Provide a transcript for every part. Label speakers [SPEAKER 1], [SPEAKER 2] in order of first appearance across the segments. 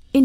[SPEAKER 1] verscheen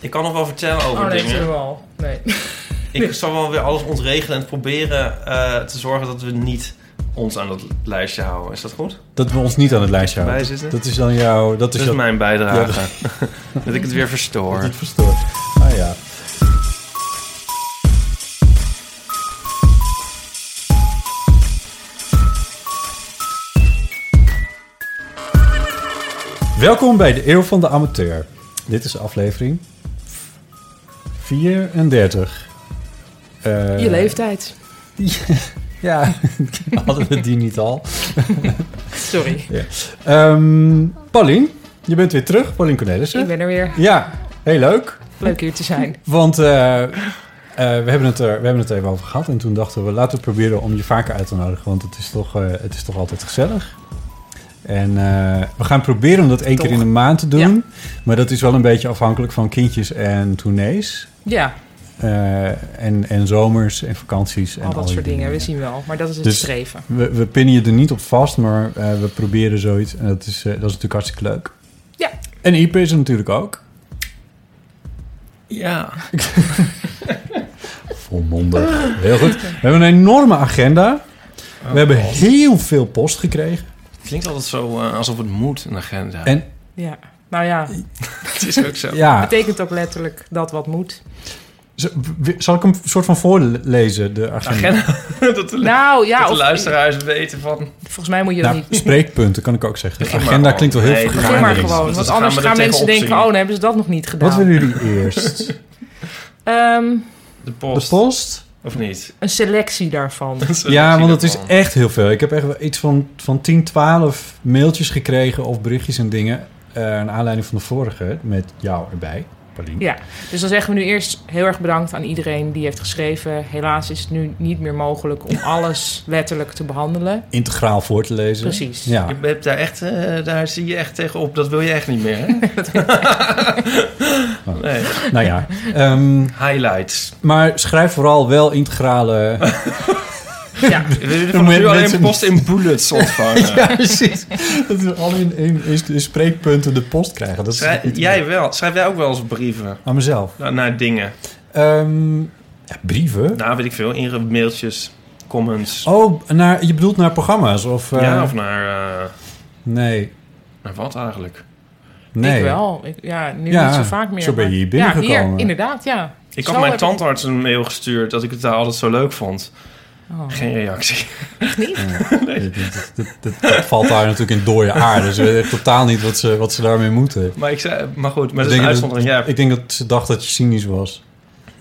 [SPEAKER 2] Ik kan nog wel vertellen over
[SPEAKER 3] Oh nee,
[SPEAKER 2] dingen.
[SPEAKER 3] helemaal. Nee.
[SPEAKER 2] Ik zal wel weer alles ontregelen en proberen eh, te zorgen dat we niet ons aan dat lijstje houden. Is dat goed?
[SPEAKER 4] Dat we ons niet aan het lijstje houden.
[SPEAKER 2] Wij zitten.
[SPEAKER 4] Dat is dan jouw... Dus Dat
[SPEAKER 2] Dat
[SPEAKER 4] is
[SPEAKER 2] is
[SPEAKER 4] jouw-
[SPEAKER 2] mijn bijdrage.
[SPEAKER 4] Ja,
[SPEAKER 2] dat ik het weer verstoor.
[SPEAKER 4] Niet verstoord. Ah ja. Welkom bij de Eeuw van de Amateur. Dit is aflevering 34. Eh,
[SPEAKER 3] Je leeftijd.
[SPEAKER 4] Ja, hadden we die niet al.
[SPEAKER 3] Sorry.
[SPEAKER 4] Ehm Paulien, je bent weer terug. Paulien Cornelissen.
[SPEAKER 3] Ik ben er weer.
[SPEAKER 4] Ja, heel leuk.
[SPEAKER 3] Leuk hier te zijn.
[SPEAKER 4] Want eh, eh, we, hebben het er, we hebben het er even over gehad. En toen dachten we, laten we proberen om je vaker uit te nodigen. Want het is toch, eh, het is toch altijd gezellig. En eh, we gaan proberen om dat één
[SPEAKER 3] Toch.
[SPEAKER 4] keer in de maand te doen. Maar dat is wel een beetje afhankelijk van kindjes en tournees.
[SPEAKER 3] Ja,
[SPEAKER 4] Eh, en, en zomers en vakanties. en
[SPEAKER 3] al dat
[SPEAKER 4] die
[SPEAKER 3] soort dingen. We zien wel. Maar dat is het
[SPEAKER 4] Dus-
[SPEAKER 3] streven.
[SPEAKER 4] We, we pinnen je er niet op vast, maar eh, we proberen zoiets. En dat is, eh, dat is natuurlijk hartstikke leuk.
[SPEAKER 3] Ja.
[SPEAKER 4] En Ipe is er natuurlijk ook.
[SPEAKER 2] Ja.
[SPEAKER 4] Volmondig. Heel goed. We hebben een enorme agenda. We hebben heel veel post gekregen.
[SPEAKER 2] Het klinkt altijd zo eh, alsof het moet, een agenda.
[SPEAKER 4] En-
[SPEAKER 3] Ja. Nou ja,
[SPEAKER 2] het is ook zo.
[SPEAKER 4] Ja.
[SPEAKER 3] betekent ook letterlijk dat wat moet.
[SPEAKER 4] Z- w- Zal ik hem soort van voorlezen, de agenda?
[SPEAKER 2] Agenda. dat de,
[SPEAKER 3] Nou ja,
[SPEAKER 2] dat de
[SPEAKER 3] of-
[SPEAKER 2] luisteraars weten van...
[SPEAKER 3] volgens mij moet je dat
[SPEAKER 4] Nou,
[SPEAKER 3] niet.
[SPEAKER 4] spreekpunten kan ik ook zeggen. De
[SPEAKER 2] Begin maar
[SPEAKER 4] agenda
[SPEAKER 2] gewoon.
[SPEAKER 4] klinkt wel heel
[SPEAKER 2] Nee,
[SPEAKER 4] vergaand.
[SPEAKER 3] Begin maar
[SPEAKER 2] Ja,
[SPEAKER 3] gewoon.
[SPEAKER 2] dus
[SPEAKER 3] Want
[SPEAKER 2] dan
[SPEAKER 3] anders
[SPEAKER 2] gaan
[SPEAKER 3] gaan,
[SPEAKER 2] we er
[SPEAKER 3] mensen
[SPEAKER 2] tegenop
[SPEAKER 3] denken: van,
[SPEAKER 2] zien.
[SPEAKER 3] oh, dan hebben ze dat nog niet gedaan.
[SPEAKER 4] Wat willen jullie eerst?
[SPEAKER 3] Ehm,
[SPEAKER 2] De
[SPEAKER 4] De
[SPEAKER 2] post.
[SPEAKER 4] post?
[SPEAKER 2] Of niet?
[SPEAKER 3] een selectie daarvan.
[SPEAKER 4] Ja, want
[SPEAKER 2] dat
[SPEAKER 4] het is echt heel veel. Ik heb echt wel iets van, van 10, 12 mailtjes gekregen of berichtjes en dingen. eh naar aanleiding van de vorige met jou erbij, Paulien.
[SPEAKER 3] Ja, dus dan zeggen we nu eerst heel erg bedankt aan iedereen die heeft geschreven. Helaas is het nu niet meer mogelijk om alles letterlijk te behandelen.
[SPEAKER 4] Integraal voor te lezen.
[SPEAKER 3] Precies.
[SPEAKER 4] Ja.
[SPEAKER 2] Je hebt daar echt... eh, daar zie je echt tegenop. Dat wil je echt niet meer, hè? nee.
[SPEAKER 4] Nou ja. Ehm,
[SPEAKER 2] Highlights.
[SPEAKER 4] maar schrijf vooral wel integrale...
[SPEAKER 3] Ja,
[SPEAKER 2] We willen
[SPEAKER 4] Dan
[SPEAKER 2] vanaf
[SPEAKER 4] moet je
[SPEAKER 2] nu alleen
[SPEAKER 4] mensen-
[SPEAKER 2] post in bullets ontvangen.
[SPEAKER 4] Ja, precies. Dat we al in, in, in- in spreekpunten de post krijgen. Dat is
[SPEAKER 2] Schrij-
[SPEAKER 4] niet-
[SPEAKER 2] jij wel. Schrijf jij ook wel eens brieven
[SPEAKER 4] Aan mezelf.
[SPEAKER 2] naar, naar dingen?
[SPEAKER 4] Ehm, ja, brieven?
[SPEAKER 2] Nou, weet ik veel. Inge mailtjes, comments.
[SPEAKER 4] Oh, naar, je bedoelt naar programma's? Of, eh,
[SPEAKER 2] ja, of naar, eh,
[SPEAKER 4] Nee.
[SPEAKER 2] naar wat eigenlijk?
[SPEAKER 4] Nee.
[SPEAKER 3] ik wel. Ik, ja, nu
[SPEAKER 4] Ja,
[SPEAKER 3] niet zo vaak meer.
[SPEAKER 4] zo ben je
[SPEAKER 3] maar-
[SPEAKER 4] hier binnengekomen.
[SPEAKER 3] Ja, hier, inderdaad, ja.
[SPEAKER 2] Ik
[SPEAKER 3] Zo
[SPEAKER 2] had mijn
[SPEAKER 3] heb ik-
[SPEAKER 2] tandarts een mail gestuurd dat ik het daar altijd zo leuk vond.
[SPEAKER 3] Oh.
[SPEAKER 2] Geen reactie.
[SPEAKER 4] Dat, dat, dat- dat valt daar natuurlijk in dode aarde. Ze weten totaal niet wat ze, wat ze daarmee moeten.
[SPEAKER 2] Maar, ik zei, maar goed, maar dat is
[SPEAKER 4] Ik
[SPEAKER 2] een
[SPEAKER 4] denk dat-
[SPEAKER 2] uitzondering. Ja,
[SPEAKER 4] Ik denk dat ze dacht dat je cynisch was.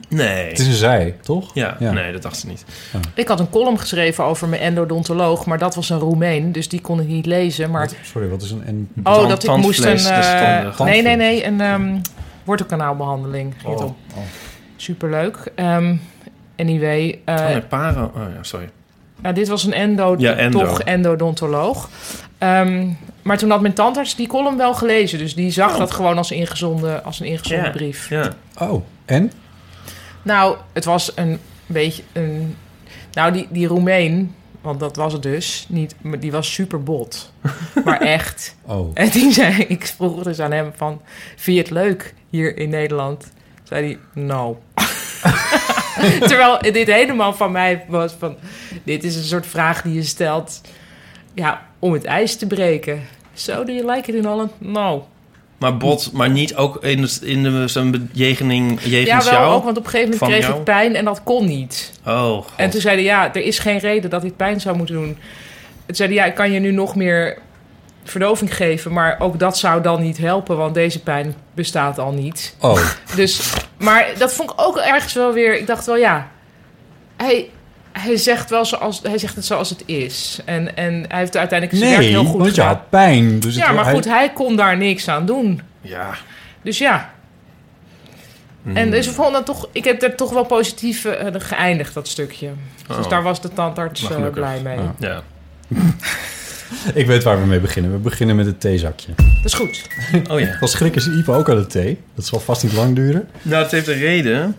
[SPEAKER 2] nee.
[SPEAKER 4] Het is een zij, toch?
[SPEAKER 2] Ja,
[SPEAKER 4] Ja.
[SPEAKER 2] nee, dat dacht ze niet.
[SPEAKER 3] Ik had een column geschreven over mijn endodontoloog, maar dat was een Roemeen, dus die kon ik niet lezen. Maar
[SPEAKER 4] Wat- sorry, wat is een... en-
[SPEAKER 3] oh,
[SPEAKER 2] Tand-
[SPEAKER 3] dat ik
[SPEAKER 2] tandvlees,
[SPEAKER 3] moest een.
[SPEAKER 2] dat is
[SPEAKER 3] eh,
[SPEAKER 2] tandig.
[SPEAKER 3] nee, nee, nee, een ehm wortelkanaalbehandeling. Ging het
[SPEAKER 2] Oh,
[SPEAKER 3] om. Superleuk. Ehm anyway, eh,
[SPEAKER 2] Oh, nee, paro. Oh ja, sorry.
[SPEAKER 3] Nou, dit was een endo,
[SPEAKER 2] Ja, endo.
[SPEAKER 3] toch endodontoloog. Ehm, maar toen had mijn tandarts die column wel gelezen. Dus die zag
[SPEAKER 2] Oh.
[SPEAKER 3] dat gewoon als, ingezonden, als een ingezonden
[SPEAKER 2] Ja.
[SPEAKER 3] brief.
[SPEAKER 2] Ja.
[SPEAKER 4] Oh, en?
[SPEAKER 3] Nou, het was een beetje een... Nou, die, die Roemeen, want dat was het dus, niet, maar die was super bot. maar echt.
[SPEAKER 4] Oh.
[SPEAKER 3] En die zei, ik vroeg dus aan hem van... Vind je het leuk hier in Nederland? Zei hij, no. Terwijl dit helemaal van mij was van... Dit is een soort vraag die je stelt ja, om het ijs te breken. So, do you like it in Holland? No.
[SPEAKER 2] Maar bot, maar niet ook in, de, in de, zijn bejegening
[SPEAKER 3] Ja,
[SPEAKER 2] jegens
[SPEAKER 3] wel
[SPEAKER 2] jou?
[SPEAKER 3] ook, want op een gegeven moment
[SPEAKER 2] Van
[SPEAKER 3] kreeg
[SPEAKER 2] jou?
[SPEAKER 3] ik pijn en dat kon niet.
[SPEAKER 2] Oh, god.
[SPEAKER 3] En toen zeiden ja, er is geen reden dat dit pijn zou moeten doen. Toen zeiden ja, ik kan je nu nog meer verdoving geven, maar ook dat zou dan niet helpen, want deze pijn bestaat al niet.
[SPEAKER 4] Oh,
[SPEAKER 3] Dus, maar dat vond ik ook ergens wel weer. Ik dacht wel, ja, hij, hij zegt wel zoals hij zegt het zoals het is. En, en hij heeft uiteindelijk zijn werk
[SPEAKER 4] nee,
[SPEAKER 3] heel goed
[SPEAKER 4] want je
[SPEAKER 3] gedaan.
[SPEAKER 4] had pijn. Dus
[SPEAKER 3] Ja,
[SPEAKER 4] het-
[SPEAKER 3] maar
[SPEAKER 4] hij-
[SPEAKER 3] goed, hij kon daar niks aan doen.
[SPEAKER 2] Ja. Hmm.
[SPEAKER 3] Dus ja. En dus ik vond dat toch, ik heb er toch wel positief eh, geëindigd, dat stukje. Dus
[SPEAKER 2] Oh.
[SPEAKER 3] daar was de tandarts
[SPEAKER 2] Maar
[SPEAKER 3] eh,
[SPEAKER 2] gelukkig.
[SPEAKER 3] blij mee.
[SPEAKER 4] Ja.
[SPEAKER 2] Ja.
[SPEAKER 4] Ik weet waar we mee beginnen. We beginnen met het theezakje.
[SPEAKER 3] Dat is goed.
[SPEAKER 2] Oh ja.
[SPEAKER 4] Dan schrikken ze Ipe ook aan de thee. Dat zal vast niet lang duren.
[SPEAKER 2] Nou, het heeft een reden.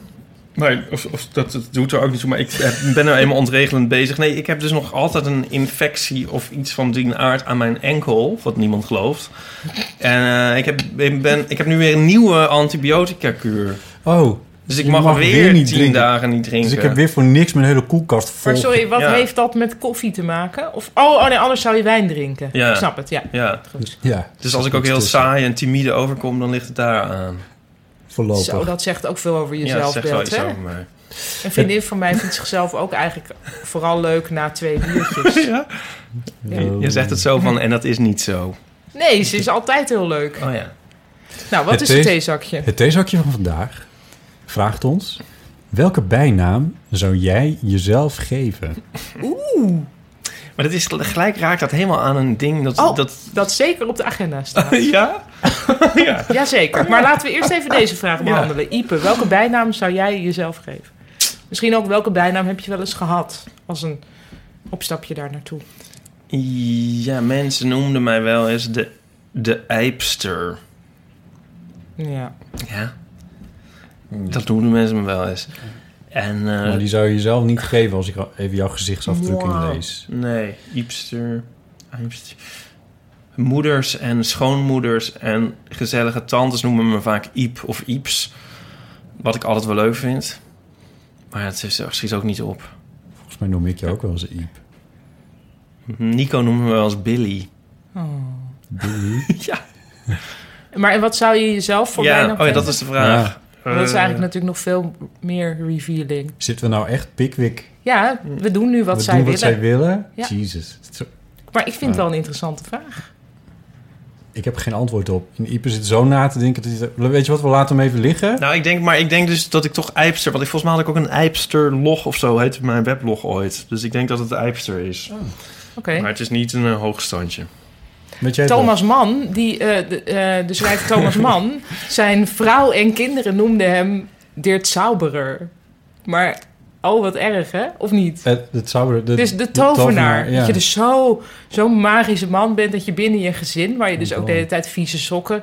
[SPEAKER 2] Maar of, of dat, dat doet er ook niet toe. Maar ik heb- ben nou eenmaal ontregelend bezig. Nee, ik heb dus nog altijd een infectie of iets van die aard aan mijn enkel. Wat niemand gelooft. En eh, ik, heb, ik, ben, ik heb nu weer een nieuwe antibiotica-kuur.
[SPEAKER 4] Oh,
[SPEAKER 2] Dus ik
[SPEAKER 4] Je
[SPEAKER 2] mag,
[SPEAKER 4] mag
[SPEAKER 2] weer,
[SPEAKER 4] weer niet
[SPEAKER 2] tien
[SPEAKER 4] drinken.
[SPEAKER 2] dagen niet drinken.
[SPEAKER 4] dus ik heb weer voor niks mijn hele koelkast vol.
[SPEAKER 3] Maar sorry, wat
[SPEAKER 2] Ja.
[SPEAKER 3] heeft dat met koffie te maken? Of, oh, oh nee, anders zou je wijn drinken.
[SPEAKER 2] Ja.
[SPEAKER 3] Ik snap het, ja.
[SPEAKER 2] Ja,
[SPEAKER 3] Goed.
[SPEAKER 4] Ja,
[SPEAKER 2] dus als ik ook heel saai en timide overkom, dan ligt het daar aan.
[SPEAKER 4] Voorlopig.
[SPEAKER 3] Zo, dat zegt ook veel over je
[SPEAKER 2] ja, dat zegt wel
[SPEAKER 3] zelfbeeld,
[SPEAKER 2] iets
[SPEAKER 3] hè?
[SPEAKER 2] over mij.
[SPEAKER 3] Een vriendin van mij vindt zichzelf ook eigenlijk vooral leuk na twee biertjes.
[SPEAKER 2] Ja? Je,
[SPEAKER 4] Oh.
[SPEAKER 2] je zegt het zo van, en dat is niet zo.
[SPEAKER 3] Nee, ze is altijd heel leuk.
[SPEAKER 2] Oh ja.
[SPEAKER 3] Nou, wat
[SPEAKER 4] Het
[SPEAKER 3] is het
[SPEAKER 4] is-
[SPEAKER 3] theezakje?
[SPEAKER 4] Het theezakje van vandaag vraagt ons... Welke bijnaam zou jij jezelf
[SPEAKER 2] Eh.
[SPEAKER 4] geven?
[SPEAKER 2] Maar dat is, gelijk raakt dat helemaal aan een ding dat...
[SPEAKER 3] Oh,
[SPEAKER 2] dat
[SPEAKER 3] dat zeker op de agenda staat.
[SPEAKER 2] ja? ja.
[SPEAKER 3] Jazeker. Maar laten we eerst even deze vraag behandelen. Ipe, welke bijnaam zou jij jezelf geven? Misschien ook welke bijnaam heb je wel eens gehad? Als een opstapje daar naartoe.
[SPEAKER 2] Ja, mensen noemden mij wel eens de, de ijpster.
[SPEAKER 3] Ja.
[SPEAKER 2] Ja. Dat noemden mensen me wel eens. En... eh,
[SPEAKER 4] Maar Nou, die zou je jezelf niet geven als ik even jouw gezichtsafdrukking
[SPEAKER 3] Wow.
[SPEAKER 4] lees.
[SPEAKER 2] Nee, iepster. iepster. Moeders en schoonmoeders en gezellige tantes noemen me vaak Iep of Ieps. Wat ik altijd wel leuk vind. Maar het is, er schiet ook niet op.
[SPEAKER 4] Volgens mij noem ik je ook wel eens Iep.
[SPEAKER 2] Nico noemt me wel eens Billy.
[SPEAKER 3] Maar en wat zou je jezelf voor
[SPEAKER 2] ja,
[SPEAKER 3] bijnaam
[SPEAKER 2] oh ja, dat
[SPEAKER 3] geven?
[SPEAKER 2] is de vraag.
[SPEAKER 3] Want Dat is
[SPEAKER 2] Eh,
[SPEAKER 3] eigenlijk natuurlijk nog veel meer revealing.
[SPEAKER 4] Zitten we nou echt Pickwick?
[SPEAKER 3] Ja, we doen nu wat
[SPEAKER 4] we
[SPEAKER 3] zij
[SPEAKER 4] doen
[SPEAKER 3] willen.
[SPEAKER 4] wat zij willen?
[SPEAKER 3] Ja.
[SPEAKER 4] Jezus. Het is zo-
[SPEAKER 3] Maar ik vind het
[SPEAKER 4] Ja.
[SPEAKER 3] wel een interessante vraag.
[SPEAKER 4] Ik heb er geen antwoord op. En Iep zit zo na te denken. Dat hij, weet je wat, we laten hem even liggen.
[SPEAKER 2] Nou, ik denk, maar ik denk dus dat ik toch Ijpster... Want ik, volgens mij had ik ook een Ijpster-log of zo, heette mijn weblog ooit. Dus ik denk dat het Ijpster is.
[SPEAKER 3] Oké.
[SPEAKER 2] Maar het is niet een eh, hoogstandje.
[SPEAKER 4] Weet jij het
[SPEAKER 3] Thomas Mann, die, eh, de, eh, de schrijver Thomas Mann, zijn vrouw en kinderen noemden hem Dirk Sauberer. Maar, oh wat erg hè, of niet?
[SPEAKER 4] wel? Eh, het zou, de,
[SPEAKER 3] Dus de tovenaar.
[SPEAKER 4] ja.
[SPEAKER 3] Dat je dus zo- zo'n magische man bent dat je binnen je gezin, waar je dus
[SPEAKER 4] Oh,
[SPEAKER 3] ook de
[SPEAKER 4] wow.
[SPEAKER 3] hele tijd vieze sokken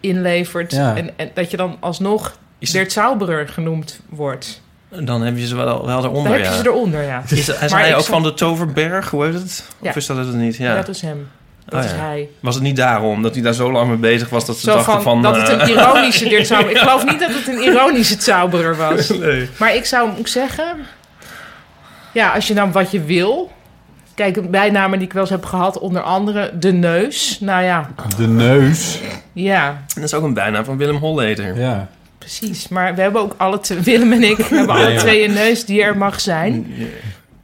[SPEAKER 3] inlevert,
[SPEAKER 4] Ja.
[SPEAKER 3] en, en dat je dan alsnog
[SPEAKER 2] Is
[SPEAKER 3] Dirk Sauberer genoemd wordt.
[SPEAKER 2] Dan heb je ze wel, wel eronder,
[SPEAKER 3] Dan heb je
[SPEAKER 2] ja.
[SPEAKER 3] ze eronder, ja.
[SPEAKER 2] Is, is
[SPEAKER 3] Maar ik
[SPEAKER 2] hij ook
[SPEAKER 3] zou-
[SPEAKER 2] van de Toverberg, hoe heet het?
[SPEAKER 3] Ja.
[SPEAKER 2] Of is dat het niet? Ja.
[SPEAKER 3] Ja, Dat is hem. Dat
[SPEAKER 2] Oh,
[SPEAKER 3] is
[SPEAKER 2] ja.
[SPEAKER 3] hij.
[SPEAKER 2] Was het niet daarom dat hij daar zo lang mee bezig was dat ze
[SPEAKER 3] Zo
[SPEAKER 2] dachten van...
[SPEAKER 3] van, dat
[SPEAKER 2] eh,
[SPEAKER 3] het een ironische Dirk Sauberer... Ik geloof niet dat het een ironische Sauberer was.
[SPEAKER 2] nee.
[SPEAKER 3] Maar ik zou hem ook zeggen... Ja, als je dan wat je wil... Kijk, bijnamen die ik wel eens heb gehad, onder andere de neus. Nou ja,
[SPEAKER 4] De neus.
[SPEAKER 3] ja,
[SPEAKER 2] Dat is ook een bijnaam van Willem Holleder.
[SPEAKER 4] Ja.
[SPEAKER 3] precies. Maar we hebben ook alle twee, Willem en ik, hebben alle
[SPEAKER 4] ja.
[SPEAKER 3] twee een neus die er mag zijn.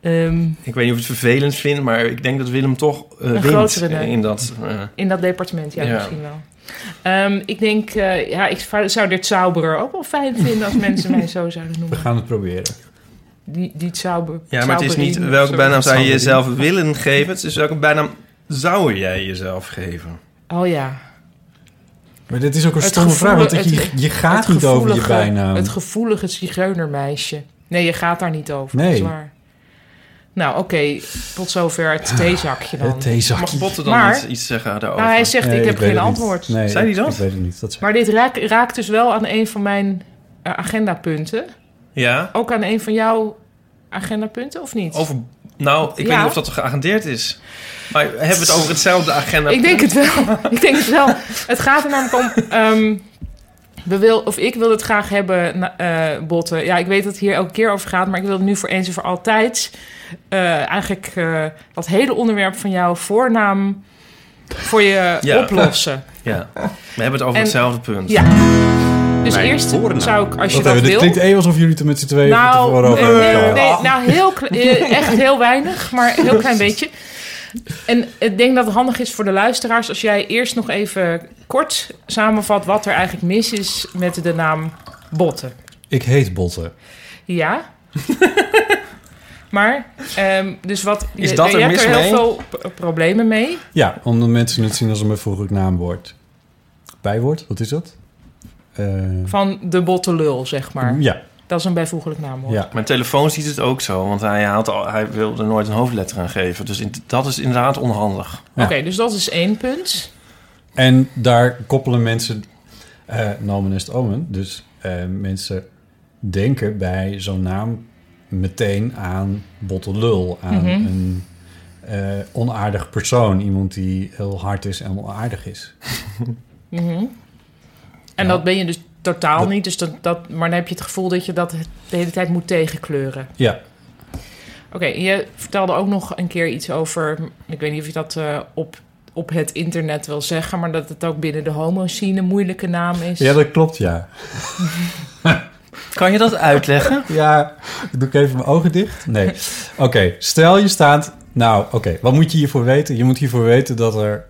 [SPEAKER 3] Ehm,
[SPEAKER 2] Ik weet niet of ik het vervelend vind, maar ik denk dat Willem toch eh wint
[SPEAKER 3] grotere neus.
[SPEAKER 2] in dat... eh,
[SPEAKER 3] in dat departement, ja,
[SPEAKER 2] Ja.
[SPEAKER 3] misschien wel. Ehm, ik denk, eh, ja, ik zou dit Sauberer ook wel fijn vinden als mensen mij zo zouden
[SPEAKER 4] We
[SPEAKER 3] noemen.
[SPEAKER 4] gaan het proberen.
[SPEAKER 3] Die, die Sauber.
[SPEAKER 2] ja, maar het is niet
[SPEAKER 3] Sauberin,
[SPEAKER 2] welke
[SPEAKER 3] zo.
[SPEAKER 2] bijnaam zou je
[SPEAKER 4] Zou-
[SPEAKER 2] jezelf willen geven. Het is welke bijnaam zou jij jezelf geven.
[SPEAKER 3] Oh ja.
[SPEAKER 4] Maar dit is ook een
[SPEAKER 3] Het
[SPEAKER 4] stomme vraag, want
[SPEAKER 3] gevoelige-
[SPEAKER 4] je, je gaat
[SPEAKER 3] Het
[SPEAKER 4] niet over je
[SPEAKER 3] gevoelige-
[SPEAKER 4] bijnaam.
[SPEAKER 3] Het gevoelige zigeunermeisje. Nee, je gaat daar niet over.
[SPEAKER 4] Nee.
[SPEAKER 3] Dat is waar. Nou, oké. tot zover het theezakje dan.
[SPEAKER 4] Ah, Het theezakje.
[SPEAKER 2] Mag Botten dan
[SPEAKER 3] Maar-
[SPEAKER 2] niet iets zeggen daarover?
[SPEAKER 3] nou, hij zegt,
[SPEAKER 4] Eh, Nee,
[SPEAKER 3] ik heb
[SPEAKER 4] weet
[SPEAKER 3] geen
[SPEAKER 4] het niet.
[SPEAKER 3] antwoord.
[SPEAKER 4] Nee,
[SPEAKER 2] Zei hij
[SPEAKER 4] ik-
[SPEAKER 2] dat?
[SPEAKER 4] Ik weet het niet. Dat zei-
[SPEAKER 3] Maar dit raak- raakt dus wel aan een van mijn eh, agendapunten.
[SPEAKER 2] Ja?
[SPEAKER 3] Ook aan een van jouw agendapunten, of niet?
[SPEAKER 2] Over... Nou, ik weet
[SPEAKER 3] Ja.
[SPEAKER 2] niet of dat toch geagendeerd is. Maar hebben we het over hetzelfde agenda?
[SPEAKER 3] Ik denk het wel. ik denk het wel. Het gaat er namelijk om... ehm, We wil, of ik wil het graag hebben, na- eh, botten. Ja, ik weet dat het hier elke keer over gaat, maar ik wil het nu voor eens en voor altijd. eh, eigenlijk eh, dat hele onderwerp van jouw voornaam voor je
[SPEAKER 2] Ja.
[SPEAKER 3] oplossen.
[SPEAKER 2] Ja. We hebben het over
[SPEAKER 3] En-
[SPEAKER 2] hetzelfde punt.
[SPEAKER 3] Ja. Dus eerst
[SPEAKER 5] voornaam.
[SPEAKER 3] zou ik, als je dat
[SPEAKER 4] Wat hebben, dit
[SPEAKER 3] wil...
[SPEAKER 4] klinkt even alsof jullie het er met z'n tweeën van
[SPEAKER 3] Nou,
[SPEAKER 4] tevoren over hebben
[SPEAKER 3] nee, nee,
[SPEAKER 4] gehad.
[SPEAKER 3] nee, nou heel, kle- eh, echt heel weinig, maar een heel klein beetje. En ik denk dat het handig is voor de luisteraars als jij eerst nog even kort samenvat wat er eigenlijk mis is met de naam Botten.
[SPEAKER 4] Ik heet Botten.
[SPEAKER 3] Ja. maar, ehm, dus wat.
[SPEAKER 2] Is
[SPEAKER 3] je-
[SPEAKER 2] dat
[SPEAKER 3] je
[SPEAKER 2] er
[SPEAKER 3] hebt
[SPEAKER 2] mis
[SPEAKER 3] er heel
[SPEAKER 2] mee?
[SPEAKER 3] veel p- problemen mee.
[SPEAKER 4] Ja, omdat mensen het zien als een bijvoeglijk naamwoord. Bijwoord, wat is dat? Eh,
[SPEAKER 3] Van de bottenlul, zeg maar.
[SPEAKER 4] ja,
[SPEAKER 3] Dat is een bijvoeglijk naamwoord.
[SPEAKER 4] ja.
[SPEAKER 2] Mijn telefoon ziet het ook zo, want hij, haalt al, hij wil er nooit een hoofdletter aan geven. Dus in- dat is inderdaad onhandig.
[SPEAKER 4] Ja.
[SPEAKER 3] Oké, dus dat is één punt.
[SPEAKER 4] En daar koppelen mensen eh nomen est omen. Dus eh, mensen denken bij zo'n naam meteen aan bottelul. Aan
[SPEAKER 3] Mhm.
[SPEAKER 4] een eh, onaardig persoon. Iemand die heel hard is en onaardig is.
[SPEAKER 3] Mhm. En
[SPEAKER 4] Ja.
[SPEAKER 3] dat ben je dus totaal
[SPEAKER 4] Dat-
[SPEAKER 3] niet. Dus dat, dat, maar dan heb je het gevoel dat je dat de hele tijd moet tegenkleuren.
[SPEAKER 4] Ja,
[SPEAKER 3] Oké, je vertelde ook nog een keer iets over. Ik weet niet of je dat eh, op, op het internet wil zeggen, maar dat het ook binnen de homoscene een moeilijke naam is.
[SPEAKER 4] ja dat klopt, ja.
[SPEAKER 2] Kan je dat uitleggen?
[SPEAKER 4] Ja, doe ik even mijn ogen dicht? Nee. Oké, stel je staat... Nou, oké, wat moet je hiervoor weten? Je moet hiervoor weten dat er...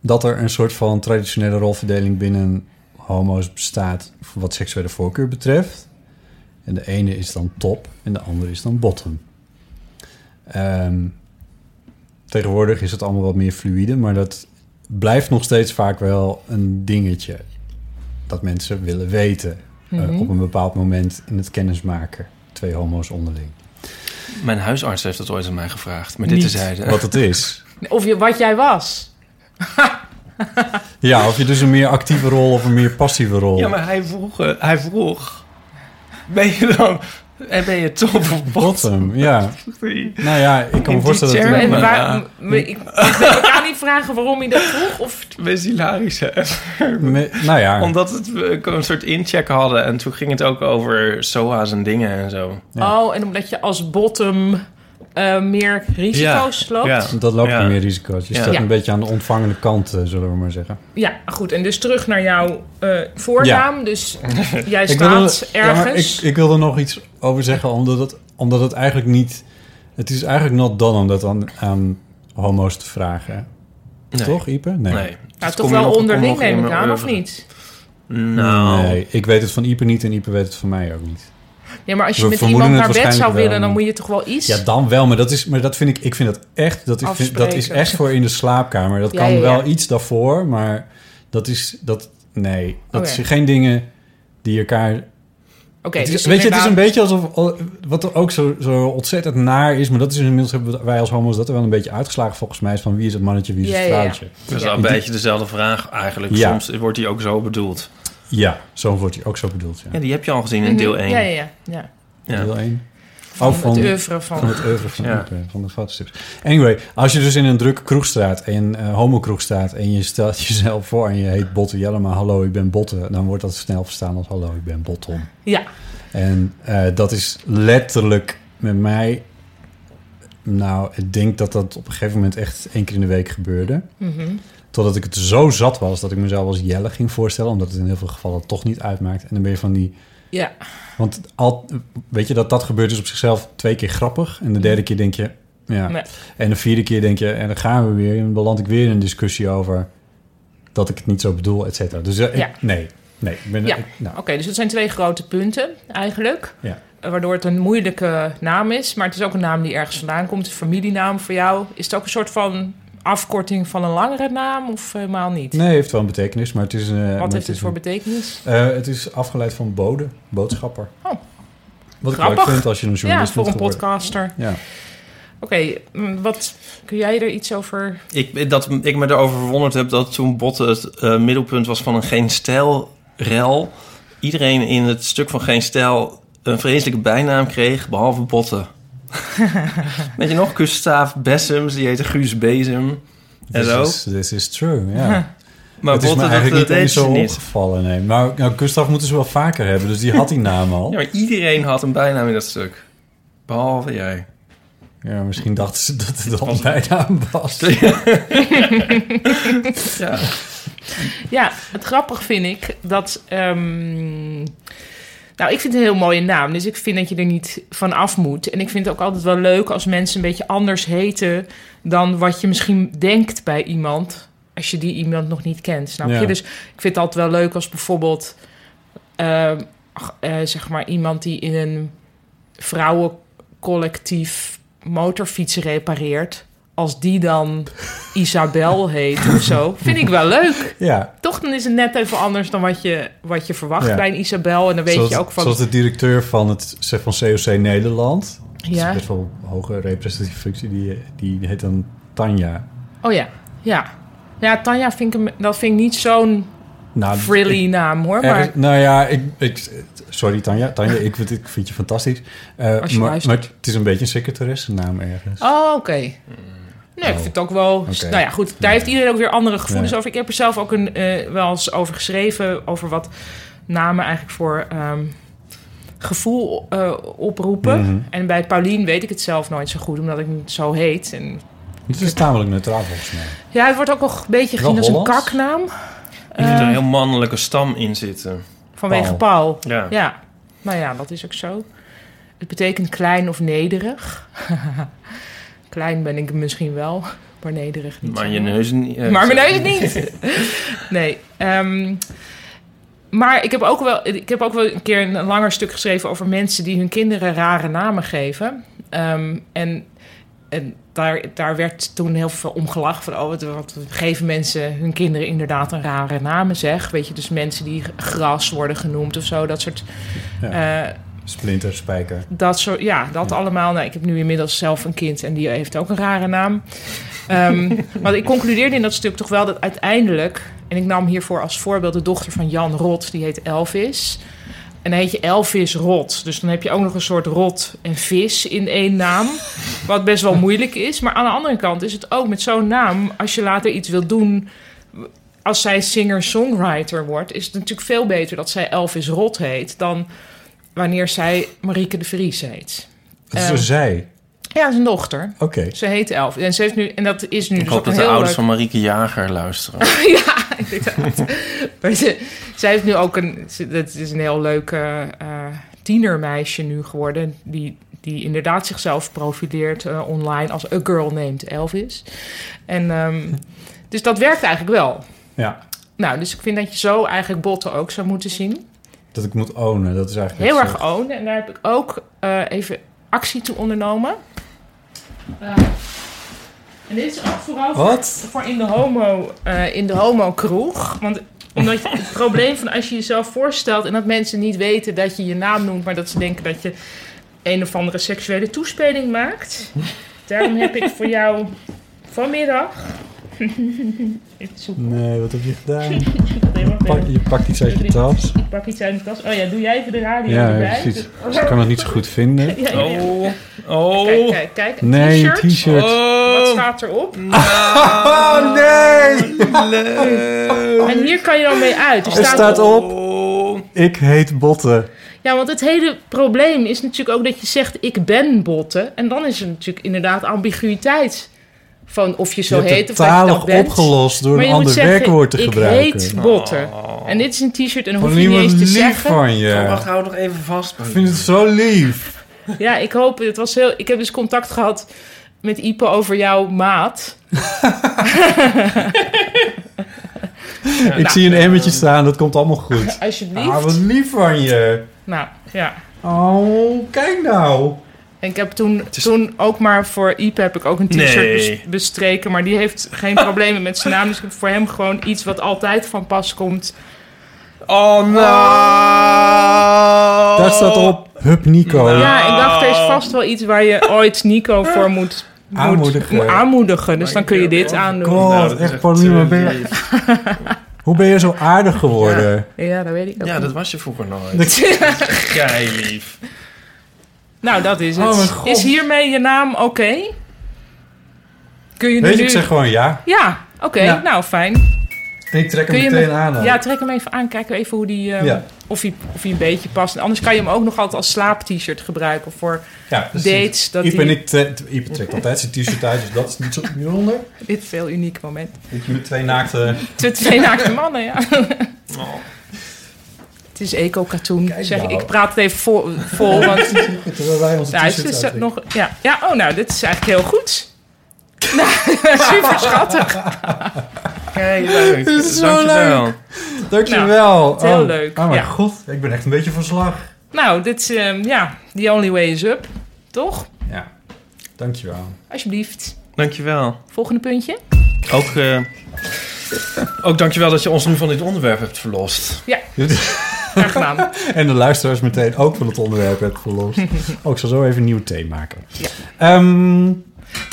[SPEAKER 4] Dat er een soort van traditionele rolverdeling binnen homo's bestaat... wat seksuele voorkeur betreft. En de ene is dan top en de andere is dan bottom. Ehm, tegenwoordig is het allemaal wat meer fluïde... maar dat blijft nog steeds vaak wel een dingetje dat mensen willen weten eh,
[SPEAKER 3] Mhm.
[SPEAKER 4] op een bepaald moment in het kennismaken. Twee homo's onderling.
[SPEAKER 2] Mijn huisarts heeft dat ooit aan mij gevraagd, maar dit
[SPEAKER 3] Niet.
[SPEAKER 2] tezijde.
[SPEAKER 4] Wat het is.
[SPEAKER 3] Of je, wat jij was.
[SPEAKER 4] Ja, of je dus een meer actieve rol of een meer passieve rol.
[SPEAKER 2] Ja, maar hij vroeg, eh, hij vroeg, ben je dan, eh, ben je top of bottom?
[SPEAKER 4] Bottom, ja. Nou ja, ik kan me
[SPEAKER 2] die
[SPEAKER 4] voorstellen dat...
[SPEAKER 2] term-
[SPEAKER 4] er-
[SPEAKER 3] En
[SPEAKER 2] maar
[SPEAKER 3] waar,
[SPEAKER 2] ja.
[SPEAKER 3] m- ik, ik wil elkaar niet vragen waarom hij dat vroeg. Of,
[SPEAKER 2] Wees hilarisch, hè?
[SPEAKER 4] me- nou ja,
[SPEAKER 2] Omdat het, we een soort incheck hadden en toen ging het ook over SOA's en dingen en zo.
[SPEAKER 4] Ja.
[SPEAKER 3] Oh, en omdat je als bottom eh, meer risico's loopt. Ja.
[SPEAKER 2] Ja.
[SPEAKER 4] dat loopt
[SPEAKER 2] Ja.
[SPEAKER 4] er meer risico's. Je
[SPEAKER 2] Ja.
[SPEAKER 4] staat
[SPEAKER 3] Ja.
[SPEAKER 4] een beetje aan de ontvangende kant, eh, zullen we maar zeggen.
[SPEAKER 3] goed. En dus terug naar jouw eh, voornaam. Dus jij
[SPEAKER 4] wil er-
[SPEAKER 3] staat
[SPEAKER 4] ja, maar
[SPEAKER 3] ergens.
[SPEAKER 4] ik, ik wil er nog iets over zeggen, omdat het, omdat het eigenlijk niet... Het is eigenlijk not done om dat aan, aan homo's te vragen.
[SPEAKER 2] Nee.
[SPEAKER 4] Toch, Ipe? Nee.
[SPEAKER 2] Nee.
[SPEAKER 3] nou,
[SPEAKER 2] Dat
[SPEAKER 3] toch
[SPEAKER 2] kom je
[SPEAKER 3] wel
[SPEAKER 2] nog-
[SPEAKER 3] onderling
[SPEAKER 2] kom nog
[SPEAKER 3] neem ik
[SPEAKER 2] in-
[SPEAKER 3] aan, of
[SPEAKER 2] over-
[SPEAKER 3] niet?
[SPEAKER 2] Nou,
[SPEAKER 4] Nee, ik weet het van Ipe niet en Ipe weet het van mij ook niet.
[SPEAKER 3] Ja, maar als je
[SPEAKER 4] We
[SPEAKER 3] met
[SPEAKER 4] vermoeden
[SPEAKER 3] iemand
[SPEAKER 4] het
[SPEAKER 3] naar bed zou
[SPEAKER 4] waarschijnlijk
[SPEAKER 3] willen,
[SPEAKER 4] wel.
[SPEAKER 3] dan moet je toch wel iets...
[SPEAKER 4] Ja, dan wel, maar dat, is, maar dat vind ik, ik vind dat echt, dat, ik vind, dat is
[SPEAKER 3] Afspreken.
[SPEAKER 4] echt voor in de slaapkamer. Dat
[SPEAKER 3] Ja,
[SPEAKER 4] kan
[SPEAKER 3] ja, ja.
[SPEAKER 4] wel iets daarvoor, maar dat is, dat, nee, dat
[SPEAKER 3] Oké.
[SPEAKER 4] zijn geen dingen die elkaar...
[SPEAKER 3] Oké,
[SPEAKER 4] het is-
[SPEAKER 3] dus
[SPEAKER 4] weet je, het is
[SPEAKER 3] inderdaad-
[SPEAKER 4] een beetje alsof, al- wat er ook zo, zo ontzettend naar is, maar dat is dus inmiddels, hebben wij als homo's dat er wel een beetje uitgeslagen volgens mij, is van wie is het mannetje, wie is
[SPEAKER 3] Ja,
[SPEAKER 4] het
[SPEAKER 3] ja, ja.
[SPEAKER 4] vrouwtje.
[SPEAKER 2] dat is wel een
[SPEAKER 4] Ja.
[SPEAKER 2] beetje dezelfde vraag eigenlijk.
[SPEAKER 4] Ja.
[SPEAKER 2] Soms wordt die ook zo bedoeld.
[SPEAKER 4] Ja, zo wordt hij ook zo bedoeld, ja.
[SPEAKER 2] Ja, die heb je al gezien in deel 1.
[SPEAKER 3] Mhm. Ja, ja, ja. ja.
[SPEAKER 2] Ja.
[SPEAKER 4] Deel één.
[SPEAKER 3] Van,
[SPEAKER 4] Oh, van-
[SPEAKER 3] het oeuvre van...
[SPEAKER 4] Van het oeuvre van,
[SPEAKER 2] Ja.
[SPEAKER 4] Ipe, van de fotostrips. Anyway, als je dus in een drukke kroeg staat, en eh homokroeg staat... en je stelt jezelf voor en je heet Botte Jellema, hallo, ik ben Botte... dan wordt dat snel verstaan als hallo, ik ben Bottom.
[SPEAKER 3] Ja,
[SPEAKER 4] En eh, dat is letterlijk met mij... Nou, ik denk dat dat op een gegeven moment echt één keer in de week gebeurde.
[SPEAKER 3] mhm.
[SPEAKER 4] Totdat ik het zo zat was dat ik mezelf als Jelle ging voorstellen... omdat het in heel veel gevallen toch niet uitmaakt. En dan ben je van die
[SPEAKER 3] ja.
[SPEAKER 4] want al, weet je dat dat gebeurt is op zichzelf twee keer grappig. En de derde
[SPEAKER 3] Mhm.
[SPEAKER 4] keer denk je, ja.
[SPEAKER 3] Nee.
[SPEAKER 4] En de vierde keer denk je, en dan gaan we weer. En dan beland ik weer in een discussie over dat ik het niet zo bedoel, et cetera. Dus eh, ik-
[SPEAKER 3] Ja.
[SPEAKER 4] nee, nee. Ik ben,
[SPEAKER 3] Ja.
[SPEAKER 4] ik- nou,
[SPEAKER 3] Oké, dus dat zijn twee grote punten eigenlijk.
[SPEAKER 4] Ja.
[SPEAKER 3] Eh, Waardoor het een moeilijke naam is. Maar het is ook een naam die ergens vandaan komt. Een familienaam voor jou. Is het ook een soort van afkorting van een langere naam? Of helemaal niet?
[SPEAKER 4] nee, heeft wel een betekenis, maar het is... eh, maar
[SPEAKER 3] Wat heeft
[SPEAKER 4] is
[SPEAKER 3] het voor
[SPEAKER 4] een-
[SPEAKER 3] betekenis?
[SPEAKER 4] eh, Het is afgeleid van bode, boodschapper.
[SPEAKER 3] Oh.
[SPEAKER 4] Wat ik
[SPEAKER 3] Grappig.
[SPEAKER 4] leuk vind als je een
[SPEAKER 3] Ja,
[SPEAKER 4] journalist
[SPEAKER 3] voor
[SPEAKER 4] moet
[SPEAKER 3] een
[SPEAKER 4] worden.
[SPEAKER 3] podcaster.
[SPEAKER 4] Ja.
[SPEAKER 3] Oké, mm, wat kun jij er iets over?
[SPEAKER 2] Ik, dat ik me erover verwonderd heb dat toen Botten het eh, middelpunt was van een geen stijl rel, iedereen in het stuk van geen stijl een vreselijke bijnaam kreeg, behalve Botten. Weet je nog, Gustav Bessems, die heette Guus Bezem en
[SPEAKER 4] This
[SPEAKER 2] zo.
[SPEAKER 4] is, this is true, ja.
[SPEAKER 2] Maar
[SPEAKER 4] het is me
[SPEAKER 2] Botten, dat,
[SPEAKER 4] eigenlijk
[SPEAKER 2] dat
[SPEAKER 4] niet
[SPEAKER 2] deed
[SPEAKER 4] eens
[SPEAKER 2] ze
[SPEAKER 4] zo
[SPEAKER 2] niet.
[SPEAKER 4] opgevallen. Nee. Nou, nou, Gustav moeten ze wel vaker hebben, dus die had die naam al.
[SPEAKER 2] Ja, maar iedereen had een bijnaam in dat stuk. Behalve jij.
[SPEAKER 4] Ja, misschien dachten ze dat het al bijna een was.
[SPEAKER 2] Ja.
[SPEAKER 3] Ja, het grappig vind ik dat. ehm, nou, ik vind het een heel mooie naam. Dus ik vind dat je er niet van af moet. En ik vind het ook altijd wel leuk als mensen een beetje anders heten dan wat je misschien denkt bij iemand. Als je die iemand nog niet kent, snap
[SPEAKER 4] Ja.
[SPEAKER 3] je? Dus ik vind het altijd wel leuk als bijvoorbeeld, ehm, ach, eh, zeg maar, iemand die in een vrouwencollectief motorfietsen repareert. Als die dan Isabel heet of zo. Vind ik wel leuk
[SPEAKER 4] Ja,
[SPEAKER 3] toch dan is het net even anders dan wat je, wat je verwacht
[SPEAKER 4] Ja.
[SPEAKER 3] bij een Isabel. En dan weet
[SPEAKER 4] zoals,
[SPEAKER 3] je ook van...
[SPEAKER 4] zoals de directeur van het zeg van COC Nederland. Dat is
[SPEAKER 3] ja.
[SPEAKER 4] best wel een hoge representatieve functie. Die, die heet dan Tanja.
[SPEAKER 3] Oh ja, ja. Ja, Tanja vind ik, hem- dat vind ik niet zo'n
[SPEAKER 4] Nou,
[SPEAKER 3] frilly
[SPEAKER 4] ik-
[SPEAKER 3] naam hoor.
[SPEAKER 4] er-
[SPEAKER 3] Maar
[SPEAKER 4] nou ja, ik, ik, sorry Tanja. Tanja, ik, vind- ik vind je fantastisch. Eh,
[SPEAKER 3] Als je
[SPEAKER 4] maar,
[SPEAKER 3] luistert.
[SPEAKER 4] maar het is een beetje een secretaressennaam ergens.
[SPEAKER 3] Oh, oké. Nee, ik vind het ook wel...
[SPEAKER 4] Oh. Oké.
[SPEAKER 3] Nou ja, goed. Daar heeft iedereen ook weer andere gevoelens
[SPEAKER 4] Ja.
[SPEAKER 3] over. Ik heb er zelf ook een, eh, wel eens over geschreven... over wat namen eigenlijk voor ehm, gevoel eh, oproepen.
[SPEAKER 4] Mhm.
[SPEAKER 3] En bij Paulien weet ik het zelf nooit zo goed... omdat ik niet zo heet. En,
[SPEAKER 4] Het is tamelijk neutraal volgens mij.
[SPEAKER 3] ja, het wordt ook wel een beetje gezien
[SPEAKER 4] Wel
[SPEAKER 3] als een
[SPEAKER 4] Hollands.
[SPEAKER 3] kaknaam.
[SPEAKER 2] Er
[SPEAKER 3] Eh.
[SPEAKER 2] moet een heel mannelijke stam in zitten.
[SPEAKER 3] Vanwege
[SPEAKER 4] Paul.
[SPEAKER 3] Paul.
[SPEAKER 2] Ja.
[SPEAKER 3] Ja, nou ja, dat is ook zo. Het betekent klein of nederig. klein ben ik misschien wel, maar nederig niet.
[SPEAKER 2] Maar
[SPEAKER 3] zo.
[SPEAKER 2] je neus niet. eh,
[SPEAKER 3] Maar
[SPEAKER 2] zo.
[SPEAKER 3] mijn neus niet. nee. ehm, maar ik heb, ook wel, ik heb ook wel een keer een langer stuk geschreven over mensen die hun kinderen rare namen geven. Ehm, en en daar, daar werd toen heel veel om gelachen. Van, oh, wat, wat geven mensen hun kinderen inderdaad een rare namen, zeg. Weet je, dus mensen die gras worden genoemd of zo. Dat soort
[SPEAKER 4] Ja.
[SPEAKER 3] eh,
[SPEAKER 4] Splinter, spijker.
[SPEAKER 3] dat soort, ja, dat allemaal. Nou, ik heb nu inmiddels zelf een kind en die heeft ook een rare naam. Ehm maar ik concludeerde in dat stuk toch wel dat uiteindelijk... en ik nam hiervoor als voorbeeld de dochter van Jan Rot, die heet Elvis. En dan heet je Elvis Rot. Dus dan heb je ook nog een soort rot en vis in één naam. Wat best wel moeilijk is. Maar aan de andere kant is het ook met zo'n naam... als je later iets wilt doen... als zij singer-songwriter wordt... is het natuurlijk veel beter dat zij Elvis Rot heet... dan wanneer zij Marieke de Vries heet.
[SPEAKER 4] Het is
[SPEAKER 3] Eh,
[SPEAKER 4] een zij.
[SPEAKER 3] Ja, zijn dochter.
[SPEAKER 4] Oké.
[SPEAKER 3] Ze heet Elf. En, ze heeft nu, en dat is nu
[SPEAKER 2] Ik
[SPEAKER 3] dus
[SPEAKER 2] hoop
[SPEAKER 3] ook
[SPEAKER 2] dat
[SPEAKER 3] een
[SPEAKER 2] de
[SPEAKER 3] heel
[SPEAKER 2] ouders
[SPEAKER 3] leuk...
[SPEAKER 2] van Marieke Jager luisteren.
[SPEAKER 3] ja, inderdaad. maar ze, zij heeft nu ook een... ze- Dat is een heel leuk eh, eh, tienermeisje nu geworden... Die, die inderdaad zichzelf profileert eh, online als A Girl Named Elvis. En, ehm, dus dat werkt eigenlijk wel.
[SPEAKER 4] Ja,
[SPEAKER 3] Nou, dus ik vind dat je zo eigenlijk botten ook zou moeten zien.
[SPEAKER 4] dat ik moet ownen. Dat is eigenlijk...
[SPEAKER 3] heel
[SPEAKER 4] wat
[SPEAKER 3] erg ownen. En daar heb ik ook eh, even actie toe ondernomen. Eh, en dit is ook vooral voor,
[SPEAKER 4] Wat?
[SPEAKER 3] voor in de homo, eh, in de homo kroeg. Want omdat je- het probleem van als je jezelf voorstelt en dat mensen niet weten dat je je naam noemt, maar dat ze denken dat je een of andere seksuele toespeling maakt. Daarom heb ik voor jou vanmiddag. Even zoeken.
[SPEAKER 4] Nee, wat heb je gedaan?
[SPEAKER 3] Ik had helemaal
[SPEAKER 4] Pak,
[SPEAKER 3] geen-
[SPEAKER 4] je pakt iets uit je tas.
[SPEAKER 3] Ik pak iets uit mijn tas. Oh ja, doe jij even de radio
[SPEAKER 4] Ja,
[SPEAKER 3] erbij.
[SPEAKER 4] precies. Dus ik kan het niet zo goed vinden.
[SPEAKER 3] Ja, ja, ja.
[SPEAKER 2] Oh.
[SPEAKER 3] Kijk,
[SPEAKER 2] Oh.
[SPEAKER 3] kijk, kijk. Een
[SPEAKER 4] Nee, een
[SPEAKER 3] t-shirt.
[SPEAKER 4] t-shirt.
[SPEAKER 3] Wat
[SPEAKER 2] Oh.
[SPEAKER 3] staat erop?
[SPEAKER 4] Oh nee!
[SPEAKER 3] En hier kan je dan mee uit. Er
[SPEAKER 4] Er
[SPEAKER 3] staat
[SPEAKER 4] staat op,
[SPEAKER 2] Oh.
[SPEAKER 4] ik heet Botten.
[SPEAKER 3] Ja, want het hele probleem is natuurlijk ook dat je zegt... ik ben botten. En dan is er natuurlijk inderdaad ambiguïteit... van of je
[SPEAKER 4] Je
[SPEAKER 3] zo
[SPEAKER 4] hebt
[SPEAKER 3] heet
[SPEAKER 4] het
[SPEAKER 3] of dat je
[SPEAKER 4] talig
[SPEAKER 3] dat bent.
[SPEAKER 4] opgelost door
[SPEAKER 3] maar
[SPEAKER 4] een
[SPEAKER 3] je moet
[SPEAKER 4] ander
[SPEAKER 3] zeggen,
[SPEAKER 4] werkwoord te
[SPEAKER 3] ik
[SPEAKER 4] gebruiken.
[SPEAKER 3] heet botten. En dit is een t-shirt en dan
[SPEAKER 4] Wat
[SPEAKER 3] hoef je niet
[SPEAKER 4] niemand
[SPEAKER 3] eens te
[SPEAKER 4] lief
[SPEAKER 3] zeggen.
[SPEAKER 4] van
[SPEAKER 2] Oh,
[SPEAKER 4] je.
[SPEAKER 2] Wacht, hou nog even vast.
[SPEAKER 4] Ik vind het zo lief.
[SPEAKER 3] Ja, ik hoop... Het was heel, ik heb dus contact gehad met Ipe over jouw maat. nou.
[SPEAKER 4] Ik zie een emmertje staan, dat komt allemaal goed.
[SPEAKER 3] Alsjeblieft.
[SPEAKER 4] Ah, wat lief van je.
[SPEAKER 3] Nou, ja.
[SPEAKER 4] Oh, kijk nou.
[SPEAKER 3] En ik heb toen, toen ook maar voor Iep heb ik ook een t-shirt
[SPEAKER 2] Nee.
[SPEAKER 3] bes- bestreken. Maar die heeft geen problemen met zijn naam. Dus ik heb voor hem gewoon iets wat altijd van pas komt.
[SPEAKER 2] Oh, nou.
[SPEAKER 4] Daar staat op, Hup Nico.
[SPEAKER 3] Ja, ik dacht, er
[SPEAKER 2] Oh.
[SPEAKER 3] is vast wel iets waar je ooit Nico voor moet, moet
[SPEAKER 4] Aanmoedigen.
[SPEAKER 3] moet aanmoedigen. Dus dan kun je dit
[SPEAKER 2] Oh,
[SPEAKER 3] aandoen.
[SPEAKER 4] God.
[SPEAKER 2] Nou, dat is
[SPEAKER 4] echt,
[SPEAKER 2] echt,
[SPEAKER 4] Paulien,
[SPEAKER 2] eh,
[SPEAKER 4] waar ben je-
[SPEAKER 2] lief.
[SPEAKER 4] Hoe ben je zo aardig geworden?
[SPEAKER 3] Ja, dat weet ik ook.
[SPEAKER 2] Ja, dat was je vroeger nooit. Kei lief.
[SPEAKER 3] Nou, dat is
[SPEAKER 4] Oh, mijn
[SPEAKER 3] het.
[SPEAKER 4] God.
[SPEAKER 3] is hiermee je naam oké? Kun je
[SPEAKER 4] Weet
[SPEAKER 3] nu...
[SPEAKER 4] je, ik zeg gewoon ja.
[SPEAKER 3] Ja, oké.
[SPEAKER 4] Ja.
[SPEAKER 3] Nou, fijn.
[SPEAKER 4] Ik trek hem
[SPEAKER 3] Kun je
[SPEAKER 4] meteen
[SPEAKER 3] me-
[SPEAKER 4] aan. dan.
[SPEAKER 3] Ja, trek hem even aan. Kijken we even hoe die, eh,
[SPEAKER 4] Ja.
[SPEAKER 3] of, hij, of hij een beetje past. En anders kan je hem ook nog altijd als slaap-t-shirt gebruiken. Of voor
[SPEAKER 4] Ja,
[SPEAKER 3] dates, dat
[SPEAKER 4] Ipe,
[SPEAKER 3] die-
[SPEAKER 4] en ik tre- Ipe trekt altijd zijn t-shirt uit, dus dat is niet zo bijzonder.
[SPEAKER 3] dit veel uniek moment.
[SPEAKER 4] Dat je met twee naakte...
[SPEAKER 3] Twee- Twee naakte mannen, ja. Het is eco-katoen.
[SPEAKER 4] Oh. Kijk
[SPEAKER 3] Zeg,
[SPEAKER 4] nou.
[SPEAKER 3] ik praat het even vol, vol want
[SPEAKER 4] Terwijl wij onze
[SPEAKER 3] ja, het
[SPEAKER 4] t-shirts
[SPEAKER 3] is
[SPEAKER 4] uittrekken.
[SPEAKER 3] nog, ja. ja, oh nou, dit is eigenlijk heel goed. Nou, super schattig.
[SPEAKER 2] Kijk, leuk.
[SPEAKER 4] Dit is zo
[SPEAKER 2] Dankjewel.
[SPEAKER 4] Dankjewel.
[SPEAKER 3] het is Nou, heel
[SPEAKER 4] Oh,
[SPEAKER 3] leuk,
[SPEAKER 4] Oh mijn
[SPEAKER 3] ja.
[SPEAKER 4] god, ik ben echt een beetje van slag.
[SPEAKER 3] Nou, dit is, ehm, ja, the only way is up. Toch?
[SPEAKER 4] Ja, dankjewel.
[SPEAKER 3] Alsjeblieft.
[SPEAKER 2] Dankjewel.
[SPEAKER 3] Volgende puntje.
[SPEAKER 2] Ook, eh ook dankjewel dat je ons nu van dit onderwerp hebt verlost.
[SPEAKER 3] Graag gedaan.
[SPEAKER 4] En de luisteraars meteen ook van het onderwerp hebben verlost. Oh, ik zal zo even een nieuwe thee maken.
[SPEAKER 3] Ja.
[SPEAKER 4] Ehm,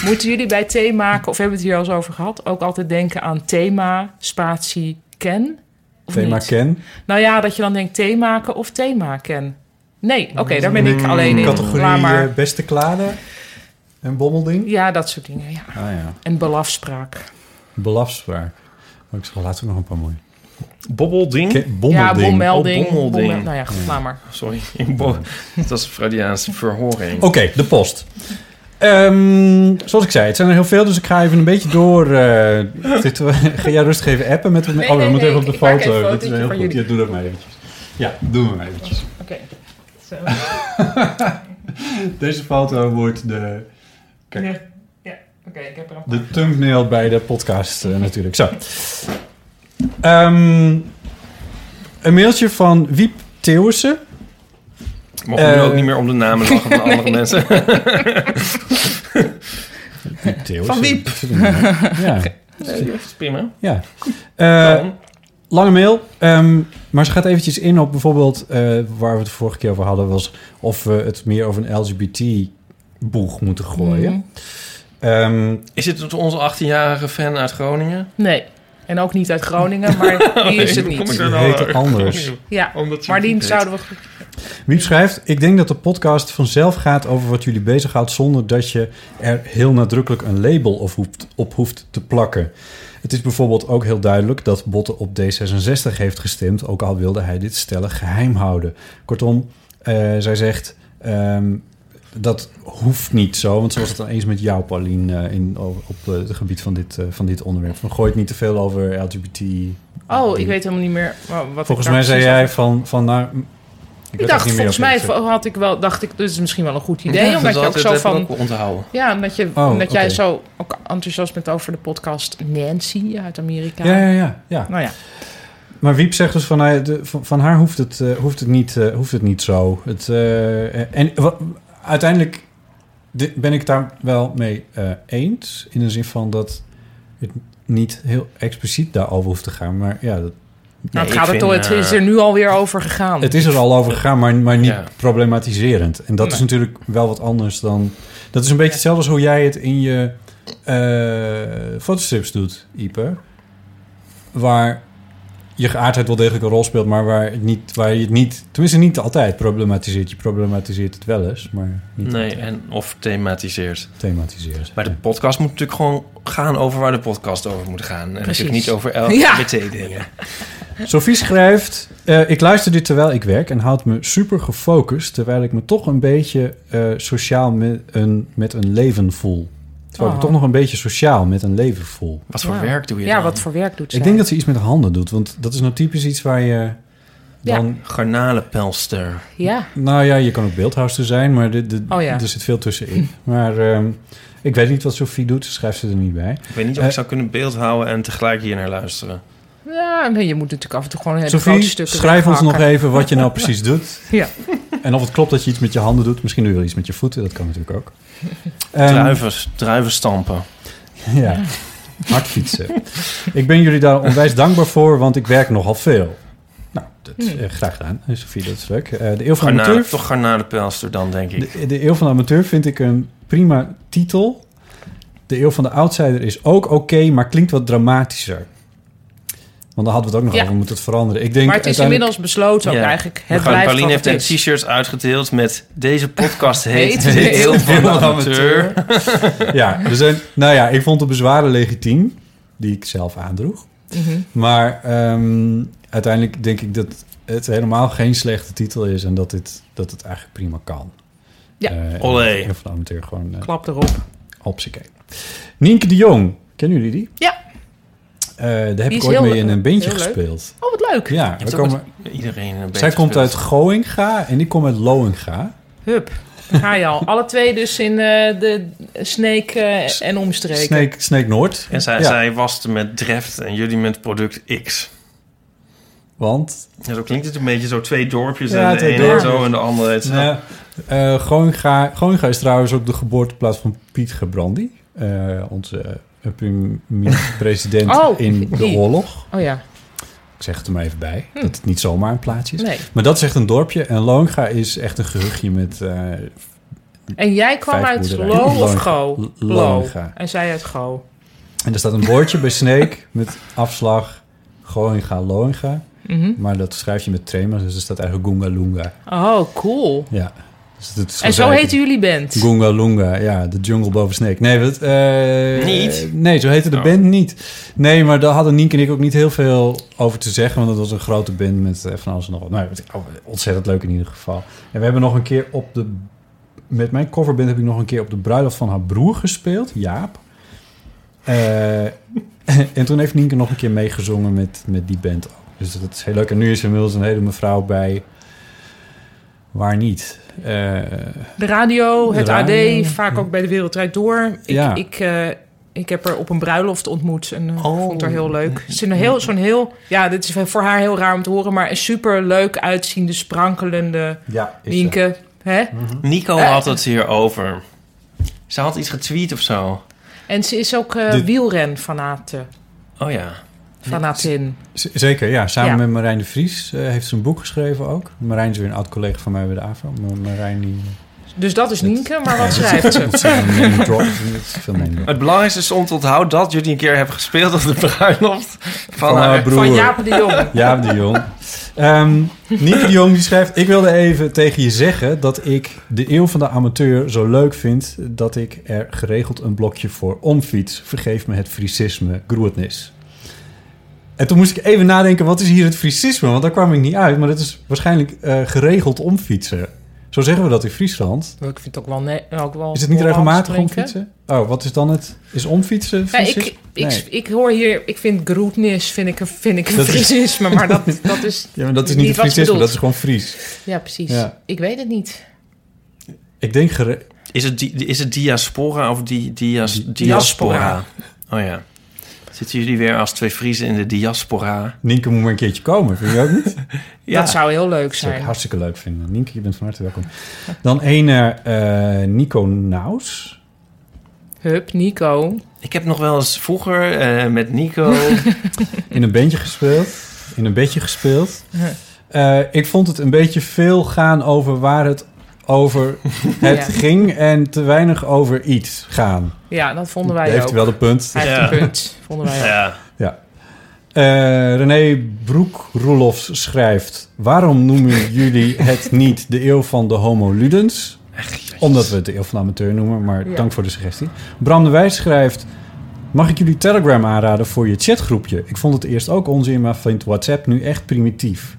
[SPEAKER 3] Moeten jullie bij thee maken, of hebben we het hier al eens over gehad, ook altijd denken aan thema, spatie, ken? Of
[SPEAKER 4] thema
[SPEAKER 3] niet?
[SPEAKER 4] Ken.
[SPEAKER 3] Nou ja, dat je dan denkt thee maken of thema ken. Nee, oké, daar ben ik alleen in. Laat
[SPEAKER 4] Mm, Categorie
[SPEAKER 3] maar.
[SPEAKER 4] eh, beste kladen. En bommelding.
[SPEAKER 3] Ja, dat soort dingen, ja.
[SPEAKER 4] Ah ja,
[SPEAKER 3] En belafspraak.
[SPEAKER 4] belafspraak. Oh, ik zal later nog een paar mooie.
[SPEAKER 2] Bobbelding.
[SPEAKER 4] Ke-
[SPEAKER 3] Ja,
[SPEAKER 4] bommelding. Mm.
[SPEAKER 3] bommelding.
[SPEAKER 2] Oh, bommelding.
[SPEAKER 3] bommel- nou ja, goed, laat maar.
[SPEAKER 2] Sorry, ik bo- dat is een Freudiaanse verhoring.
[SPEAKER 4] Oké, de post. Ehm, zoals ik zei, het zijn er heel veel, dus ik ga even een beetje door. eh, dit, ga jij rustig even appen met...
[SPEAKER 3] Nee,
[SPEAKER 4] oh, we
[SPEAKER 3] nee,
[SPEAKER 4] moeten
[SPEAKER 3] nee,
[SPEAKER 4] even op de
[SPEAKER 3] ik maak even
[SPEAKER 4] foto.
[SPEAKER 3] een
[SPEAKER 4] Dat is
[SPEAKER 3] fotootje
[SPEAKER 4] heel
[SPEAKER 3] van
[SPEAKER 4] goed. Ja,
[SPEAKER 3] jullie.
[SPEAKER 4] doe dat maar eventjes. Ja, doe maar eventjes.
[SPEAKER 3] Oké. Zo.
[SPEAKER 4] Deze foto wordt de, Kijk.
[SPEAKER 3] Ja, ja. oké, ik heb er een paar.
[SPEAKER 4] de thumbnail bij de podcast eh, natuurlijk. Zo. Ehm, een mailtje van Wiep Theeuwissen.
[SPEAKER 2] Mogen we nu
[SPEAKER 4] Eh,
[SPEAKER 2] ook niet meer om de namen lachen van andere mensen?
[SPEAKER 4] Wiep Theeuwissen.
[SPEAKER 2] Van Wiep.
[SPEAKER 4] Ja.
[SPEAKER 2] Prima.
[SPEAKER 4] ja. Eh,
[SPEAKER 2] Dan.
[SPEAKER 4] lange mail. Ehm, maar ze gaat eventjes in op bijvoorbeeld... eh, waar we het vorige keer over hadden... was of we het meer over een LGBT-boeg moeten gooien. Ehm,
[SPEAKER 2] Is het onze 18-jarige fan uit Groningen?
[SPEAKER 3] Nee, en ook niet uit Groningen, maar die is het
[SPEAKER 2] Hoe kom ik
[SPEAKER 3] niet.
[SPEAKER 2] daar
[SPEAKER 4] Die
[SPEAKER 2] nou
[SPEAKER 4] heet
[SPEAKER 2] uit?
[SPEAKER 4] anders.
[SPEAKER 3] Ja,
[SPEAKER 2] Omdat ze
[SPEAKER 3] maar
[SPEAKER 2] het
[SPEAKER 3] die
[SPEAKER 2] niet
[SPEAKER 3] zouden we...
[SPEAKER 4] Wiep schrijft: Ik denk dat de podcast vanzelf gaat over wat jullie bezighoudt. zonder dat je er heel nadrukkelijk een label op hoeft, op hoeft te plakken. Het is bijvoorbeeld ook heel duidelijk dat Botte op D66 heeft gestemd. ook al wilde hij dit stellen geheim houden. Kortom, eh, zij zegt. ehm, dat hoeft niet zo, want ze was het dan eens met jou, Paulien, eh, in, op eh, het gebied van dit, eh, van dit onderwerp. Van gooi het niet te veel over LGBT.
[SPEAKER 3] Oh, ik weet helemaal niet meer wa- wat
[SPEAKER 4] Volgens
[SPEAKER 3] ik daar
[SPEAKER 4] mij zei
[SPEAKER 3] precies
[SPEAKER 4] jij
[SPEAKER 3] over-
[SPEAKER 4] van, van nou, ik,
[SPEAKER 3] Ik
[SPEAKER 4] weet
[SPEAKER 3] dacht,
[SPEAKER 4] ook niet meer
[SPEAKER 3] volgens
[SPEAKER 4] of
[SPEAKER 3] mij
[SPEAKER 4] ik-
[SPEAKER 3] had ik wel, dacht ik, dit is misschien wel een goed
[SPEAKER 2] Ja,
[SPEAKER 3] idee.
[SPEAKER 2] dat
[SPEAKER 3] omdat je ook
[SPEAKER 2] altijd
[SPEAKER 3] zo
[SPEAKER 2] even
[SPEAKER 3] van...
[SPEAKER 2] ook onthouden.
[SPEAKER 3] Ja, omdat, je,
[SPEAKER 4] Oh,
[SPEAKER 3] omdat jij
[SPEAKER 4] oké.
[SPEAKER 3] zo ook enthousiast bent over de podcast Nancy uit Amerika.
[SPEAKER 4] Ja, ja, ja, ja.
[SPEAKER 3] Nou ja,
[SPEAKER 4] Maar Wiep zegt dus van, hij- de- van, van haar hoeft het, eh, hoeft, het niet, eh, hoeft het niet zo. Het, eh, en wa- uiteindelijk di- ben ik het daar wel mee eh, eens. In de zin van dat het niet heel expliciet daarover hoeft te gaan. Maar ja, dat,
[SPEAKER 3] nou, het,
[SPEAKER 2] ik
[SPEAKER 3] gaat er
[SPEAKER 2] vind,
[SPEAKER 3] toch, het
[SPEAKER 2] eh,
[SPEAKER 3] is er nu alweer over gegaan.
[SPEAKER 4] het is er al over gegaan, maar, maar niet
[SPEAKER 2] Ja.
[SPEAKER 4] problematiserend. En dat is
[SPEAKER 3] Nee.
[SPEAKER 4] natuurlijk wel wat anders dan... Dat is een beetje
[SPEAKER 3] Ja.
[SPEAKER 4] hetzelfde als hoe jij het in je eh fotostrips doet, Ieper. Waar je geaardheid wel degelijk een rol speelt, maar waar, het niet, waar je het niet... Tenminste, niet altijd problematiseert. Je problematiseert het wel eens, maar niet
[SPEAKER 2] Nee,
[SPEAKER 4] altijd
[SPEAKER 2] en of thematiseert.
[SPEAKER 4] thematiseert.
[SPEAKER 2] Maar de podcast moet natuurlijk gewoon gaan over waar de podcast over moet gaan. En
[SPEAKER 3] Precies.
[SPEAKER 2] natuurlijk niet over
[SPEAKER 3] Ja.
[SPEAKER 2] LGBT-dingen.
[SPEAKER 4] Sophie schrijft... eh, ik luister dit terwijl ik werk en houd me super gefocust... terwijl ik me toch een beetje eh, sociaal met een, met een leven voel. Terwijl ik me
[SPEAKER 3] Oh.
[SPEAKER 4] toch nog een beetje sociaal met een leven voel.
[SPEAKER 2] Wat voor
[SPEAKER 3] Ja.
[SPEAKER 2] werk doe je
[SPEAKER 3] ja,
[SPEAKER 2] dan?
[SPEAKER 3] wat voor werk doet ze?
[SPEAKER 4] Ik denk dat ze iets met haar handen doet, want dat is nou typisch iets waar je...
[SPEAKER 3] Ja.
[SPEAKER 4] Dan,
[SPEAKER 2] Garnalenpelster.
[SPEAKER 3] Ja,
[SPEAKER 4] Nou ja, je kan ook beeldhouster zijn, maar de, de,
[SPEAKER 3] Oh ja.
[SPEAKER 4] er zit veel tussenin. Maar ehm, ik weet niet wat Sophie doet, ze schrijft ze er niet bij.
[SPEAKER 2] Ik weet niet of ik zou kunnen beeldhouden en tegelijk hier naar luisteren.
[SPEAKER 3] ja nee, je moet natuurlijk af en toe gewoon hele grote
[SPEAKER 4] Sophie,
[SPEAKER 3] stukken
[SPEAKER 4] schrijf ons nog
[SPEAKER 3] weghakken.
[SPEAKER 4] even wat je nou precies doet.
[SPEAKER 3] Ja.
[SPEAKER 4] En of het klopt dat je iets met je handen doet. Misschien doe je wel iets met je voeten, dat kan natuurlijk ook. Ehm,
[SPEAKER 2] Druiven, druiven stampen.
[SPEAKER 4] Ja, hard fietsen. ik ben jullie daar onwijs dankbaar voor, want ik werk nogal veel. Nou, dat,
[SPEAKER 3] Hmm.
[SPEAKER 4] eh, graag gedaan, eh, Sophie, dat is leuk. Eh, de Eeuw van de
[SPEAKER 2] Garnalen,
[SPEAKER 4] Amateur...
[SPEAKER 2] toch garnalenpelster dan, denk ik.
[SPEAKER 4] De, de Eeuw van de Amateur vind ik een prima titel. De Eeuw van de Outsider is ook oké, maar klinkt wat dramatischer. Want daar hadden we het ook nog
[SPEAKER 3] Ja.
[SPEAKER 4] over. We moeten het veranderen. Ik denk
[SPEAKER 3] Maar het is
[SPEAKER 4] uiteindelijk-
[SPEAKER 3] inmiddels besloten ook
[SPEAKER 2] Ja.
[SPEAKER 3] eigenlijk.
[SPEAKER 2] We
[SPEAKER 3] Het
[SPEAKER 2] gaan-
[SPEAKER 3] blijft
[SPEAKER 2] Pauline
[SPEAKER 3] wat
[SPEAKER 2] heeft
[SPEAKER 3] het
[SPEAKER 2] een
[SPEAKER 3] is.
[SPEAKER 2] t-shirts uitgedeeld met... Deze podcast heet
[SPEAKER 3] Heet
[SPEAKER 2] De Eeuw van de Amateur.
[SPEAKER 4] dus, eh, Ja, er zijn, nou ja, ik vond de bezwaren legitiem. Die ik zelf aandroeg.
[SPEAKER 3] Mhm.
[SPEAKER 4] Maar ehm, uiteindelijk denk ik dat het helemaal geen slechte titel is en dat, dit, dat het eigenlijk prima kan.
[SPEAKER 3] Ja.
[SPEAKER 4] Eh, en
[SPEAKER 2] Olé.
[SPEAKER 4] Heel veel amateur gewoon eh
[SPEAKER 3] Klap erop.
[SPEAKER 4] hopsakee. Nienke de Jong, kennen jullie die?
[SPEAKER 3] Ja.
[SPEAKER 4] Eh, daar heb
[SPEAKER 3] Die
[SPEAKER 4] ik
[SPEAKER 3] is
[SPEAKER 4] ooit
[SPEAKER 3] heel
[SPEAKER 4] mee in
[SPEAKER 3] leuk.
[SPEAKER 4] een bandje
[SPEAKER 3] Heel leuk.
[SPEAKER 4] gespeeld.
[SPEAKER 3] Oh, wat leuk.
[SPEAKER 4] Ja,
[SPEAKER 2] Je
[SPEAKER 4] we
[SPEAKER 2] hebt ook
[SPEAKER 4] komen,
[SPEAKER 2] met iedereen een
[SPEAKER 4] zij
[SPEAKER 2] beetje
[SPEAKER 4] komt uit
[SPEAKER 2] gespeeld.
[SPEAKER 4] Goinga en ik kom uit Loinga.
[SPEAKER 3] Hup. Daar ga je al. Alle twee dus in eh, de Snake eh, en omstreken.
[SPEAKER 4] Snake, Snake Noord.
[SPEAKER 2] En zij,
[SPEAKER 4] Ja.
[SPEAKER 2] zij waste met Dreft en jullie met product X.
[SPEAKER 4] Want
[SPEAKER 2] Ja, zo klinkt het een beetje zo twee dorpjes.
[SPEAKER 4] Ja,
[SPEAKER 2] en de
[SPEAKER 4] twee
[SPEAKER 2] ene heet
[SPEAKER 4] dorpjes.
[SPEAKER 2] zo en de andere heet zo.
[SPEAKER 4] Ja. Eh Goinga, Goinga is trouwens ook de geboorteplaats van Piet Gebrandi. eh, onze eh, premier-president
[SPEAKER 3] Oh,
[SPEAKER 4] in de
[SPEAKER 3] die.
[SPEAKER 4] oorlog.
[SPEAKER 3] Oh ja,
[SPEAKER 4] Ik zeg het er maar even bij, dat het niet zomaar een plaatsje is.
[SPEAKER 3] Hm. nee.
[SPEAKER 4] Maar dat is echt een dorpje. En Loinga is echt een gehuchtje met... eh,
[SPEAKER 3] En jij kwam
[SPEAKER 4] Vijf
[SPEAKER 3] uit
[SPEAKER 4] boerderijen.
[SPEAKER 3] Lo of
[SPEAKER 4] Loon-
[SPEAKER 3] Go?
[SPEAKER 4] L-
[SPEAKER 3] Lo.
[SPEAKER 4] Loonga.
[SPEAKER 3] En zij uit Go.
[SPEAKER 4] en er staat een bordje bij Snake met afslag Goinga, Loinga.
[SPEAKER 3] Mhm.
[SPEAKER 4] Maar dat schrijf je met tremers, dus er staat eigenlijk Goonga Loonga.
[SPEAKER 3] Oh, cool.
[SPEAKER 4] Ja. Dus het is
[SPEAKER 3] En zo
[SPEAKER 4] gewoon
[SPEAKER 3] heten jullie band.
[SPEAKER 4] Goonga Loonga, ja, de jungle boven Snake. Nee, wat, eh,
[SPEAKER 2] Niet?
[SPEAKER 4] Nee, zo heette de
[SPEAKER 2] Oh.
[SPEAKER 4] band niet. Nee, maar daar hadden Nienke en ik ook niet heel veel over te zeggen, want het was een grote band met eh, van alles en nog wat. Nou, het- oh, ontzettend leuk in ieder geval. En we hebben nog een keer op de... Met mijn coverband heb ik nog een keer op de bruiloft van haar broer gespeeld, Jaap. Eh, en toen heeft Nienke nog een keer meegezongen met, met die band ook. Dus dat is heel leuk. En nu is er inmiddels een hele mevrouw bij... Waar niet? Eh,
[SPEAKER 3] De radio,
[SPEAKER 4] De
[SPEAKER 3] het
[SPEAKER 4] radio.
[SPEAKER 3] AD, vaak ook bij de Wereld Draait Door. Ik,
[SPEAKER 4] Ja.
[SPEAKER 3] ik, eh, ik heb haar op een bruiloft ontmoet en eh,
[SPEAKER 2] Oh.
[SPEAKER 3] vond haar heel leuk. Ze is een heel, zo'n heel, ja, dit is voor haar heel raar om te horen, maar een super leuk uitziende, sprankelende
[SPEAKER 4] Ja, is Hm.
[SPEAKER 3] Nienke. Hè?
[SPEAKER 2] Nico
[SPEAKER 3] Eh.
[SPEAKER 2] had het hierover. Ze had iets getweet of zo.
[SPEAKER 3] En ze is ook eh
[SPEAKER 4] Dit-
[SPEAKER 3] wielrenfanate.
[SPEAKER 2] Oh ja.
[SPEAKER 3] Fanatin.
[SPEAKER 4] ze. Z- Zeker, ja. Samen
[SPEAKER 3] Ja.
[SPEAKER 4] met Marijn de Vries eh, heeft ze een boek geschreven ook. Marijn is weer een oud collega van mij bij de AVRO. Maar Marijn die...
[SPEAKER 3] Dus dat is Nienke, maar wat
[SPEAKER 4] Ja,
[SPEAKER 3] schrijft
[SPEAKER 4] dat
[SPEAKER 3] ze?
[SPEAKER 4] zijn name drops. Dat is veel name drops.
[SPEAKER 2] Het belangrijkste is om te onthouden dat jullie een keer hebben gespeeld op de bruiloft van,
[SPEAKER 4] Van
[SPEAKER 2] haar.
[SPEAKER 4] haar broer.
[SPEAKER 3] Van Jaap de Jong.
[SPEAKER 4] Ja, de Jong. Ehm Nienke de Jong die schrijft... Ik wilde even tegen je zeggen dat ik de eeuw van de amateur zo leuk vind... dat ik er geregeld een blokje voor omfiets. Vergeef me het Friesisme, groetnis. En toen moest ik even nadenken, wat is hier het Friesisme? Want daar kwam ik niet uit, maar dat is waarschijnlijk eh, geregeld omfietsen. Zo zeggen we dat in Friesland.
[SPEAKER 3] Ik vind het ook wel... ne- ook wel
[SPEAKER 4] Is het niet
[SPEAKER 3] Hollands
[SPEAKER 4] regelmatig
[SPEAKER 3] klinken.
[SPEAKER 4] omfietsen? Oh, wat is dan het? Is omfietsen
[SPEAKER 3] Ja, ik,
[SPEAKER 4] Friesisch?
[SPEAKER 3] ik,
[SPEAKER 4] Nee.
[SPEAKER 3] ik hoor hier, ik vind groetnis, vind ik een, vind ik een
[SPEAKER 4] Dat is-
[SPEAKER 3] Friesisme, maar dat, dat is...
[SPEAKER 4] Ja, maar dat is niet,
[SPEAKER 3] niet
[SPEAKER 4] het
[SPEAKER 3] wat ze
[SPEAKER 4] Friesisme,
[SPEAKER 3] bedoelt.
[SPEAKER 4] dat is gewoon Fries.
[SPEAKER 3] Ja, precies.
[SPEAKER 4] Ja.
[SPEAKER 3] Ik weet het niet.
[SPEAKER 4] Ik denk... gere-
[SPEAKER 2] Is het, di- is het diaspora of di, dias, diaspora?
[SPEAKER 3] diaspora.
[SPEAKER 2] Oh ja. Zitten jullie weer als twee Friesen in de diaspora?
[SPEAKER 4] Nienke moet maar een keertje komen, vind je ook niet?
[SPEAKER 2] Ja.
[SPEAKER 3] Dat zou heel leuk
[SPEAKER 4] zou ik
[SPEAKER 3] zijn.
[SPEAKER 4] hartstikke leuk vinden. Nienke, je bent van harte welkom. Dan een eh, eh, Nico Naus.
[SPEAKER 3] Hup, Nico.
[SPEAKER 2] Ik heb nog wel eens vroeger eh, met Nico...
[SPEAKER 4] In een bandje gespeeld. In een bedje gespeeld. Eh, ik vond het een beetje veel gaan over waar het over het
[SPEAKER 3] Ja.
[SPEAKER 4] ging... en te weinig over iets gaan.
[SPEAKER 3] Ja, dat vonden
[SPEAKER 4] Daar
[SPEAKER 3] wij
[SPEAKER 4] heeft
[SPEAKER 3] ook.
[SPEAKER 4] hij wel een punt.
[SPEAKER 3] Hij heeft
[SPEAKER 2] Ja.
[SPEAKER 3] een punt, vonden wij ook.
[SPEAKER 2] ja.
[SPEAKER 4] Eh René Broek-Roelofs schrijft... waarom noemen jullie het niet de eeuw van de homo ludens? Omdat we het de eeuw van de amateur noemen, maar
[SPEAKER 3] Ja.
[SPEAKER 4] dank voor de suggestie. Bram de Wijs schrijft... Mag ik jullie Telegram aanraden voor je chatgroepje? Ik vond het eerst ook onzin, maar vind WhatsApp nu echt primitief.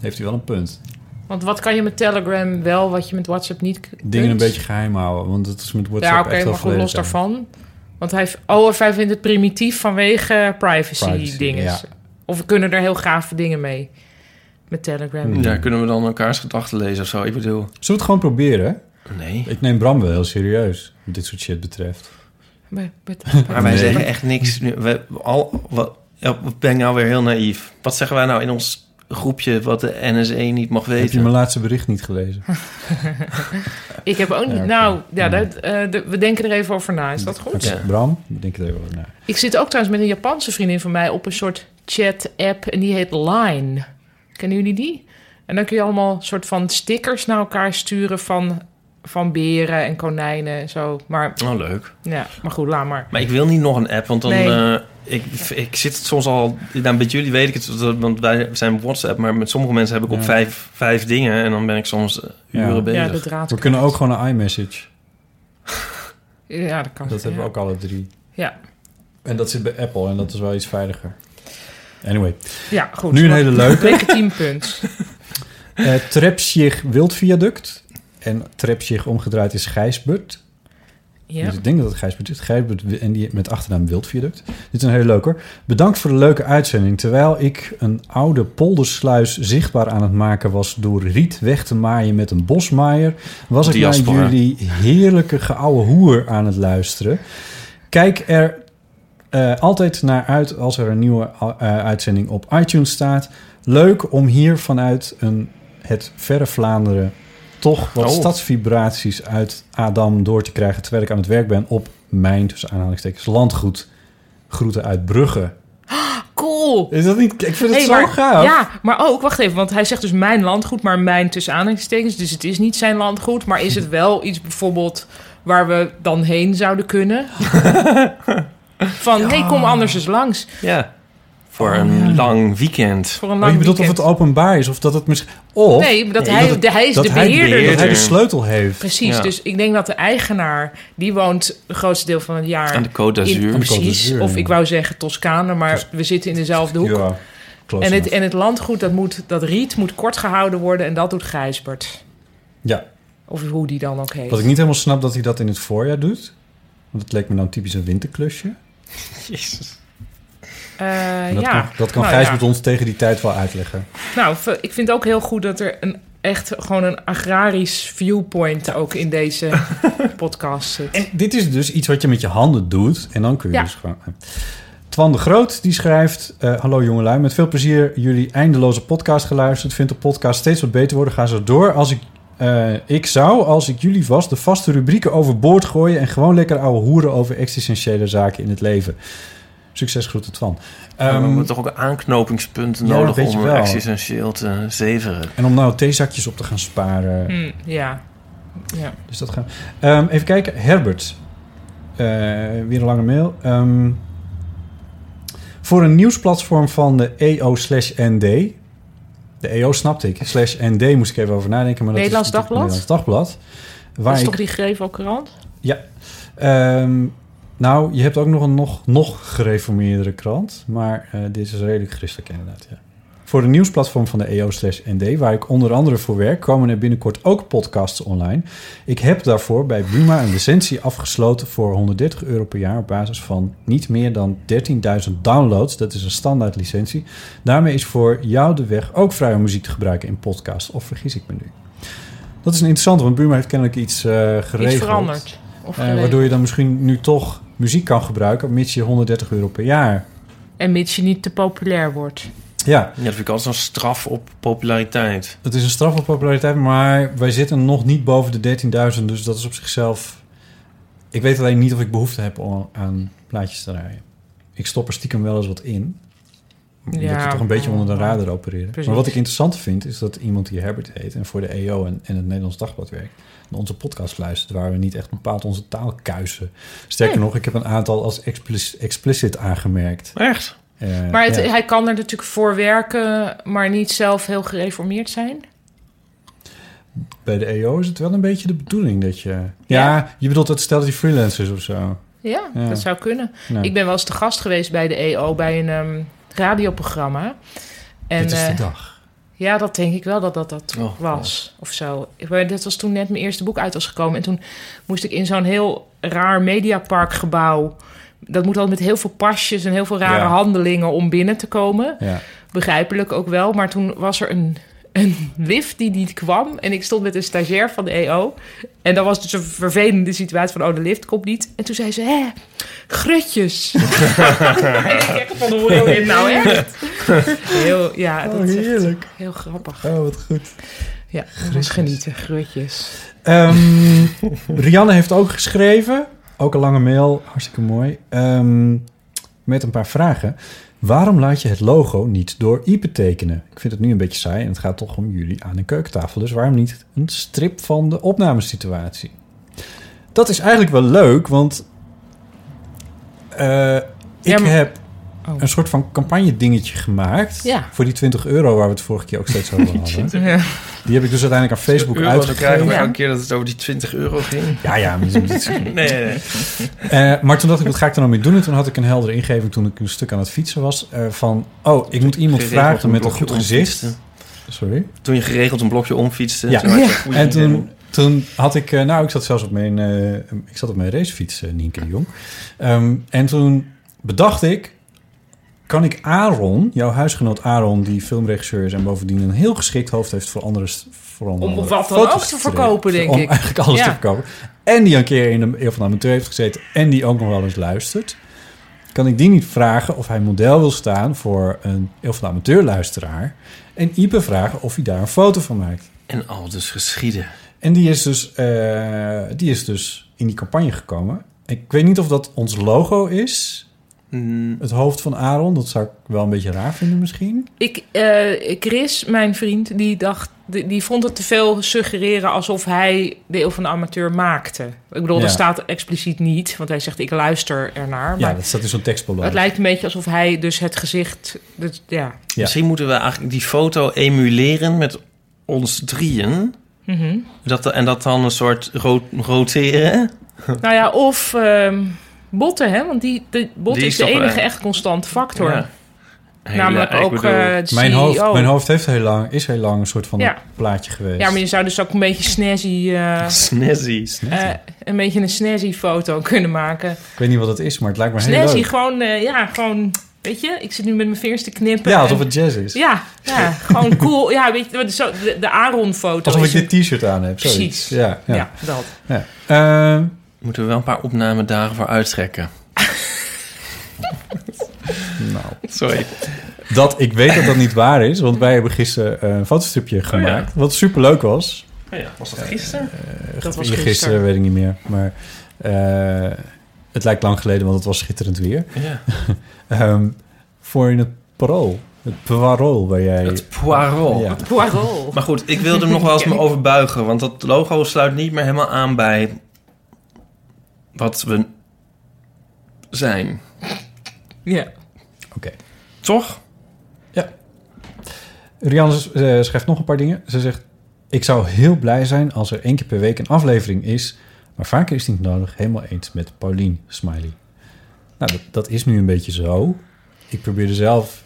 [SPEAKER 4] Heeft u wel een punt.
[SPEAKER 3] Want wat kan je met Telegram wel, wat je met WhatsApp niet k- kunt?
[SPEAKER 4] Dingen een beetje geheim houden, want het is met WhatsApp
[SPEAKER 3] Ja, oké,
[SPEAKER 4] echt wel
[SPEAKER 3] maar goed, los
[SPEAKER 4] verleden tijd.
[SPEAKER 3] daarvan. Want hij, v- oh, of hij vindt het primitief vanwege privacy,
[SPEAKER 4] Privacy,
[SPEAKER 3] dingen.
[SPEAKER 4] ja.
[SPEAKER 3] Of we kunnen er heel gave dingen mee. Met Telegram.
[SPEAKER 4] Hmm.
[SPEAKER 2] Ja, kunnen we dan elkaars gedachten lezen of zo? Ik bedoel...
[SPEAKER 4] Zullen we het gewoon proberen?
[SPEAKER 2] Nee.
[SPEAKER 4] Ik neem Bram wel heel serieus, wat dit soort shit betreft.
[SPEAKER 3] Maar- met-
[SPEAKER 2] Maar wij
[SPEAKER 4] Nee.
[SPEAKER 2] zeggen echt niks. Nu- We, we- al, wat, ja, ik ben nou weer heel naïef. Wat zeggen wij nou in ons groepje wat de NSE niet mag
[SPEAKER 4] Heb je
[SPEAKER 2] weten?
[SPEAKER 4] mijn laatste bericht niet gelezen?
[SPEAKER 3] ik heb ook niet...
[SPEAKER 4] oké.
[SPEAKER 3] Nou, ja, dat, eh, de- we denken er even over na. Is dat goed?
[SPEAKER 4] Oké,
[SPEAKER 2] Ja.
[SPEAKER 4] Bram, denk er even over na.
[SPEAKER 3] Ik zit ook trouwens met een Japanse vriendin van mij op een soort chat-app en die heet Line. Kennen jullie die? En dan kun je allemaal soort van stickers naar elkaar sturen van, van beren en konijnen en zo. Maar,
[SPEAKER 2] Oh, leuk.
[SPEAKER 3] ja, maar goed, laat maar.
[SPEAKER 2] Maar ik wil niet nog een app, want dan...
[SPEAKER 3] Nee.
[SPEAKER 2] eh, ik, ik zit soms al... Nou, met jullie weet ik het, dat- want wij zijn WhatsApp... maar met sommige mensen heb ik op
[SPEAKER 4] Ja.
[SPEAKER 2] vijf, vijf dingen... en dan ben ik soms eh,
[SPEAKER 4] Ja.
[SPEAKER 2] uren
[SPEAKER 3] Ja,
[SPEAKER 2] bezig.
[SPEAKER 3] de draad.
[SPEAKER 4] We kunnen ook gewoon een iMessage.
[SPEAKER 3] Ja, dat kan.
[SPEAKER 4] Dat hebben we
[SPEAKER 3] ja.
[SPEAKER 4] ook alle drie.
[SPEAKER 3] Ja.
[SPEAKER 4] En dat zit bij Apple en dat is wel iets veiliger. Anyway,
[SPEAKER 3] Ja, goed.
[SPEAKER 4] nu een hele leuke.
[SPEAKER 3] Legitiem punt.
[SPEAKER 4] Eh Trepsjich Wildviaduct. En Trepsjich omgedraaid is Gijsbert.
[SPEAKER 3] Ja.
[SPEAKER 4] Dus ik denk dat het Gijsbert is. Gijsbert wi- en die met achternaam Wildviaduct. Dit is een hele leuke hoor. Bedankt voor de leuke uitzending. Terwijl ik een oude poldersluis zichtbaar aan het maken was... door riet weg te maaien met een bosmaaier... was ik naar
[SPEAKER 2] Diaspora.
[SPEAKER 4] jullie heerlijke geouwe hoer aan het luisteren. Kijk er eh, altijd naar uit als er een nieuwe eh, uitzending op iTunes staat. Leuk om hier vanuit een, het verre Vlaanderen toch wat
[SPEAKER 2] Oh.
[SPEAKER 4] stadsvibraties uit Adam door te krijgen... terwijl ik aan het werk ben op mijn, tussen aanhalingstekens, landgoed. Groeten uit Brugge. Oh,
[SPEAKER 3] Cool.
[SPEAKER 4] Is dat niet... Ik vind het
[SPEAKER 3] Hey,
[SPEAKER 4] zo
[SPEAKER 3] maar,
[SPEAKER 4] gaaf.
[SPEAKER 3] Ja, maar ook, wacht even, want hij zegt dus mijn landgoed, maar mijn tussen aanhalingstekens. Dus het is niet zijn landgoed, maar is het wel iets bijvoorbeeld waar we dan heen zouden kunnen? Van, hey, kom anders eens langs
[SPEAKER 2] Ja.
[SPEAKER 3] Oh,
[SPEAKER 2] Voor een lang weekend.
[SPEAKER 3] voor een
[SPEAKER 4] Maar
[SPEAKER 3] lang
[SPEAKER 4] je bedoelt of
[SPEAKER 3] weekend.
[SPEAKER 4] het openbaar is of dat het misschien... Of
[SPEAKER 3] Nee, maar dat hij,
[SPEAKER 4] dat het-
[SPEAKER 3] de- hij is
[SPEAKER 4] dat
[SPEAKER 3] de
[SPEAKER 4] hij de-
[SPEAKER 3] beheerder.
[SPEAKER 4] dat hij de
[SPEAKER 2] Eerder.
[SPEAKER 4] sleutel heeft.
[SPEAKER 3] Precies,
[SPEAKER 2] Ja.
[SPEAKER 3] dus ik denk dat de eigenaar, die woont het grootste deel van het jaar...
[SPEAKER 2] Aan de Côte d'Azur.
[SPEAKER 3] in-
[SPEAKER 4] Aan de Côte
[SPEAKER 3] Precies,
[SPEAKER 4] d'Azur,
[SPEAKER 3] of
[SPEAKER 4] ja.
[SPEAKER 3] ik wou zeggen Toscane, maar we zitten in dezelfde hoek.
[SPEAKER 4] Ja, close
[SPEAKER 3] En het,
[SPEAKER 4] enough.
[SPEAKER 3] en het landgoed, dat, moet, dat riet moet kort gehouden worden en dat doet Gijsbert.
[SPEAKER 4] Ja,
[SPEAKER 3] Of hoe die dan ook heet.
[SPEAKER 4] Wat ik niet helemaal snap dat hij dat in het voorjaar doet. Want het leek me nou typisch een winterklusje.
[SPEAKER 3] Eh,
[SPEAKER 4] En dat
[SPEAKER 3] ja.
[SPEAKER 4] kan, dat kan
[SPEAKER 3] nou,
[SPEAKER 4] Gijsbert
[SPEAKER 3] ja.
[SPEAKER 4] ons tegen die tijd wel uitleggen.
[SPEAKER 3] Nou, v- ik vind ook heel goed dat er een, echt gewoon een agrarisch viewpoint ook in deze podcast zit.
[SPEAKER 4] En dit is dus iets wat je met je handen doet. En dan kun je
[SPEAKER 3] Ja.
[SPEAKER 4] dus gewoon... Twan de Groot die schrijft... eh, Hallo jongelui, met veel plezier jullie eindeloze podcast geluisterd. Vindt de podcast steeds wat beter worden. Ga zo door. Als ik, eh, ik zou, als ik jullie was, de vaste rubrieken overboord gooien... en gewoon lekker ouwe hoeren over existentiële zaken in het leven. Succes, groeten Twan.
[SPEAKER 2] Maar
[SPEAKER 4] Ehm,
[SPEAKER 2] we hebben toch ook aanknopingspunten
[SPEAKER 4] ja,
[SPEAKER 2] nodig
[SPEAKER 4] weet je
[SPEAKER 2] om
[SPEAKER 4] wel.
[SPEAKER 2] existentieel te zeveren.
[SPEAKER 4] en om nou theezakjes op te gaan sparen...
[SPEAKER 3] Hm, ja. ja.
[SPEAKER 4] Dus dat gaan. Ehm, even kijken, Herbert. Eh, weer een lange mail. Ehm, voor een nieuwsplatform van de EO slash ND. De EO snapte ik. Slash ND moest ik even over nadenken. Maar dat
[SPEAKER 3] Nederlands
[SPEAKER 4] is natuurlijk
[SPEAKER 3] Dagblad?
[SPEAKER 4] Nederlands Dagblad.
[SPEAKER 3] Dat
[SPEAKER 4] Waar
[SPEAKER 3] is
[SPEAKER 4] ik,
[SPEAKER 3] toch die Grevelkrant?
[SPEAKER 4] Ja. Ehm, nou, je hebt ook nog een nog, nog gereformeerdere krant. Maar eh dit is redelijk christelijk inderdaad, ja. Voor de nieuwsplatform van de EO slash ND, waar ik onder andere voor werk, komen er binnenkort ook podcasts online. Ik heb daarvoor bij Buma een licentie afgesloten voor 130 euro per jaar op basis van niet meer dan 13.000 downloads. Dat is een standaard licentie. Daarmee is voor jou de weg ook vrije muziek te gebruiken in podcasts. Of vergis ik me nu? Dat is een interessante, want Buma heeft kennelijk iets eh geregeld.
[SPEAKER 3] Iets veranderd. Of
[SPEAKER 4] Eh,
[SPEAKER 3] geregeld.
[SPEAKER 4] waardoor je dan misschien nu toch muziek kan gebruiken, mits je 130 euro per jaar.
[SPEAKER 3] En mits je niet te populair wordt.
[SPEAKER 4] Ja,
[SPEAKER 2] Ja, dat vind ik altijd zo'n straf op populariteit.
[SPEAKER 4] dat is een straf op populariteit, maar wij zitten nog niet boven de 13.000, dus dat is op zichzelf. Ik weet alleen niet of ik behoefte heb om aan plaatjes te draaien. Ik stop er stiekem wel eens wat in. Omdat
[SPEAKER 3] Ja. mm,
[SPEAKER 4] je toch een beetje onder de radar opereren.
[SPEAKER 3] Precies.
[SPEAKER 4] Maar wat ik interessant vind, is dat iemand die Herbert heet... en voor de EO en, en het Nederlands Dagblad werkt... naar onze podcast luistert, waar we niet echt bepaald onze taal kuisen. Sterker nog, ik heb een aantal als explicit, explicit aangemerkt.
[SPEAKER 2] Echt?
[SPEAKER 4] Eh,
[SPEAKER 3] Maar het,
[SPEAKER 4] ja.
[SPEAKER 3] hij kan er natuurlijk voor werken, maar niet zelf heel gereformeerd zijn.
[SPEAKER 4] Bij de EO is het wel een beetje de bedoeling dat je... Ja,
[SPEAKER 3] Ja.
[SPEAKER 4] je bedoelt dat stel dat je freelance is of zo.
[SPEAKER 3] Ja,
[SPEAKER 4] Ja.
[SPEAKER 3] dat zou kunnen.
[SPEAKER 4] Nou,
[SPEAKER 3] Ik ben wel eens te gast geweest bij de EO bij een ehm, radioprogramma. En
[SPEAKER 4] dit is de
[SPEAKER 3] eh,
[SPEAKER 4] dag.
[SPEAKER 3] ja, dat denk ik wel dat dat, dat
[SPEAKER 2] Oh,
[SPEAKER 3] was of zo. Ik ben- Dat was toen net mijn eerste boek uit was gekomen. En toen moest ik in zo'n heel raar mediaparkgebouw. Dat moet al met heel veel pasjes en heel veel rare
[SPEAKER 4] Ja.
[SPEAKER 3] handelingen om binnen te komen.
[SPEAKER 4] Ja.
[SPEAKER 3] begrijpelijk ook wel. Maar toen was er een, een lift die niet kwam. En ik stond met een stagiair van de EO. En dat was dus een vervelende situatie van... oh, de lift komt niet. En toen zei ze, hè, grutjes. en ik echt van, hoe wil je het nou echt? Heel, ja, dat is echt
[SPEAKER 4] Oh, heerlijk.
[SPEAKER 3] heel grappig.
[SPEAKER 4] Oh, wat goed.
[SPEAKER 3] Ja, dat was genieten, grutjes.
[SPEAKER 4] Ehm, Rianne heeft ook geschreven. Ook een lange mail. Hartstikke mooi. Ehm, met een paar vragen. Waarom laat je het logo niet door Ipe tekenen? Ik vind het nu een beetje saai en het gaat toch om jullie aan de keukentafel. Dus waarom niet een strip van de opnamesituatie? Dat is eigenlijk wel leuk, want eh, ik
[SPEAKER 3] Ja, maar-
[SPEAKER 4] heb
[SPEAKER 3] Oh.
[SPEAKER 4] een soort van campagne dingetje gemaakt.
[SPEAKER 3] Ja.
[SPEAKER 4] Voor die 20 euro waar we het vorige keer ook steeds over hadden.
[SPEAKER 3] Ja.
[SPEAKER 4] Die heb ik dus uiteindelijk aan Facebook
[SPEAKER 2] euro, dan krijgen we
[SPEAKER 4] uitgegeven.
[SPEAKER 3] Ja.
[SPEAKER 2] elke keer dat het over die 20 euro ging.
[SPEAKER 4] Ja, ja. maar dat is-
[SPEAKER 2] Nee, nee, nee.
[SPEAKER 4] Eh, maar toen dacht ik, wat ga ik er nou mee doen? En toen had ik een heldere ingeving toen ik een stuk aan het fietsen was. eh, van, oh, ik moet iemand
[SPEAKER 2] Geregeld
[SPEAKER 4] vragen met een
[SPEAKER 2] blokje
[SPEAKER 4] goed gezicht.
[SPEAKER 2] omfietsten.
[SPEAKER 4] Sorry?
[SPEAKER 2] Toen je geregeld een blokje omfietste.
[SPEAKER 4] Ja.
[SPEAKER 2] toen had je een goede
[SPEAKER 4] En
[SPEAKER 2] idee.
[SPEAKER 4] toen, toen had ik, eh, nou, ik zat zelfs op mijn, eh, ik zat op mijn racefiets, eh, Nienke de Jong. Ehm, en toen bedacht ik, kan ik Aaron, jouw huisgenoot Aaron, die filmregisseur is en bovendien een heel geschikt hoofd heeft voor andere, st- voor andere
[SPEAKER 3] Om wat dan
[SPEAKER 4] foto's
[SPEAKER 3] ook te verkopen, denk
[SPEAKER 4] om
[SPEAKER 3] ik.
[SPEAKER 4] eigenlijk alles
[SPEAKER 3] Ja.
[SPEAKER 4] te verkopen. En die een keer in de Eeuw van de Amateur heeft gezeten en die ook nog wel eens luistert. Kan ik die niet vragen of hij model wil staan voor een Eeuw van de Amateur luisteraar? En Ipe vragen of hij daar een foto van maakt.
[SPEAKER 2] En al dus geschieden.
[SPEAKER 4] En die is dus, eh, die is dus in die campagne gekomen. Ik weet niet of dat ons logo is,
[SPEAKER 2] Mm,
[SPEAKER 4] het hoofd van Aaron. Dat zou ik wel een beetje raar vinden misschien.
[SPEAKER 3] Ik, eh, Chris, mijn vriend, die, dacht, die, die vond het te veel suggereren alsof hij de eeuw van de amateur maakte. Ik bedoel,
[SPEAKER 4] Ja.
[SPEAKER 3] dat staat expliciet niet, want hij zegt ik luister ernaar.
[SPEAKER 4] Ja,
[SPEAKER 3] Maar
[SPEAKER 4] dat staat in zo'n tekstballon.
[SPEAKER 3] het lijkt een beetje alsof hij dus het gezicht... Dus, ja.
[SPEAKER 4] Ja.
[SPEAKER 2] Misschien moeten we eigenlijk die foto emuleren met ons drieën.
[SPEAKER 3] Mhm.
[SPEAKER 2] Dat, en dat dan een soort ro- roteren.
[SPEAKER 3] Nou ja, of ehm, botten, hè? Want die, de, bot
[SPEAKER 2] Die
[SPEAKER 3] is,
[SPEAKER 2] is
[SPEAKER 3] de
[SPEAKER 2] toch,
[SPEAKER 3] enige
[SPEAKER 2] eh,
[SPEAKER 3] echt constante factor.
[SPEAKER 2] Ja. Hele-
[SPEAKER 3] Namelijk
[SPEAKER 2] ik
[SPEAKER 3] ook
[SPEAKER 2] bedoel,
[SPEAKER 3] eh, de
[SPEAKER 4] Mijn
[SPEAKER 3] CEO.
[SPEAKER 4] hoofd, mijn hoofd heeft heel lang, is heel lang een soort van
[SPEAKER 3] Ja.
[SPEAKER 4] een plaatje geweest.
[SPEAKER 3] Ja, maar je zou dus ook een beetje snazzy, eh,
[SPEAKER 2] snazzy.
[SPEAKER 3] eh, een beetje een snazzy foto kunnen maken.
[SPEAKER 4] Ik weet niet wat dat is, maar het lijkt me heel
[SPEAKER 3] Snazzy,
[SPEAKER 4] leuk.
[SPEAKER 3] gewoon, eh, ja, gewoon, weet je, ik zit nu met mijn vingers te knippen.
[SPEAKER 4] Ja,
[SPEAKER 3] en-
[SPEAKER 4] alsof het jazz is.
[SPEAKER 3] ja, ja, gewoon cool. Ja, weet je, zo, de, de Aaron-foto.
[SPEAKER 4] Alsof ik
[SPEAKER 3] is een-
[SPEAKER 4] dit t-shirt aan heb. zoiets.
[SPEAKER 3] Precies.
[SPEAKER 4] Ja,
[SPEAKER 3] ja.
[SPEAKER 4] ja. ja.
[SPEAKER 3] dat.
[SPEAKER 4] Ehm,
[SPEAKER 2] Moeten we wel een paar opnamedagen voor uittrekken.
[SPEAKER 4] nou,
[SPEAKER 2] Sorry.
[SPEAKER 4] dat, ik weet dat dat niet waar is, want wij hebben gisteren eh, een
[SPEAKER 3] Oh
[SPEAKER 4] fotostripje gemaakt. Wat superleuk was.
[SPEAKER 2] Oh ja, was dat gisteren?
[SPEAKER 3] Dat was
[SPEAKER 4] gisteren.
[SPEAKER 3] gisteren.
[SPEAKER 4] weet ik niet meer. Maar eh, het lijkt lang geleden, want het was schitterend weer.
[SPEAKER 2] Ja.
[SPEAKER 4] Ehm, voor in het parool. Het parool waar jij...
[SPEAKER 2] Het poirot.
[SPEAKER 4] ja.
[SPEAKER 3] Poirot.
[SPEAKER 2] Maar goed, ik wilde hem nog wel eens me overbuigen. Want dat logo sluit niet meer helemaal aan bij wat we zijn.
[SPEAKER 3] Ja.
[SPEAKER 4] Oké.
[SPEAKER 2] Toch?
[SPEAKER 4] Rianne s- eh, schrijft nog een paar dingen. Ze zegt... Ik zou heel blij zijn als er één keer per week een aflevering is. Maar vaker is het niet nodig. Helemaal eens met Paulien Smiley. Nou, dat, dat is nu een beetje zo. Ik probeerde zelf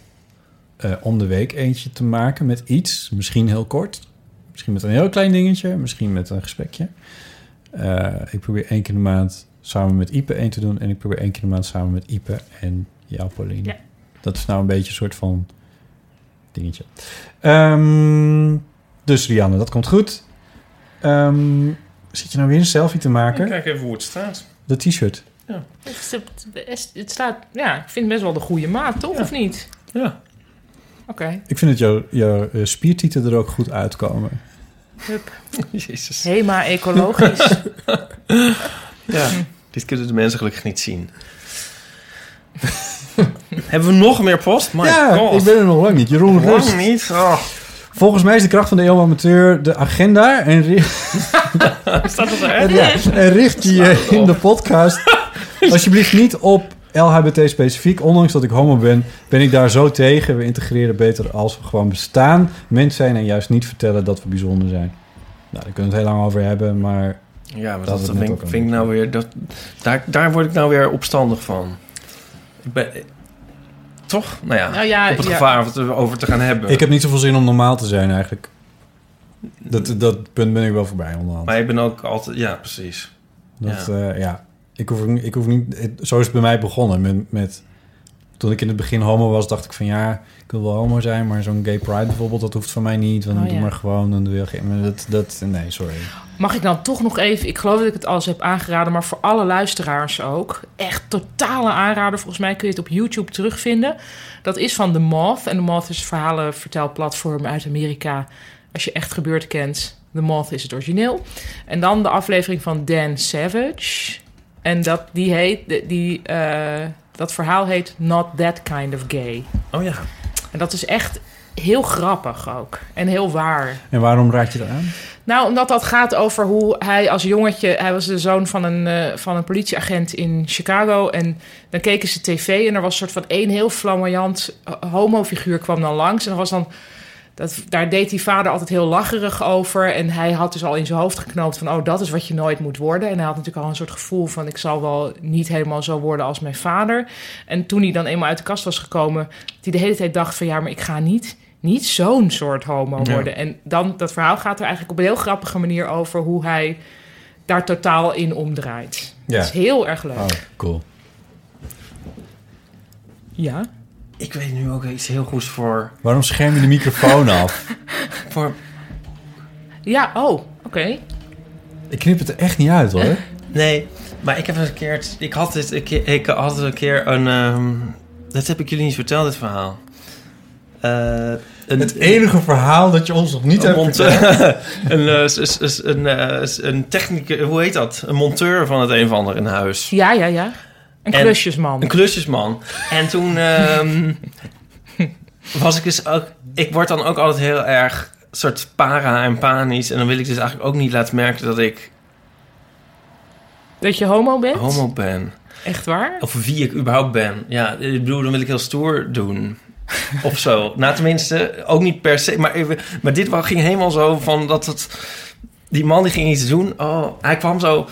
[SPEAKER 4] eh, om de week eentje te maken met iets. Misschien heel kort. Misschien met een heel klein dingetje. Misschien met een gesprekje. Eh, ik probeer één keer in de maand samen met Ipe één te doen. En ik probeer één keer in de maand samen met Ipe en jou, Pauline.
[SPEAKER 3] Ja.
[SPEAKER 4] Dat is nou een beetje een soort van dingetje. Ehm, dus Rianne, dat komt goed. Ehm, zit je nou weer een selfie te maken?
[SPEAKER 2] even hoe het staat.
[SPEAKER 4] Dat t-shirt.
[SPEAKER 3] Het staat, ja, ik vind best wel de goede maat, toch? Of niet?
[SPEAKER 2] Ja.
[SPEAKER 3] Oké.
[SPEAKER 4] Ik vind dat jouw, jouw eh, spiertieten er ook goed uitkomen.
[SPEAKER 3] Hup.
[SPEAKER 2] Jezus.
[SPEAKER 3] Hema ecologisch.
[SPEAKER 2] Ja. Dit kunnen de mensen gelukkig niet zien. Hebben we nog meer post? My
[SPEAKER 4] ja,
[SPEAKER 2] god.
[SPEAKER 4] ik ben er nog lang niet. Jeroen Rust.
[SPEAKER 2] Lang niet. Oh,
[SPEAKER 4] Volgens mij is de kracht van de eeuw amateur de agenda. En, ri-
[SPEAKER 2] staat dat
[SPEAKER 4] en,
[SPEAKER 2] eruit?
[SPEAKER 4] en richt die eh, in de podcast alsjeblieft niet op LHBT specifiek. Ondanks dat ik homo ben, ben ik daar zo tegen. We integreren beter als we gewoon bestaan. Mens zijn en juist niet vertellen dat we bijzonder zijn. Nou, daar kunnen we het heel lang over hebben, maar...
[SPEAKER 2] Ja, maar
[SPEAKER 4] Dat
[SPEAKER 2] dat,
[SPEAKER 4] is
[SPEAKER 2] dat
[SPEAKER 4] net
[SPEAKER 2] vind,
[SPEAKER 4] ook
[SPEAKER 2] ik- vind ik nou weer... Dat, daar, daar word ik nou weer opstandig van. Ik ben, eh, toch? Nou ja,
[SPEAKER 3] Nou ja,
[SPEAKER 2] op het
[SPEAKER 3] ja.
[SPEAKER 2] gevaar om het over te gaan hebben.
[SPEAKER 4] Ik heb niet zoveel zin om normaal te zijn eigenlijk. Dat, dat punt ben ik wel voorbij onderhand.
[SPEAKER 2] Maar ik ben ook altijd... Ja, precies.
[SPEAKER 4] Dat, ja. ja. Ik hoef, ook- ik hoef niet... het- Zo is het bij mij begonnen. Met, met, toen ik in het begin homo was, dacht ik van... Ja, ik wil wel homo zijn, maar zo'n gay pride bijvoorbeeld... dat hoeft van mij niet. Want
[SPEAKER 3] Oh,
[SPEAKER 4] doe
[SPEAKER 3] ja.
[SPEAKER 4] maar gewoon. Dan doe je geen... maar Dat, dat, nee, sorry.
[SPEAKER 3] Mag ik dan toch nog even, ik geloof dat ik het al eens heb aangeraden, maar voor alle luisteraars ook. Echt totale aanrader. Volgens mij kun je het op YouTube terugvinden. Dat is van The Moth. En The Moth is een verhalenvertelplatform uit Amerika. Als je echt gebeurd kent, The Moth is het origineel. En dan de aflevering van Dan Savage. En dat, die heet, die, eh, dat verhaal heet Not That Kind of Gay.
[SPEAKER 4] eh,
[SPEAKER 2] Oh ja.
[SPEAKER 3] En dat is echt heel grappig ook. En heel waar.
[SPEAKER 4] En waarom raad je dat aan?
[SPEAKER 3] Nou, omdat dat gaat over hoe hij als jongetje... Hij was de zoon van een, eh, van een politieagent in Chicago. En dan keken ze tv en er was een soort van één heel flamboyant eh, homofiguur kwam dan langs. En er was dan... Dat, daar deed die vader altijd heel lacherig over. En hij had dus al in zijn hoofd geknoopt van... oh, dat is wat je nooit moet worden. En hij had natuurlijk al een soort gevoel van... ik zal wel niet helemaal zo worden als mijn vader. En toen hij dan eenmaal uit de kast was gekomen... die de hele tijd dacht van... ja, maar ik ga niet, niet zo'n soort homo
[SPEAKER 2] Ja.
[SPEAKER 3] worden. En dan, dat verhaal gaat er eigenlijk op een heel grappige manier over... hoe hij daar totaal in omdraait.
[SPEAKER 4] Ja.
[SPEAKER 3] Dat is heel erg leuk.
[SPEAKER 4] Oh, cool.
[SPEAKER 3] Ja.
[SPEAKER 2] Ik weet nu ook iets heel goeds voor...
[SPEAKER 4] Waarom scherm je de microfoon af?
[SPEAKER 2] voor
[SPEAKER 3] Ja, oh, oké.
[SPEAKER 4] Ik knip het er echt niet uit hoor.
[SPEAKER 2] nee, maar ik heb eens een keer... het- Ik had, dit een keer, ik had een keer een... ehm, dat heb ik jullie niet verteld, dit verhaal. Eh, een,
[SPEAKER 4] Het enige verhaal dat je ons nog niet
[SPEAKER 2] een
[SPEAKER 4] hebt verteld.
[SPEAKER 2] monteur, een, eh, s- s- s- een, eh, s- een technicus, hoe heet dat? Een monteur van het een of ander in huis.
[SPEAKER 3] Ja, ja, ja. Een
[SPEAKER 2] En-
[SPEAKER 3] klusjesman.
[SPEAKER 2] Een klusjesman. En toen ehm, was ik dus ook... Ik word dan ook altijd heel erg soort para en panisch. En dan wil ik dus eigenlijk ook niet laten merken dat ik
[SPEAKER 3] Dat je homo bent?
[SPEAKER 2] homo ben.
[SPEAKER 3] Echt waar?
[SPEAKER 2] Of wie ik überhaupt ben. Ja, ik bedoel, dan wil ik heel stoer doen. Of zo. Nou, tenminste, ook niet per se. Maar, even, maar dit wa- ging helemaal zo van dat het... Die man die ging iets doen. Oh, hij kwam zo...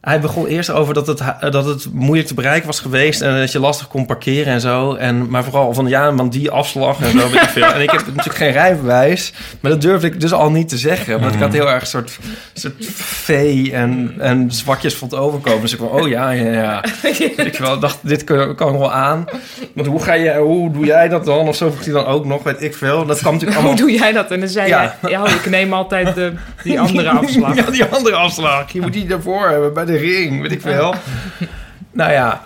[SPEAKER 2] Hij begon eerst over dat het, ha- dat het moeilijk te bereiken was geweest... en dat je lastig kon parkeren en zo. En, maar vooral van, ja, want die afslag en zo weet ik veel. En ik heb natuurlijk geen rijbewijs. Maar dat durfde ik dus al niet te zeggen. Want ik had heel erg een soort, soort vee en, en zwakjes vond overkomen. Dus ik kwam, oh ja, ja, ja. Ik wel dacht, dit kan, kan wel aan. Want hoe, ga je, hoe doe jij dat dan? Of zo vroeg hij dan ook nog, weet ik veel. Dat kwam natuurlijk
[SPEAKER 3] Hoe
[SPEAKER 2] allemaal...
[SPEAKER 3] doe jij dat? En dan zei
[SPEAKER 2] Ja.
[SPEAKER 3] jij, ja, ik neem altijd de, die andere afslag.
[SPEAKER 2] Ja, die andere afslag. Je moet die daarvoor hebben, bij de ring, weet ik veel. nou ja.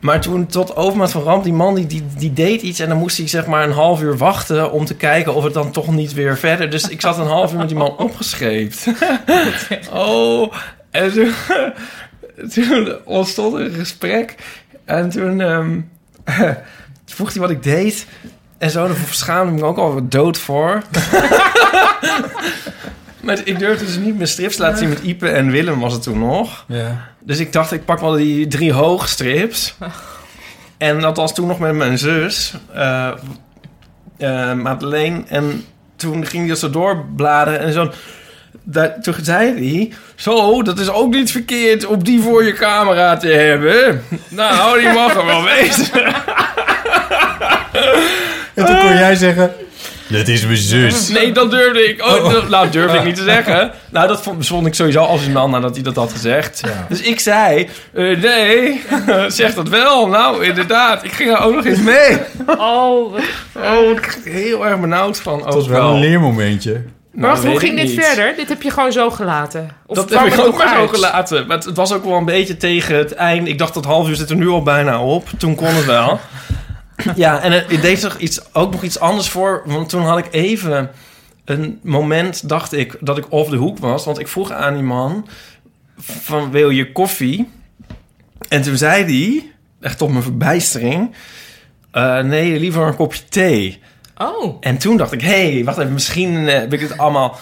[SPEAKER 2] Maar toen tot overmaat van ramp, die man die, die, die deed iets... en dan moest hij zeg maar een half uur wachten om te kijken of het dan toch niet weer verder... Dus ik zat een half uur met die man opgescheept. oh, en toen, toen ontstond er een gesprek. En toen ehm, vroeg hij wat ik deed... En zo, daar schaamde ik me ook al dood voor. Maar ik durfde dus niet mijn strips te laten zien met Ipe en Willem was het toen nog.
[SPEAKER 4] Ja.
[SPEAKER 2] Dus ik dacht, ik pak wel die drie hoogstrips. En dat was toen nog met mijn zus, eh eh, Madeleine. En toen ging hij dat zo doorbladeren en zo. Daar, toen zei hij, zo, dat is ook niet verkeerd om die voor je camera te hebben. Nou, die mag er wel wezen.
[SPEAKER 4] En toen kon jij zeggen... Dat is mijn zus.
[SPEAKER 2] Nee, dat durfde ik.
[SPEAKER 4] Oh.
[SPEAKER 2] ook. dat- nou, durfde ik niet te zeggen. Nou, dat vond, vond ik sowieso als een man nadat hij dat had gezegd. Dus ik zei, eh, nee, zeg dat wel. Nou, inderdaad. Ik ging er ook nog eens mee.
[SPEAKER 3] Oh, wat-
[SPEAKER 2] Oh, ik kreeg heel erg benauwd van. Nou,
[SPEAKER 4] Dat was wel een leermomentje.
[SPEAKER 3] maar wacht, hoe ging dit verder? Dit heb je gewoon zo gelaten? Of
[SPEAKER 2] dat
[SPEAKER 3] kwam
[SPEAKER 2] heb ik
[SPEAKER 3] het
[SPEAKER 2] ook
[SPEAKER 3] nog
[SPEAKER 2] maar zo
[SPEAKER 3] uit?
[SPEAKER 2] gelaten. Maar het, het was ook wel een beetje tegen het eind. Ik dacht dat half uur zit er nu al bijna op. Toen kon het wel. ja, en het, het deed zich iets, ook nog iets anders voor. Want toen had ik even een moment, dacht ik, dat ik off de hoek was. Want ik vroeg aan die man van, wil je koffie? En toen zei hij, echt tot mijn verbijstering... eh, nee, liever een kopje thee.
[SPEAKER 3] Oh,
[SPEAKER 2] En toen dacht ik, hé, hey, wacht even, misschien eh, heb ik het allemaal...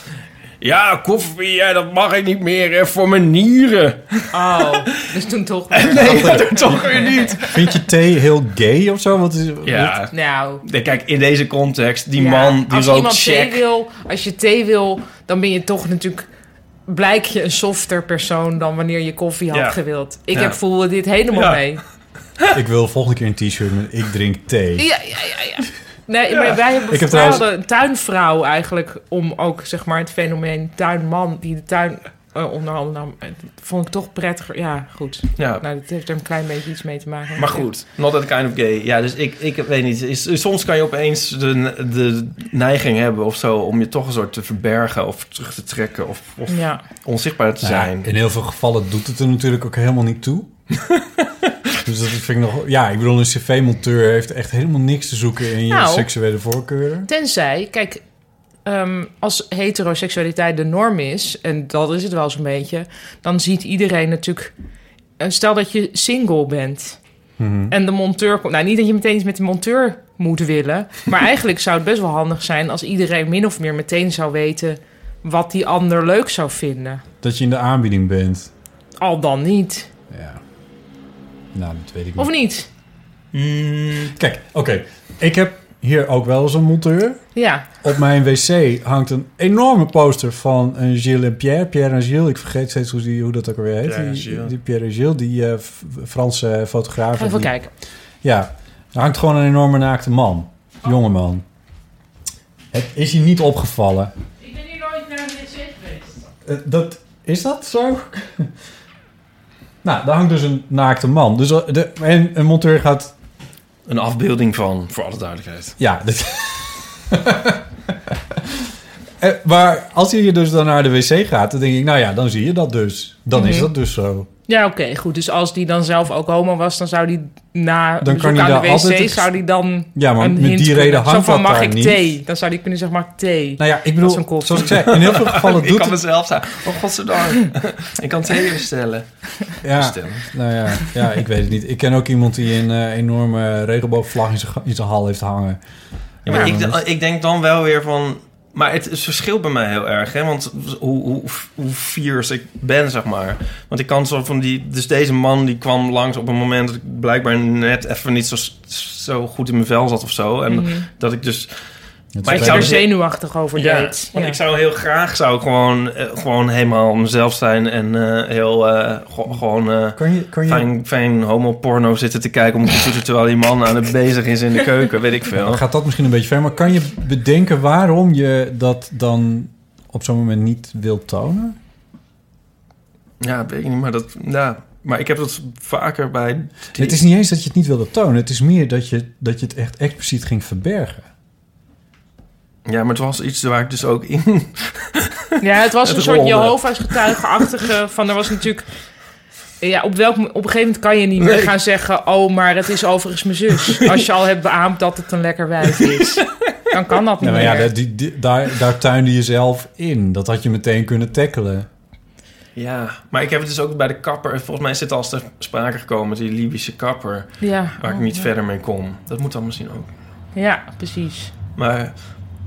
[SPEAKER 2] Ja, koffie, ja, dat mag ik niet meer eh, voor mijn nieren.
[SPEAKER 3] oh. dus toen toch weer.
[SPEAKER 2] Nee, dat toch weer niet.
[SPEAKER 4] Vind je thee heel gay of zo? Want het is-
[SPEAKER 2] Ja,
[SPEAKER 3] Nou,
[SPEAKER 2] nee, kijk, in deze context, die
[SPEAKER 3] ja,
[SPEAKER 2] man die
[SPEAKER 3] als
[SPEAKER 2] rookt
[SPEAKER 3] iemand thee
[SPEAKER 2] check.
[SPEAKER 3] wil, Als je thee wil, dan ben je toch natuurlijk... Blijk je een softer persoon dan wanneer je koffie had
[SPEAKER 2] Ja.
[SPEAKER 3] gewild. Ik
[SPEAKER 2] Ja.
[SPEAKER 3] heb voelde dit helemaal
[SPEAKER 2] Ja.
[SPEAKER 3] mee.
[SPEAKER 4] Ik wil volgende keer een t-shirt met ik drink thee.
[SPEAKER 3] Ja, ja, ja, ja. Nee, maar wij hebben
[SPEAKER 4] Ik
[SPEAKER 3] ik
[SPEAKER 4] heb trouwens-
[SPEAKER 3] een tuinvrouw eigenlijk... om ook zeg maar, het fenomeen tuinman die de tuin eh onder andere nam... eh, vond ik toch prettiger. Ja, goed.
[SPEAKER 2] Ja,
[SPEAKER 3] Nou, dat heeft er een klein beetje iets mee te maken.
[SPEAKER 2] maar goed, not that kind of gay. Ja, dus ik, ik weet niet, is- soms kan je opeens de, de neiging hebben of zo... om je toch een soort te verbergen of terug te trekken of, of
[SPEAKER 3] Ja.
[SPEAKER 2] onzichtbaar te
[SPEAKER 4] Nou ja,
[SPEAKER 2] zijn.
[SPEAKER 4] in heel veel gevallen doet het er natuurlijk ook helemaal niet toe. dus dat vind ik nog... Ja, ik bedoel, een cv-monteur heeft echt helemaal niks te zoeken in je
[SPEAKER 3] Nou.
[SPEAKER 4] seksuele voorkeuren.
[SPEAKER 3] Tenzij, kijk, ehm, als heteroseksualiteit de norm is... en dat is het wel zo'n beetje... dan ziet iedereen natuurlijk... eh, stel dat je single bent... en de monteur komt... Nou, niet dat je meteen iets met de monteur moet willen... maar eigenlijk zou het best wel handig zijn... als iedereen min of meer meteen zou weten... wat die ander leuk zou vinden.
[SPEAKER 4] Dat je in de aanbieding bent.
[SPEAKER 3] Al dan niet.
[SPEAKER 4] Ja. Nou, dat weet ik
[SPEAKER 3] Of
[SPEAKER 4] niet.
[SPEAKER 3] niet?
[SPEAKER 4] Kijk, oké. Ik heb hier ook wel eens een monteur.
[SPEAKER 3] Ja.
[SPEAKER 4] Op mijn wc hangt een enorme poster van een Gilles en Pierre. Pierre en Gilles, ik vergeet steeds hoe, die, hoe dat ook alweer heet.
[SPEAKER 2] Pierre en
[SPEAKER 4] die,
[SPEAKER 2] Gilles.
[SPEAKER 4] die Pierre en Gilles, die eh, F- Franse fotograaf.
[SPEAKER 3] Ga even
[SPEAKER 4] die-
[SPEAKER 3] kijken.
[SPEAKER 4] Ja, er hangt gewoon een enorme naakte man. Jonge man. Het is je niet opgevallen.
[SPEAKER 3] Ik ben hier nooit naar de wc geweest.
[SPEAKER 4] Eh, dat, is dat zo? nou, daar hangt dus een naakte man. Dus, eh, de, en een monteur gaat...
[SPEAKER 2] Een afbeelding van, voor alle duidelijkheid.
[SPEAKER 4] Ja, dit... Eh, maar als je dus dan naar de wc gaat, dan denk ik... Nou ja, dan zie je dat dus. Dan
[SPEAKER 3] Mhm.
[SPEAKER 4] is dat dus zo.
[SPEAKER 3] Ja, oké, goed. Dus als die dan zelf ook homo was, dan zou die na
[SPEAKER 4] Dan
[SPEAKER 3] dan
[SPEAKER 4] kan hij
[SPEAKER 3] aan de
[SPEAKER 4] daar
[SPEAKER 3] wc,
[SPEAKER 4] altijd het-
[SPEAKER 3] zou die dan
[SPEAKER 4] Ja, maar
[SPEAKER 3] een
[SPEAKER 4] met
[SPEAKER 3] hint
[SPEAKER 4] die
[SPEAKER 3] kunnen.
[SPEAKER 4] reden hangt
[SPEAKER 3] Zo van,
[SPEAKER 4] dat
[SPEAKER 3] mag
[SPEAKER 4] daar
[SPEAKER 3] ik
[SPEAKER 4] niet.
[SPEAKER 3] thee? Dan zou die kunnen zeggen, mag ik thee?
[SPEAKER 4] Nou ja, ik
[SPEAKER 3] Dat is een
[SPEAKER 4] bedoel,
[SPEAKER 3] koffie.
[SPEAKER 4] zoals ik zei, in heel veel gevallen
[SPEAKER 2] ik
[SPEAKER 4] doet
[SPEAKER 2] kan
[SPEAKER 4] het...
[SPEAKER 2] mezelf zijn. Oh, godzijdank. ik kan thee bestellen.
[SPEAKER 4] Ja,
[SPEAKER 2] Bestellen.
[SPEAKER 4] nou ja, ja, ik weet het niet. Ik ken ook iemand die een eh, enorme regenboogvlag in zijn ga- in zijn hal heeft hangen.
[SPEAKER 2] Ja, maar
[SPEAKER 4] Ja, dus-
[SPEAKER 2] ik, eh,
[SPEAKER 4] dat-
[SPEAKER 2] ik denk dan wel weer van... Maar het, het verschilt bij mij heel erg, hè? Want hoe, hoe, hoe fiers ik ben, zeg maar. Want ik kan zo van die... Dus deze man die kwam langs op een moment... dat ik blijkbaar net even niet zo, zo goed in mijn vel zat of zo. En
[SPEAKER 4] Mhm.
[SPEAKER 2] dat ik dus...
[SPEAKER 4] Dat
[SPEAKER 2] Maar
[SPEAKER 4] is
[SPEAKER 2] ik
[SPEAKER 3] Als je
[SPEAKER 2] zou
[SPEAKER 3] er
[SPEAKER 4] wel-
[SPEAKER 2] zeggen-
[SPEAKER 3] zenuwachtig over
[SPEAKER 2] Ja,
[SPEAKER 3] deed.
[SPEAKER 2] want
[SPEAKER 3] Ja.
[SPEAKER 2] ik zou heel graag zou ik gewoon, eh, gewoon helemaal mezelf zijn... en eh, heel eh, go- gewoon... eh,
[SPEAKER 4] Kan je, kan je,
[SPEAKER 2] Fijn, fijn homoporno zitten te kijken op de computer terwijl die man aan het bezig is in de keuken, weet ik veel.
[SPEAKER 4] gaat dat misschien een beetje ver, maar kan je bedenken waarom je dat dan op zo'n moment niet wilt tonen?
[SPEAKER 2] Ja, weet ik niet, maar dat... Ja. Maar ik heb dat vaker bij... die-
[SPEAKER 4] Het is niet eens dat je het niet wilde tonen, het is meer dat je, dat je het echt expliciet ging verbergen.
[SPEAKER 2] Ja, maar het was iets waar ik dus ook in...
[SPEAKER 3] Ja, het was
[SPEAKER 2] Het
[SPEAKER 3] een soort
[SPEAKER 2] rolde.
[SPEAKER 3] Jehovah's getuigenachtige van er was natuurlijk ja, op, welk, op een gegeven moment kan je niet meer
[SPEAKER 2] Nee.
[SPEAKER 3] gaan zeggen... oh, maar het is overigens mijn zus. Als je al hebt beaamd dat het een lekker wijf is. Dan kan dat niet
[SPEAKER 4] Nou maar ja,
[SPEAKER 3] meer.
[SPEAKER 4] dat- die, die- daar, daar tuinde je zelf in. Dat had je meteen kunnen tackelen.
[SPEAKER 2] Ja, maar ik heb het dus ook bij de kapper... Volgens mij is dit al eens ter sprake gekomen, die Libische kapper...
[SPEAKER 3] ja.
[SPEAKER 2] waar
[SPEAKER 4] Oh,
[SPEAKER 2] ik niet verder mee kom. Dat moet dan misschien ook.
[SPEAKER 3] ja, precies.
[SPEAKER 2] Maar,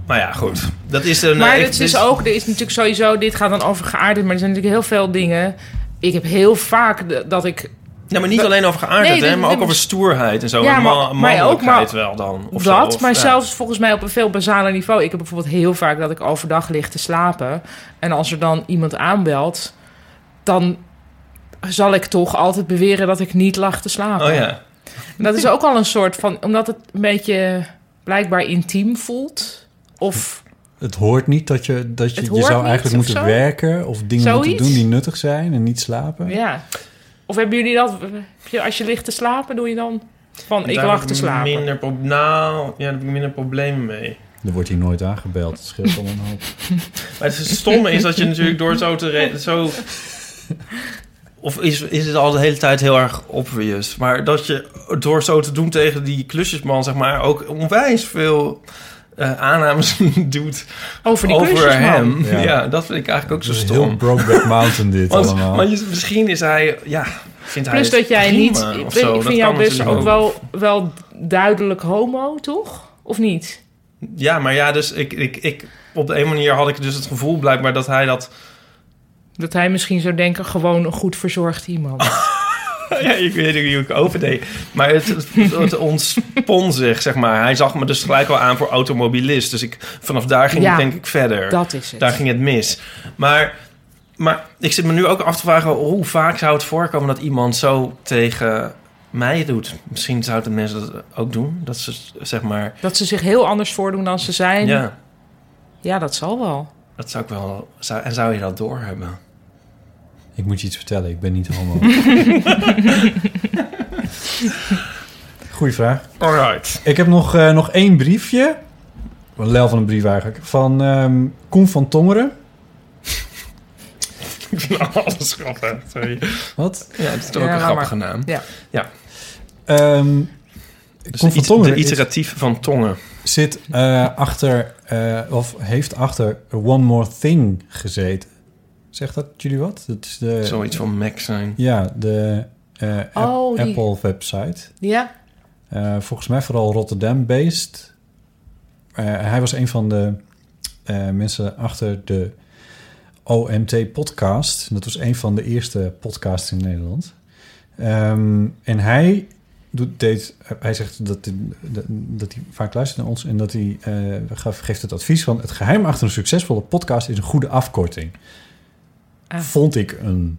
[SPEAKER 2] maar ja, goed. Dat is een...
[SPEAKER 3] maar
[SPEAKER 2] eh, ik-
[SPEAKER 3] het is
[SPEAKER 2] dit-
[SPEAKER 3] ook, er is natuurlijk sowieso, dit gaat dan over geaardheid, maar er zijn natuurlijk heel veel dingen. Ik heb heel vaak de- dat ik
[SPEAKER 2] Ja, maar niet alleen over geaardheid, hè,
[SPEAKER 3] Nee, dit-
[SPEAKER 2] maar ook
[SPEAKER 3] dit-
[SPEAKER 2] over stoerheid en zo.
[SPEAKER 3] Ja,
[SPEAKER 2] en ma-
[SPEAKER 3] maar- maar ook,
[SPEAKER 2] mannelijkheid
[SPEAKER 3] maar-
[SPEAKER 2] wel dan. Of
[SPEAKER 3] dat,
[SPEAKER 2] zo, of-
[SPEAKER 3] maar
[SPEAKER 2] ja.
[SPEAKER 3] zelfs volgens mij op een veel basaler niveau. Ik heb bijvoorbeeld heel vaak dat ik overdag lig te slapen. En als er dan iemand aanbelt, dan zal ik toch altijd beweren dat ik niet lag te slapen.
[SPEAKER 2] Oh ja.
[SPEAKER 3] En Dat is ook al een soort van, omdat het een beetje blijkbaar intiem voelt. Of
[SPEAKER 4] Het hoort niet dat je, dat je,
[SPEAKER 3] Het
[SPEAKER 4] je
[SPEAKER 3] hoort
[SPEAKER 4] zou
[SPEAKER 3] niet
[SPEAKER 4] eigenlijk
[SPEAKER 3] of
[SPEAKER 4] moeten
[SPEAKER 3] zo?
[SPEAKER 4] werken of dingen moeten
[SPEAKER 3] Zoiets?
[SPEAKER 4] doen die nuttig zijn en niet slapen.
[SPEAKER 3] ja. Of hebben jullie dat, als je ligt te slapen, doe je dan van ik
[SPEAKER 2] Daar
[SPEAKER 3] lag
[SPEAKER 2] heb
[SPEAKER 3] te slapen?
[SPEAKER 2] Minder pro- nou, ja, daar heb ik minder problemen mee.
[SPEAKER 4] Er wordt hier nooit aangebeld. Het scheelt allemaal een hoop.
[SPEAKER 2] Maar het stomme is dat je natuurlijk door zo te... re- Zo... Of is, is het al de hele tijd heel erg obvious? Maar dat je door zo te doen tegen die klusjesman, zeg maar... ook onwijs veel eh, aannames doet
[SPEAKER 3] Over die
[SPEAKER 2] over
[SPEAKER 3] klusjesman.
[SPEAKER 2] hem.
[SPEAKER 4] Ja.
[SPEAKER 2] Ja. dat vind ik eigenlijk ook
[SPEAKER 4] Het
[SPEAKER 2] zo
[SPEAKER 4] is heel
[SPEAKER 2] stom.
[SPEAKER 4] Brokeback Mountain dit
[SPEAKER 2] Want,
[SPEAKER 4] allemaal.
[SPEAKER 2] want je- misschien is hij... Ja, vindt hij
[SPEAKER 3] Plus
[SPEAKER 2] het
[SPEAKER 3] dat jij
[SPEAKER 2] prima
[SPEAKER 3] niet.
[SPEAKER 2] of
[SPEAKER 3] Ik,
[SPEAKER 2] zo.
[SPEAKER 3] ik
[SPEAKER 2] Dat
[SPEAKER 3] vind jou
[SPEAKER 2] kan
[SPEAKER 3] best
[SPEAKER 2] natuurlijk
[SPEAKER 3] ook wel, wel duidelijk homo, toch? Of niet?
[SPEAKER 2] Ja, maar ja, dus ik, ik, ik, op de een manier had ik dus het gevoel blijkbaar dat hij dat...
[SPEAKER 3] Dat hij misschien zou denken: gewoon een goed verzorgd iemand.
[SPEAKER 2] Oh Ja, ik weet niet hoe ik overdeed. Maar het, het, het ontspon zich, zeg maar. Hij zag me dus gelijk al aan voor automobilist. Dus ik, vanaf daar ging
[SPEAKER 3] Ja,
[SPEAKER 2] ik denk ik verder.
[SPEAKER 3] Dat is het.
[SPEAKER 2] Daar ging het mis. Maar, maar ik zit me nu ook af te vragen... hoe vaak zou het voorkomen dat iemand zo tegen mij doet? Misschien zouden mensen dat ook doen. Dat ze, zeg maar...
[SPEAKER 3] Dat ze zich heel anders voordoen dan ze zijn.
[SPEAKER 2] Ja,
[SPEAKER 3] Ja, dat zal wel.
[SPEAKER 2] dat zou ik wel... Zou, en zou je dat doorhebben?
[SPEAKER 4] Ik moet je iets vertellen, ik ben niet homo. Goeie vraag.
[SPEAKER 2] All right.
[SPEAKER 4] Ik heb nog, eh, nog één briefje. Een lel van een brief eigenlijk. Van ehm Koen van Tongeren.
[SPEAKER 2] Ik vind alles grappig. Sorry.
[SPEAKER 4] Wat?
[SPEAKER 2] Ja, het is toch
[SPEAKER 3] Ja,
[SPEAKER 2] ook
[SPEAKER 3] laat
[SPEAKER 2] een grappige
[SPEAKER 3] maar.
[SPEAKER 2] naam.
[SPEAKER 3] Ja.
[SPEAKER 4] Ehm
[SPEAKER 2] Dus
[SPEAKER 4] Koen
[SPEAKER 2] de,
[SPEAKER 4] van
[SPEAKER 2] it-
[SPEAKER 4] Tongeren
[SPEAKER 2] de
[SPEAKER 4] is-
[SPEAKER 2] iteratief van tongen.
[SPEAKER 4] zit eh, achter, eh, of heeft achter One More Thing gezeten. Zegt dat jullie wat? Dat is de,
[SPEAKER 2] Zoiets van Mac zijn.
[SPEAKER 4] Ja, de eh, app-
[SPEAKER 3] Oh, die-
[SPEAKER 4] Apple website.
[SPEAKER 3] Ja?
[SPEAKER 4] Eh, volgens mij vooral Rotterdam-based. Eh, hij was een van de eh, mensen achter de OMT podcast. Dat was een van de eerste podcasts in Nederland. Ehm, en hij, doet, deed, hij zegt dat, hij- dat, dat hij vaak luistert naar ons en dat hij eh, gaf- geeft het advies van het geheim achter een succesvolle podcast is een goede afkorting.
[SPEAKER 3] Ah.
[SPEAKER 4] Vond ik een,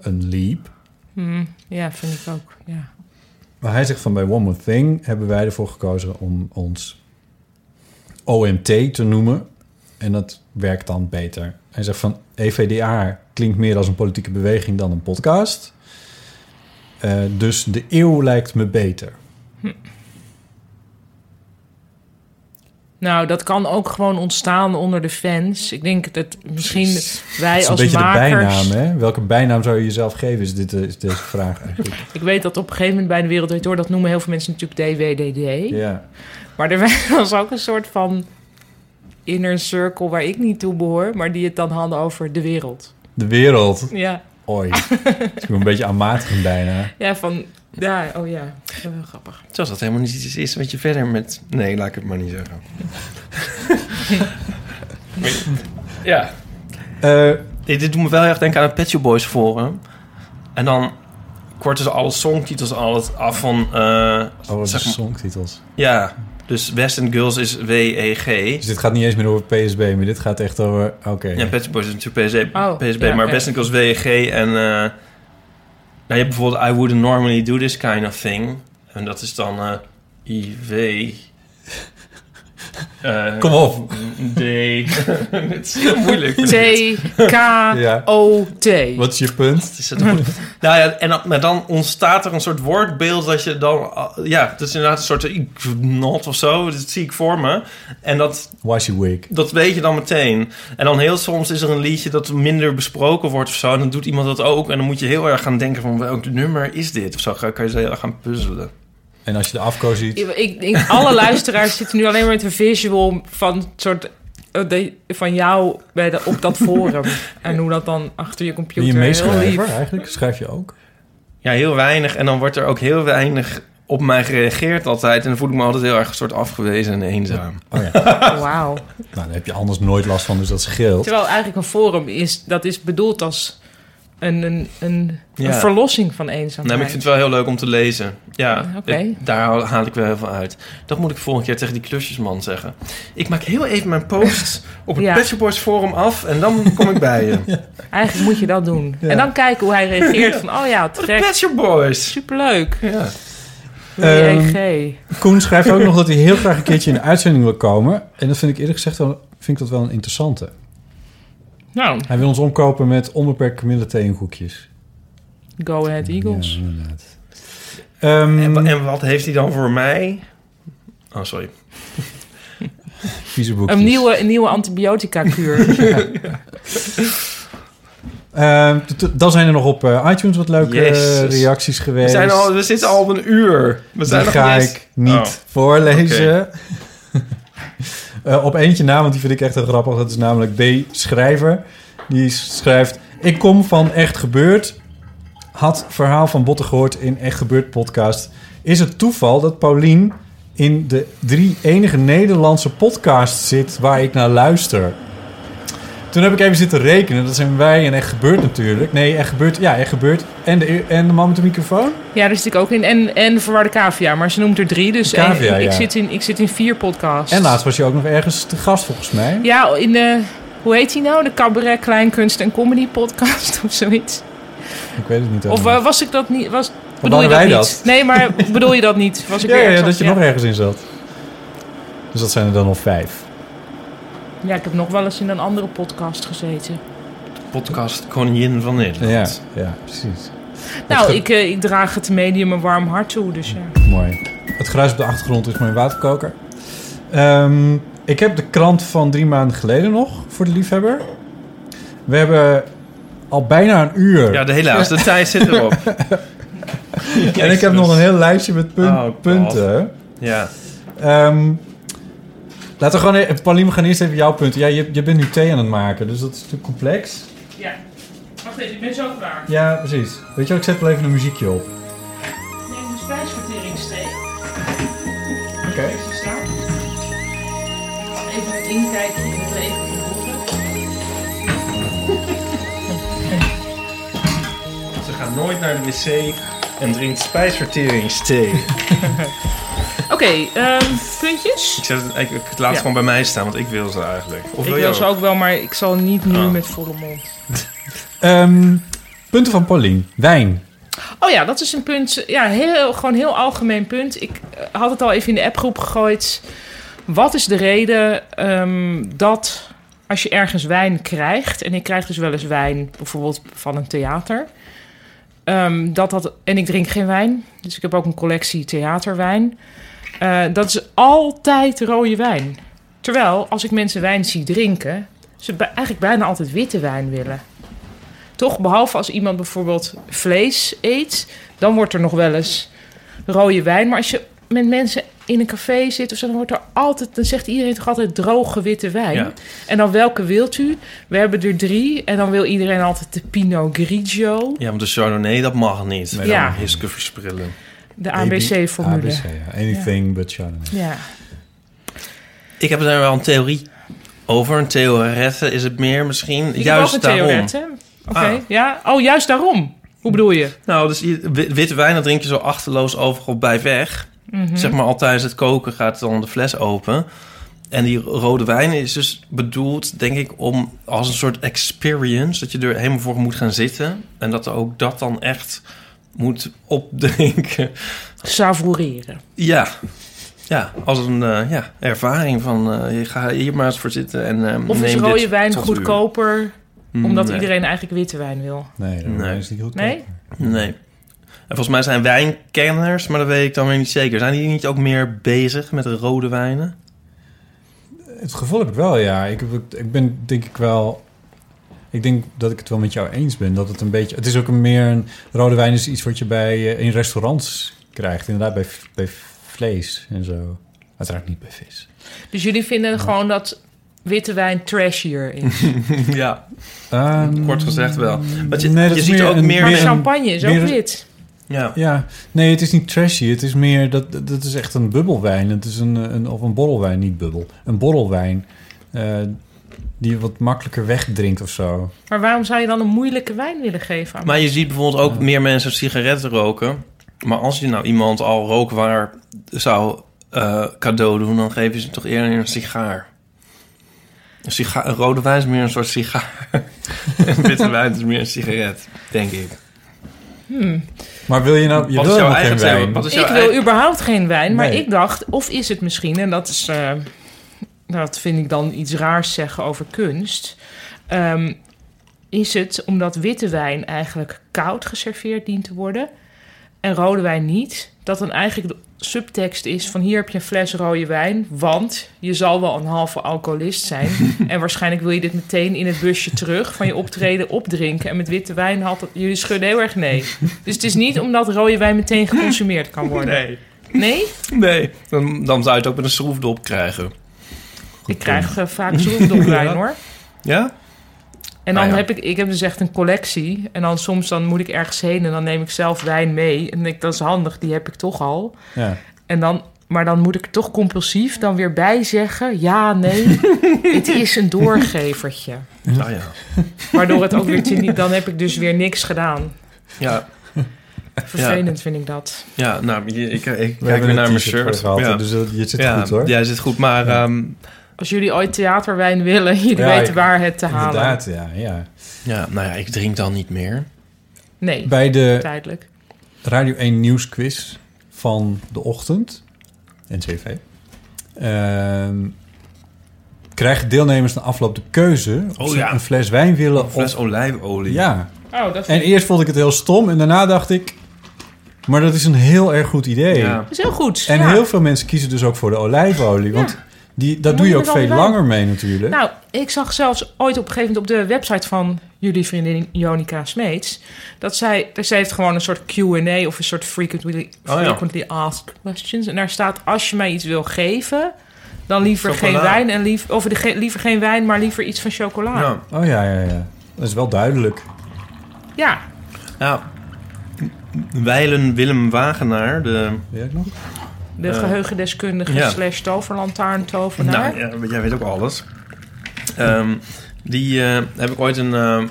[SPEAKER 4] een leap.
[SPEAKER 3] Hm, ja, vind ik ook. Ja.
[SPEAKER 4] Maar hij zegt van bij One More Thing hebben wij ervoor gekozen om ons OMT te noemen. En dat werkt dan beter. Hij zegt van E EVDA klinkt meer als een politieke beweging dan een podcast. Eh, dus de eeuw lijkt me beter.
[SPEAKER 3] Nou, dat kan ook gewoon ontstaan onder de fans. Ik denk dat misschien wij
[SPEAKER 4] Dat is een
[SPEAKER 3] als
[SPEAKER 4] beetje de
[SPEAKER 3] makers...
[SPEAKER 4] bijnaam, hè? Welke bijnaam zou je jezelf geven, is, dit, eh, is deze vraag eigenlijk.
[SPEAKER 3] Ik weet dat op een gegeven moment bij de Wereld Draait Door... dat noemen heel veel mensen natuurlijk DWDD.
[SPEAKER 4] ja.
[SPEAKER 3] Maar er was ook een soort van inner circle waar ik niet toe behoor... maar die het dan hadden over de wereld.
[SPEAKER 4] De wereld.
[SPEAKER 3] Ja,
[SPEAKER 4] Oei. Het is een beetje aanmatigend bijna.
[SPEAKER 3] ja van... Ja, oh ja, dat is wel heel grappig.
[SPEAKER 2] Zoals dat helemaal niet iets is wat je verder met... Nee, laat ik het maar niet zeggen. ja,
[SPEAKER 4] Eh,
[SPEAKER 2] dit, dit doet me wel heel erg denken aan het Pet Shop Boys forum. En dan korten ze alle songtitels al het af van... eh,
[SPEAKER 4] oh, wat
[SPEAKER 2] zeg
[SPEAKER 4] zijn
[SPEAKER 2] maar-
[SPEAKER 4] songtitels.
[SPEAKER 2] ja, dus West End Girls is E W-E-G.
[SPEAKER 4] Dus dit gaat niet eens meer over PSB, maar dit gaat echt over... Oké.
[SPEAKER 2] Ja, Pet Shop Boys is natuurlijk PSB,
[SPEAKER 3] Oh,
[SPEAKER 2] PSB
[SPEAKER 3] ja,
[SPEAKER 2] maar
[SPEAKER 3] ja.
[SPEAKER 2] West End Girls W-E-G. En eh, nou, je hebt bijvoorbeeld I Wouldn't Normally Do This Kind of Thing. En dat is dan eh, I-W... eh,
[SPEAKER 4] Kom op.
[SPEAKER 2] D. het is heel moeilijk.
[SPEAKER 3] Oh. T-K-O-T.
[SPEAKER 4] Wat is je punt?
[SPEAKER 2] Is het goed? nou ja, en dan, maar dan ontstaat er een soort woordbeeld dat je dan... ah, Ja, het is inderdaad een soort not of zo. Dat zie ik voor me. En dat,
[SPEAKER 4] Was je wig?
[SPEAKER 2] dat weet je dan meteen. En dan heel soms is er een liedje dat minder besproken wordt of zo. En dan doet iemand dat ook. En dan moet je heel erg gaan denken van welk nummer is dit? Of zo Ga- kan je zo heel erg gaan puzzelen.
[SPEAKER 4] En als je de afko ziet...
[SPEAKER 3] Ik, ik denk, alle luisteraars zitten nu alleen maar met een visual van het soort... eh, de- Van jou bij de, op dat forum. En hoe dat dan achter je
[SPEAKER 4] Ben je
[SPEAKER 3] computer... heel lief.
[SPEAKER 4] meeschrijver eigenlijk? Schrijf je ook?
[SPEAKER 2] Ja, heel weinig. En dan wordt er ook heel weinig op mij gereageerd altijd. En dan voel ik me altijd heel erg een soort afgewezen en eenzaam.
[SPEAKER 4] Oh ja.
[SPEAKER 3] Wauw.
[SPEAKER 4] nou, daar heb je anders nooit last van, dus dat scheelt.
[SPEAKER 3] Terwijl eigenlijk een forum is, dat is bedoeld als een, een, een,
[SPEAKER 2] Ja.
[SPEAKER 3] een verlossing van eenzaamheid.
[SPEAKER 2] Nee, maar ik vind het wel heel leuk om te lezen. Ja,
[SPEAKER 3] Oké.
[SPEAKER 2] het- daar haal- haal ik wel heel veel uit. Dat moet ik volgende keer tegen die klusjesman zeggen. Ik maak heel even mijn post op het
[SPEAKER 3] Ja.
[SPEAKER 2] Pet Shop Boys forum af en dan kom ik bij je.
[SPEAKER 3] Eigenlijk moet je dat doen.
[SPEAKER 4] Ja.
[SPEAKER 3] En dan kijken hoe hij reageert van, oh ja,
[SPEAKER 2] De Pet
[SPEAKER 3] trek,
[SPEAKER 2] Shop Boys!
[SPEAKER 3] superleuk.
[SPEAKER 2] Ja.
[SPEAKER 4] Ehm,
[SPEAKER 3] EG.
[SPEAKER 4] Koen schrijft ook nog dat hij heel graag een keertje in de uitzending wil komen. En dat vind ik eerlijk gezegd wel, vind ik dat wel een interessante.
[SPEAKER 3] Nou,
[SPEAKER 4] Hij wil ons omkopen met onbeperkt kamille thee en koekjes.
[SPEAKER 3] go ahead Eagles.
[SPEAKER 4] Ja, inderdaad. Ehm,
[SPEAKER 2] En, wa- en wat heeft hij dan voor mij? Oh, sorry.
[SPEAKER 4] vieze boekjes.
[SPEAKER 3] Een nieuwe, een nieuwe antibiotica-kuur.
[SPEAKER 4] Ehm, t- t- dan zijn er nog op eh, iTunes wat leuke eh,
[SPEAKER 2] Jezus.
[SPEAKER 4] reacties geweest.
[SPEAKER 2] We, zijn al, we zitten al op een uur. We zijn
[SPEAKER 4] Die
[SPEAKER 2] nog
[SPEAKER 4] ga
[SPEAKER 2] niet eens-
[SPEAKER 4] ik niet
[SPEAKER 2] Oh.
[SPEAKER 4] voorlezen. Eh, op eentje na, want die vind ik echt heel grappig. Dat is namelijk B. Schrijver. Die schrijft... Ik kom van Echt Gebeurd. Had verhaal van Botten gehoord in Echt Gebeurd podcast. Is het toeval dat Paulien in de drie enige Nederlandse podcasts zit... waar ik naar luister? Toen heb ik even zitten rekenen. Dat zijn wij en Echt Gebeurd natuurlijk. Nee, Echt Gebeurd. Ja, Echt Gebeurd. En de, en de man met de microfoon?
[SPEAKER 3] ja, daar zit ik ook in. En, en de verwarde cavia, maar ze noemt er drie. Dus
[SPEAKER 4] Cavia,
[SPEAKER 3] één- ik,
[SPEAKER 4] ja.
[SPEAKER 3] zit in, ik zit in vier podcasts.
[SPEAKER 4] En laatst was je ook nog ergens te gast, volgens mij.
[SPEAKER 3] Ja, in de, hoe heet die nou? De Cabaret Kleinkunst en Comedy podcast of zoiets.
[SPEAKER 4] Ik weet het niet.
[SPEAKER 3] Of
[SPEAKER 4] helemaal.
[SPEAKER 3] eh, was ik dat niet? Was, bedoel je
[SPEAKER 4] waren
[SPEAKER 3] dat
[SPEAKER 4] wij
[SPEAKER 3] niet?
[SPEAKER 4] dat?
[SPEAKER 3] Nee, maar bedoel je dat niet? Was ik
[SPEAKER 4] ja,
[SPEAKER 3] weer
[SPEAKER 4] ja, ja,
[SPEAKER 3] ergens
[SPEAKER 4] dat je
[SPEAKER 3] anders?
[SPEAKER 4] nog ergens in zat. Dus dat zijn er dan nog vijf.
[SPEAKER 3] ja. Ja, ik heb nog wel eens in een andere podcast gezeten.
[SPEAKER 2] Oh, Podcast Koningin van
[SPEAKER 4] Ja,
[SPEAKER 2] Nederland.
[SPEAKER 4] ja precies.
[SPEAKER 3] Nou,
[SPEAKER 4] ge-
[SPEAKER 3] ik, eh, ik draag het medium een warm hart toe, dus ja.
[SPEAKER 4] Mooi. Het gruis op de achtergrond is mijn waterkoker. Ehm, ik heb de krant van drie maanden geleden nog voor de liefhebber. We hebben al bijna een uur.
[SPEAKER 2] Ja, de hele avond. De tijd zit erop.
[SPEAKER 4] en ik heb nog een heel lijstje met pun-
[SPEAKER 2] Oh, God.
[SPEAKER 4] punten.
[SPEAKER 2] Ja.
[SPEAKER 4] Ehm laten we gewoon... e- Paulien, we gaan eerst even jouw punten. Ja, je, je bent nu thee aan het maken, dus dat is natuurlijk complex.
[SPEAKER 3] Ja. Wacht even, ik ben zo klaar.
[SPEAKER 4] Ja, precies. Weet je wel, ik zet wel even een muziekje op.
[SPEAKER 3] Neem een spijsverteringsthee.
[SPEAKER 4] Oké.
[SPEAKER 3] Even een inkijkje in het leven van
[SPEAKER 2] gaat nooit naar de wc en drinkt spijsverteringsthee.
[SPEAKER 3] Oké, ehm, puntjes?
[SPEAKER 2] ik, zet het, ik, ik laat het
[SPEAKER 3] Ja.
[SPEAKER 2] gewoon bij mij staan, want ik wil ze eigenlijk. Of
[SPEAKER 3] ik
[SPEAKER 2] jij
[SPEAKER 3] wil ze ook wel, maar ik zal niet nu
[SPEAKER 2] Oh.
[SPEAKER 3] met volle mond.
[SPEAKER 4] Ehm, punten van Paulien. Wijn.
[SPEAKER 3] Oh ja, dat is een punt. Ja, heel, gewoon heel algemeen punt. Ik eh, had het al even in de appgroep gegooid. Wat is de reden ehm, dat als je ergens wijn krijgt... en ik krijg dus wel eens wijn bijvoorbeeld van een theater... ehm, dat dat, en ik drink geen wijn, dus ik heb ook een collectie theaterwijn. eh, dat is altijd rode wijn. Terwijl, als ik mensen wijn zie drinken... ze bij- eigenlijk bijna altijd witte wijn willen. Toch, behalve als iemand bijvoorbeeld vlees eet, dan wordt er nog wel eens rode wijn. Maar als je met mensen in een café zit of zo, dan wordt er altijd, dan zegt iedereen toch altijd droge witte wijn.
[SPEAKER 2] Ja.
[SPEAKER 3] En dan welke wilt u? We hebben er drie. En dan wil iedereen altijd de Pinot Grigio,
[SPEAKER 2] Ja, want de Chardonnay, dat mag niet.
[SPEAKER 3] dan Ja.
[SPEAKER 2] ja. Hisken versprillen.
[SPEAKER 3] de ABC-formule.
[SPEAKER 4] ABC, ja. Anything but Chardonnay.
[SPEAKER 3] Ja.
[SPEAKER 2] Ik heb daar wel een theorie over. Een theorette is het meer misschien.
[SPEAKER 3] Ik heb
[SPEAKER 2] Juist
[SPEAKER 3] ook een
[SPEAKER 2] daarom.
[SPEAKER 3] theoret, hè? Oké,
[SPEAKER 2] Ah.
[SPEAKER 3] ja. Oh, juist daarom. Hoe bedoel je?
[SPEAKER 2] Nou, dus je- wi- witte wijn, dat drink je zo achterloos overal bij weg.
[SPEAKER 3] Mhm.
[SPEAKER 2] Zeg maar al tijdens het koken gaat dan de fles open. En die rode wijn is dus bedoeld, denk ik, om als een soort experience... dat je er helemaal voor moet gaan zitten. En dat er ook dat dan echt moet opdrinken.
[SPEAKER 3] Savoureren.
[SPEAKER 2] Ja, ja als een eh, ja, ervaring van... eh, je ga hier maar eens voor zitten en eh,
[SPEAKER 3] Of is
[SPEAKER 2] neem
[SPEAKER 3] rode
[SPEAKER 2] dit
[SPEAKER 3] wijn
[SPEAKER 2] tot u.
[SPEAKER 3] goedkoper, omdat
[SPEAKER 2] nee.
[SPEAKER 3] iedereen eigenlijk witte wijn wil?
[SPEAKER 4] Nee, dat
[SPEAKER 2] Nee.
[SPEAKER 4] is niet goed.
[SPEAKER 3] Nee?
[SPEAKER 2] Nee. En volgens mij zijn wijnkenners, maar dat weet ik dan weer niet zeker. Zijn die niet ook meer bezig met rode wijnen?
[SPEAKER 4] Het gevoel heb ik wel, ja. Ik, heb, ook- ik ben denk ik wel... Ik denk dat ik het wel met jou eens ben. Dat het een beetje... Het is ook een meer een... Rode wijn is iets wat je bij, eh, in restaurants krijgt. Inderdaad, bij, v- bij vlees en zo. Uiteraard niet bij vis.
[SPEAKER 3] Dus jullie vinden gewoon dat witte wijn trashier is.
[SPEAKER 2] Ja,
[SPEAKER 4] Ehm,
[SPEAKER 2] kort gezegd wel. Want je,
[SPEAKER 4] nee, dat
[SPEAKER 2] je
[SPEAKER 4] is
[SPEAKER 2] ziet
[SPEAKER 4] meer
[SPEAKER 2] ook
[SPEAKER 4] een-
[SPEAKER 2] meer...
[SPEAKER 3] Maar
[SPEAKER 4] een-
[SPEAKER 3] champagne is ook
[SPEAKER 4] meer een-
[SPEAKER 3] wit.
[SPEAKER 2] ja.
[SPEAKER 4] Ja, nee, het is niet trashy. Het is meer, dat, dat dat is echt een bubbelwijn. Het is een, een, of een borrelwijn, niet bubbel. Een borrelwijn eh, die je wat makkelijker wegdrinkt of zo.
[SPEAKER 3] Maar waarom zou je dan een moeilijke wijn willen geven aan
[SPEAKER 2] Maar je ziet bijvoorbeeld ook meer mensen sigaretten roken. Maar als je nou iemand al rookwaar zou eh, cadeau doen... dan geef je ze toch eerder een sigaar. Een, sigaar, een rode wijn is meer een soort sigaar. en witte wijn is meer een sigaret, denk ik.
[SPEAKER 4] Maar wil je nou... Je
[SPEAKER 2] Wat
[SPEAKER 4] wil
[SPEAKER 2] is jouw
[SPEAKER 4] helemaal geen
[SPEAKER 2] eigen
[SPEAKER 4] wijn.
[SPEAKER 2] theorie? Wat is jouw
[SPEAKER 3] Ik
[SPEAKER 2] eigen-
[SPEAKER 3] wil überhaupt geen wijn, maar
[SPEAKER 4] eh, Nee.
[SPEAKER 3] ik dacht, of is het misschien, en dat is, eh, dat vind ik dan iets raars zeggen over kunst, ehm, is het omdat witte wijn eigenlijk koud geserveerd dient te worden en rode wijn niet, dat dan eigenlijk de subtekst is van hier heb je een fles rode wijn, want je zal wel een halve alcoholist zijn en waarschijnlijk wil je dit meteen in het busje terug van je optreden opdrinken en met witte wijn had dat, jullie schudden heel erg nee. Dus het is niet omdat rode wijn meteen geconsumeerd kan worden.
[SPEAKER 2] Nee.
[SPEAKER 3] Nee,
[SPEAKER 2] Nee, dan, dan zou je het ook met een schroefdop krijgen.
[SPEAKER 3] ik krijg eh, vaak schroefdopwijn
[SPEAKER 2] Ja.
[SPEAKER 3] hoor.
[SPEAKER 2] Ja?
[SPEAKER 3] En dan
[SPEAKER 2] Ah, ja.
[SPEAKER 3] heb ik, ik heb dus echt een collectie. En dan soms dan moet ik ergens heen en dan neem ik zelf wijn mee. En ik, dat is handig, die heb ik toch al.
[SPEAKER 4] Ja.
[SPEAKER 3] En dan, maar dan moet ik er toch compulsief dan weer bij zeggen: ja, nee, het is een doorgevertje.
[SPEAKER 2] Ah ja.
[SPEAKER 3] Waardoor het ook weer te niet, dan heb ik dus weer niks gedaan.
[SPEAKER 2] Ja,
[SPEAKER 3] Vervelend vind ik dat.
[SPEAKER 2] ja nou, je- ik, ik
[SPEAKER 4] We
[SPEAKER 2] kijk
[SPEAKER 4] hebben
[SPEAKER 2] weer naar
[SPEAKER 4] een
[SPEAKER 2] mijn
[SPEAKER 4] t-shirt voor
[SPEAKER 2] shirt.
[SPEAKER 4] gehad,
[SPEAKER 2] ja.
[SPEAKER 4] Dus dat, je zit
[SPEAKER 2] ja,
[SPEAKER 4] goed hoor.
[SPEAKER 2] Jij zit goed, maar ehm,
[SPEAKER 3] Als jullie ooit theaterwijn willen, jullie
[SPEAKER 4] Ja,
[SPEAKER 3] weten
[SPEAKER 4] ik-
[SPEAKER 3] waar het te halen.
[SPEAKER 4] Inderdaad, ja, ja.
[SPEAKER 2] ja, nou ja, ik drink dan niet meer.
[SPEAKER 3] Nee,
[SPEAKER 4] Bij de
[SPEAKER 3] tijdelijk.
[SPEAKER 4] Radio 1 nieuwsquiz van de ochtend, NCV, ehm, krijgen deelnemers na afloop de keuze of
[SPEAKER 2] Oh
[SPEAKER 4] ze
[SPEAKER 2] ja.
[SPEAKER 4] een fles wijn willen
[SPEAKER 2] Een fles
[SPEAKER 4] of...
[SPEAKER 2] olijfolie.
[SPEAKER 4] Ja,
[SPEAKER 3] Oh, dat
[SPEAKER 4] En eerst vond ik het heel stom en daarna dacht ik... Maar dat is een heel erg goed idee.
[SPEAKER 2] Ja.
[SPEAKER 3] is heel goed.
[SPEAKER 4] En
[SPEAKER 3] ja.
[SPEAKER 4] heel veel mensen kiezen dus ook voor de olijfolie. Want die, daar
[SPEAKER 3] Moet
[SPEAKER 4] doe je
[SPEAKER 3] je
[SPEAKER 4] ook
[SPEAKER 3] dan
[SPEAKER 4] veel
[SPEAKER 3] wel-
[SPEAKER 4] langer mee natuurlijk.
[SPEAKER 3] Nou, ik zag zelfs ooit op een gegeven moment op de website van jullie vriendin Jonica Smeets... dat zij, dus zij heeft gewoon een soort Q&A of een soort frequently,
[SPEAKER 2] Oh, ja.
[SPEAKER 3] frequently asked questions. En daar staat, als je mij iets wil geven, dan liever
[SPEAKER 2] Chocola.
[SPEAKER 3] geen wijn... En lief, of de, ge- liever geen wijn, maar liever iets van chocola. Ja,
[SPEAKER 2] Ja.
[SPEAKER 4] Oh ja, ja, ja. Dat is wel duidelijk.
[SPEAKER 2] ja. Wijlen Willem Wagenaar, de...
[SPEAKER 4] Weet ik nog?
[SPEAKER 3] de geheugendeskundige
[SPEAKER 2] ja.
[SPEAKER 3] slash toverlantaarntovenaar.
[SPEAKER 2] Nou, ja, want jij weet ook alles. Ehm, die eh, heb ik ooit een eh,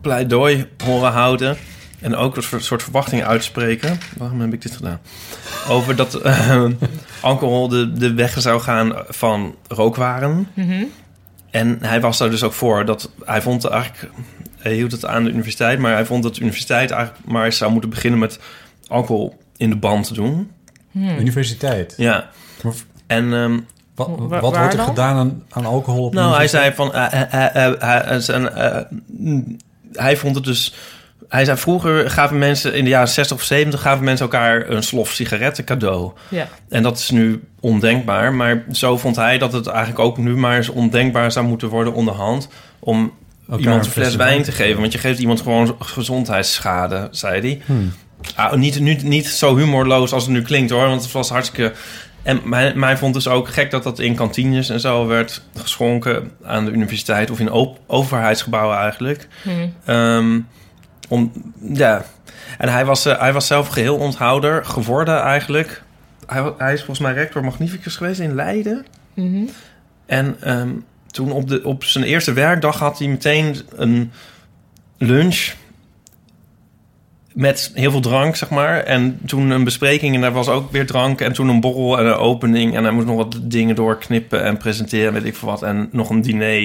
[SPEAKER 2] pleidooi ehm, horen houden. En ook een soort- soort verwachtingen uitspreken. Waarom heb ik dit gedaan? Over dat eh, alcohol de, de weg zou gaan van rookwaren. En hij was daar dus ook voor. Dat hij vond eigenlijk. Hij hield het aan de universiteit. Maar hij vond dat de universiteit eigenlijk maar zou moeten beginnen met alcohol in de band te doen.
[SPEAKER 4] Universiteit.
[SPEAKER 2] Ja.
[SPEAKER 4] Maar
[SPEAKER 2] En ehm,
[SPEAKER 4] wa-
[SPEAKER 3] Hmm. Wa-
[SPEAKER 4] wat
[SPEAKER 3] waar
[SPEAKER 4] wordt er
[SPEAKER 3] dan?
[SPEAKER 4] gedaan aan, aan alcohol op
[SPEAKER 2] Nou, hij
[SPEAKER 4] universiteit?
[SPEAKER 2] zei van. eh, eh, eh, eh, hij- eh, zijn, eh, mm, hij vond het dus. Hij zei vroeger gaven mensen in de jaren 60 of 70 gaven mensen elkaar een slof sigaretten cadeau.
[SPEAKER 3] Ja.
[SPEAKER 2] En dat is nu ondenkbaar. Maar zo vond hij dat het eigenlijk ook nu maar eens ondenkbaar zou moeten worden onderhand. Om
[SPEAKER 4] Elkaar
[SPEAKER 2] iemand een
[SPEAKER 4] een
[SPEAKER 2] fles
[SPEAKER 4] fles
[SPEAKER 2] wijn
[SPEAKER 4] wijn
[SPEAKER 2] te geven. Want je geeft iemand gewoon gezondheidsschade, zei hij. Ah, niet, nu, niet zo humorloos als het nu klinkt hoor. Want het was hartstikke. En mij, mij vond dus ook gek dat dat in kantines en zo werd geschonken aan de universiteit. Of in op- overheidsgebouwen eigenlijk. Ehm, om, ja. En hij was, eh, hij was zelf geheel onthouder geworden eigenlijk. Hij, wa- hij is volgens mij rector magnificus geweest in Leiden. En ehm, toen op, de, op zijn eerste werkdag had hij meteen een lunch met heel veel drank, zeg maar. En toen een bespreking en daar was ook weer drank. En toen een borrel en een opening. En hij moest nog wat dingen doorknippen en presenteren, weet ik veel wat. En nog een diner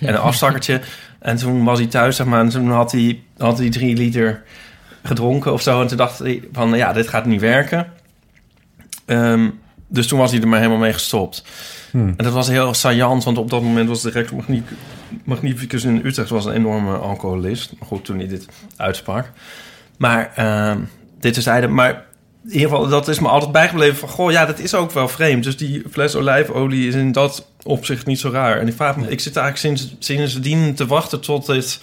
[SPEAKER 2] en een afzakkertje. En toen was hij thuis, zeg maar. En toen had hij, had hij drie liter gedronken of zo. En toen dacht hij van, ja, dit gaat niet werken. Ehm, dus toen was hij er maar helemaal mee gestopt. En dat was heel saillant, want op dat moment was de rector Magni- Magnificus in Utrecht was een enorme alcoholist. Goed, toen hij dit uitsprak. Maar ehm, dit is hij. Maar in ieder geval, dat is me altijd bijgebleven van... goh, ja, dat is ook wel vreemd. Dus die fles olijfolie is in dat opzicht niet zo raar. En ik vraag me, ik zit eigenlijk sinds, sindsdien te wachten tot dit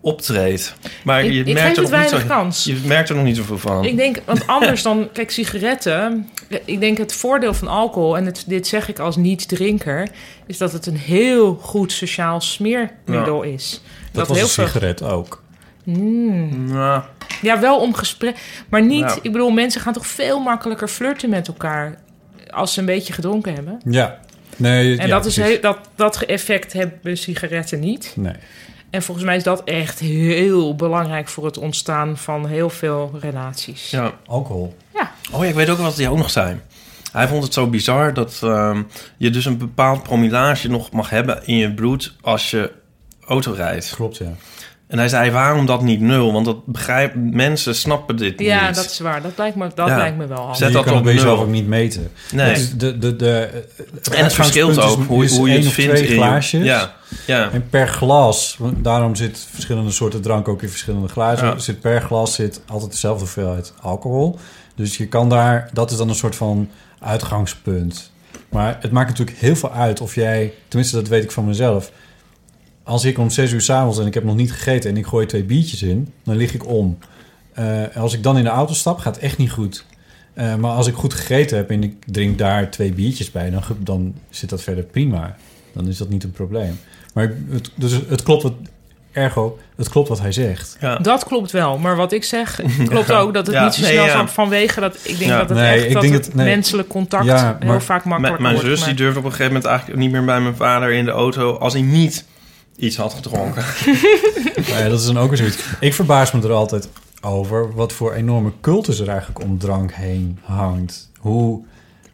[SPEAKER 2] optreedt. Maar
[SPEAKER 3] Ik-
[SPEAKER 2] je
[SPEAKER 3] ik
[SPEAKER 2] merkt
[SPEAKER 3] geef
[SPEAKER 2] er
[SPEAKER 3] het
[SPEAKER 2] nog niet zo,
[SPEAKER 3] weinig kans.
[SPEAKER 2] Je merkt er nog niet zoveel van.
[SPEAKER 3] Ik denk, want anders dan, kijk, sigaretten. Ik denk het voordeel van alcohol, en het, dit zeg ik als niet-drinker, is dat het een heel goed sociaal smeermiddel is.
[SPEAKER 4] Dat, was een sigaret ook.
[SPEAKER 2] Nou,
[SPEAKER 3] Ja, wel om gesprek. Maar niet,
[SPEAKER 2] Nou.
[SPEAKER 3] ik bedoel, mensen gaan toch veel makkelijker flirten met elkaar als ze een beetje gedronken hebben.
[SPEAKER 4] Ja. Nee,
[SPEAKER 3] En
[SPEAKER 4] ja,
[SPEAKER 3] dat, is
[SPEAKER 4] precies.
[SPEAKER 3] heel, dat, dat effect hebben sigaretten niet.
[SPEAKER 4] Nee.
[SPEAKER 3] En volgens mij is dat echt heel belangrijk voor het ontstaan van heel veel relaties.
[SPEAKER 2] ja.
[SPEAKER 4] Alcohol.
[SPEAKER 2] Oh ja, ik weet ook wat die ook nog zijn. Hij vond het zo bizar dat ehm, je dus een bepaald promillage nog mag hebben in je bloed als je auto rijdt.
[SPEAKER 4] Klopt, ja.
[SPEAKER 2] En hij zei, waarom dat niet nul? Want dat begrijp, mensen snappen dit
[SPEAKER 3] Ja,
[SPEAKER 2] niet.
[SPEAKER 3] dat is waar. Dat lijkt me, dat
[SPEAKER 2] Ja.
[SPEAKER 3] lijkt me wel handig.
[SPEAKER 2] Zet
[SPEAKER 4] je
[SPEAKER 2] dat
[SPEAKER 4] kan
[SPEAKER 2] op
[SPEAKER 4] het
[SPEAKER 2] nul.
[SPEAKER 4] ook niet meten.
[SPEAKER 2] Nee.
[SPEAKER 4] Dat is de, de, de, het
[SPEAKER 2] en het verschilt ook
[SPEAKER 4] uitgangspunt is-
[SPEAKER 2] hoe,
[SPEAKER 4] is
[SPEAKER 2] hoe je
[SPEAKER 4] één
[SPEAKER 2] het
[SPEAKER 4] of
[SPEAKER 2] vindt.
[SPEAKER 4] twee
[SPEAKER 2] in je-
[SPEAKER 4] glaasjes.
[SPEAKER 2] Ja, ja.
[SPEAKER 4] En per glas, want daarom zit verschillende soorten drank ook in verschillende glazen.
[SPEAKER 2] Ja.
[SPEAKER 4] Zit per glas zit altijd dezelfde hoeveelheid alcohol. Dus je kan daar, dat is dan een soort van uitgangspunt. Maar het maakt natuurlijk heel veel uit of jij, tenminste dat weet ik van mezelf. Als ik om zes uur s'avonds en ik heb nog niet gegeten en ik gooi twee biertjes in, dan lig ik om. Eh, als ik dan in de auto stap, gaat het echt niet goed. Eh, maar als ik goed gegeten heb en ik drink daar twee biertjes bij, dan, ge- dan zit dat verder prima. Dan is dat niet een probleem. Maar ik- het, dus het klopt wat, ergo, het klopt wat hij zegt.
[SPEAKER 2] ja.
[SPEAKER 3] Dat klopt wel, maar wat ik zeg klopt ook dat het
[SPEAKER 2] Ja,
[SPEAKER 3] niet zo
[SPEAKER 2] nee,
[SPEAKER 3] snel
[SPEAKER 2] ja.
[SPEAKER 3] van, vanwege dat ik denk
[SPEAKER 2] Ja.
[SPEAKER 3] dat het
[SPEAKER 4] Nee,
[SPEAKER 3] echt
[SPEAKER 4] ik
[SPEAKER 3] dat
[SPEAKER 4] denk
[SPEAKER 3] het
[SPEAKER 4] dat- nee.
[SPEAKER 3] menselijk contact
[SPEAKER 4] Ja,
[SPEAKER 3] heel
[SPEAKER 4] maar-
[SPEAKER 3] vaak
[SPEAKER 2] Mijn,
[SPEAKER 3] makkelijk
[SPEAKER 2] mijn
[SPEAKER 3] wordt.
[SPEAKER 2] zus die
[SPEAKER 3] maar-
[SPEAKER 2] durfde op een gegeven moment eigenlijk niet meer bij mijn vader in de auto... als hij niet iets had gedronken.
[SPEAKER 4] Maar Nou ja, dat is dan ook weer zoiets. Ik verbaas me er altijd over wat voor enorme cultus er eigenlijk om drank heen hangt. Hoe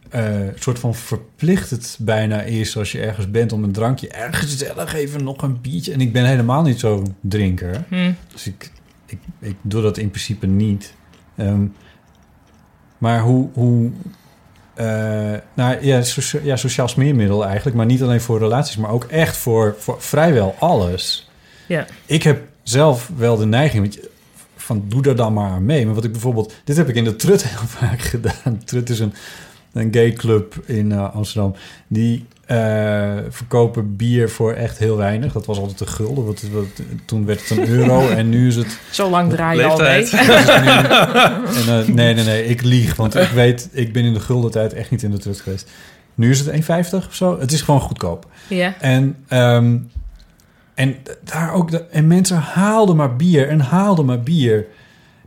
[SPEAKER 4] eh, soort van verplicht het bijna is als je ergens bent om een drankje. Erg gezellig, even nog een biertje. En ik ben helemaal niet zo'n drinker. Dus ik, ik, ik doe dat in principe niet. Ehm, maar hoe... hoe eh, nou ja, socia- ja, sociaal smeermiddel eigenlijk. Maar niet alleen voor relaties, maar ook echt voor, voor vrijwel alles.
[SPEAKER 3] Ja.
[SPEAKER 4] Ik heb zelf wel de neiging... want je- van doe daar dan maar aan mee. Maar wat ik bijvoorbeeld... Dit heb ik in de Trut heel vaak gedaan. Trut is een, een gay club in eh, Amsterdam. Die eh, verkopen bier voor echt heel weinig. Dat was altijd een gulden. Wat, wat, toen werd het een euro en nu is het
[SPEAKER 3] Zo lang draai je al mee.
[SPEAKER 2] Leeftijd.
[SPEAKER 4] en, eh, nee, nee, nee, ik lieg. Want ik weet, ik ben in de gulden tijd echt niet in de trut geweest. Nu is het 1,50 of zo. Het is gewoon goedkoop.
[SPEAKER 3] Ja.
[SPEAKER 4] En, ehm, en, daar ook de, en mensen haalden maar bier en haalden maar bier.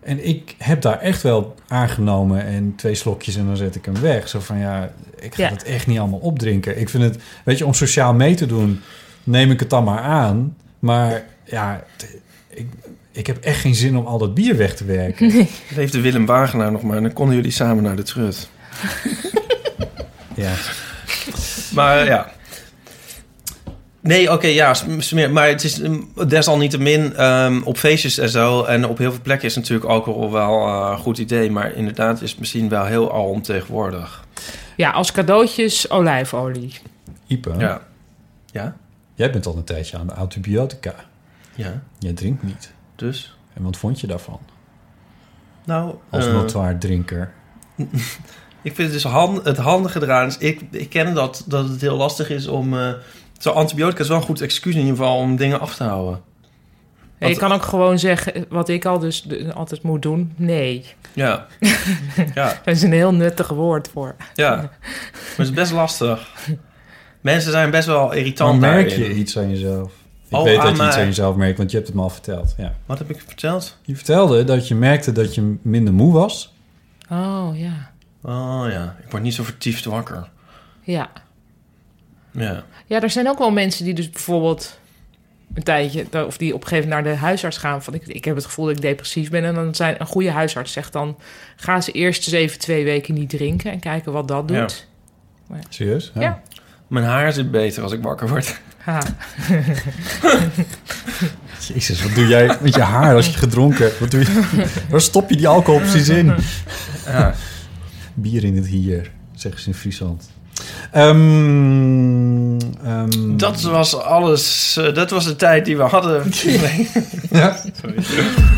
[SPEAKER 4] En ik heb daar echt wel aangenomen en twee slokjes en dan zet ik hem weg. Zo van ja, ik ga
[SPEAKER 3] Ja.
[SPEAKER 4] dat echt niet allemaal opdrinken. Ik vind het, weet je, om sociaal mee te doen, neem ik het dan maar aan. Maar ja, t- ik, ik heb echt geen zin om al dat bier weg te werken.
[SPEAKER 2] Leefde Willem Wagenaar nog maar en dan konden jullie samen naar de trut.
[SPEAKER 4] ja.
[SPEAKER 2] Maar ja. Nee, oké, ja, sm- smeer. Maar het is mm, desalniettemin ehm, op feestjes en zo... en op heel veel plekken is natuurlijk alcohol wel eh, een goed idee... maar inderdaad is het misschien wel heel alomtegenwoordig.
[SPEAKER 3] Ja, als cadeautjes olijfolie.
[SPEAKER 4] Ipe,
[SPEAKER 2] Ja. Ja?
[SPEAKER 4] jij bent al een tijdje aan de antibiotica.
[SPEAKER 2] Ja.
[SPEAKER 4] Jij drinkt niet.
[SPEAKER 2] Dus?
[SPEAKER 4] En wat vond je daarvan?
[SPEAKER 2] Nou,
[SPEAKER 4] Als
[SPEAKER 2] eh,
[SPEAKER 4] notoire drinker.
[SPEAKER 2] Ik vind het dus han- het handige eraan is, ik, ik ken dat, dat het heel lastig is om... eh, zo antibiotica is wel een goed excuus in ieder geval om dingen af te houden.
[SPEAKER 3] Ja, je
[SPEAKER 2] Wat-
[SPEAKER 3] kan ook gewoon zeggen wat ik al dus de- altijd moet doen. Nee.
[SPEAKER 2] Ja. ja,
[SPEAKER 3] Dat is een heel nuttig woord voor.
[SPEAKER 2] ja. Maar het is best lastig. Mensen zijn best wel
[SPEAKER 4] Dan
[SPEAKER 2] irritant
[SPEAKER 4] merk
[SPEAKER 2] daarin.
[SPEAKER 4] je iets aan jezelf. Ik
[SPEAKER 2] Oh,
[SPEAKER 4] weet dat
[SPEAKER 2] aan
[SPEAKER 4] je iets
[SPEAKER 2] mij.
[SPEAKER 4] aan jezelf merkt, want je hebt het me al verteld. Ja.
[SPEAKER 2] Wat heb ik verteld?
[SPEAKER 4] Je vertelde dat je merkte dat je minder moe was.
[SPEAKER 3] Oh ja.
[SPEAKER 2] Oh ja, ik word niet zo vertiefd wakker.
[SPEAKER 3] Ja.
[SPEAKER 2] Ja.
[SPEAKER 3] Ja, er zijn ook wel mensen die dus bijvoorbeeld een tijdje, of die op een gegeven moment naar de huisarts gaan. Van ik, ik heb het gevoel dat ik depressief ben. En dan zijn een goede huisarts zegt dan: ga ze eerst eens even twee weken niet drinken en kijken wat dat doet.
[SPEAKER 4] Serieus? Ja.
[SPEAKER 3] Ja.
[SPEAKER 2] Mijn haar zit beter als ik wakker word.
[SPEAKER 3] Ha.
[SPEAKER 4] Jezus, wat doe jij met je haar als je gedronken hebt? Wat doe je? Waar stop je die alcohol precies in?
[SPEAKER 2] Ja.
[SPEAKER 4] Bier in het hier, zeggen ze in Friesland. Ehm, ehm,
[SPEAKER 2] Dat was alles. eh, dat was de tijd die we hadden. Nee.
[SPEAKER 4] Ja.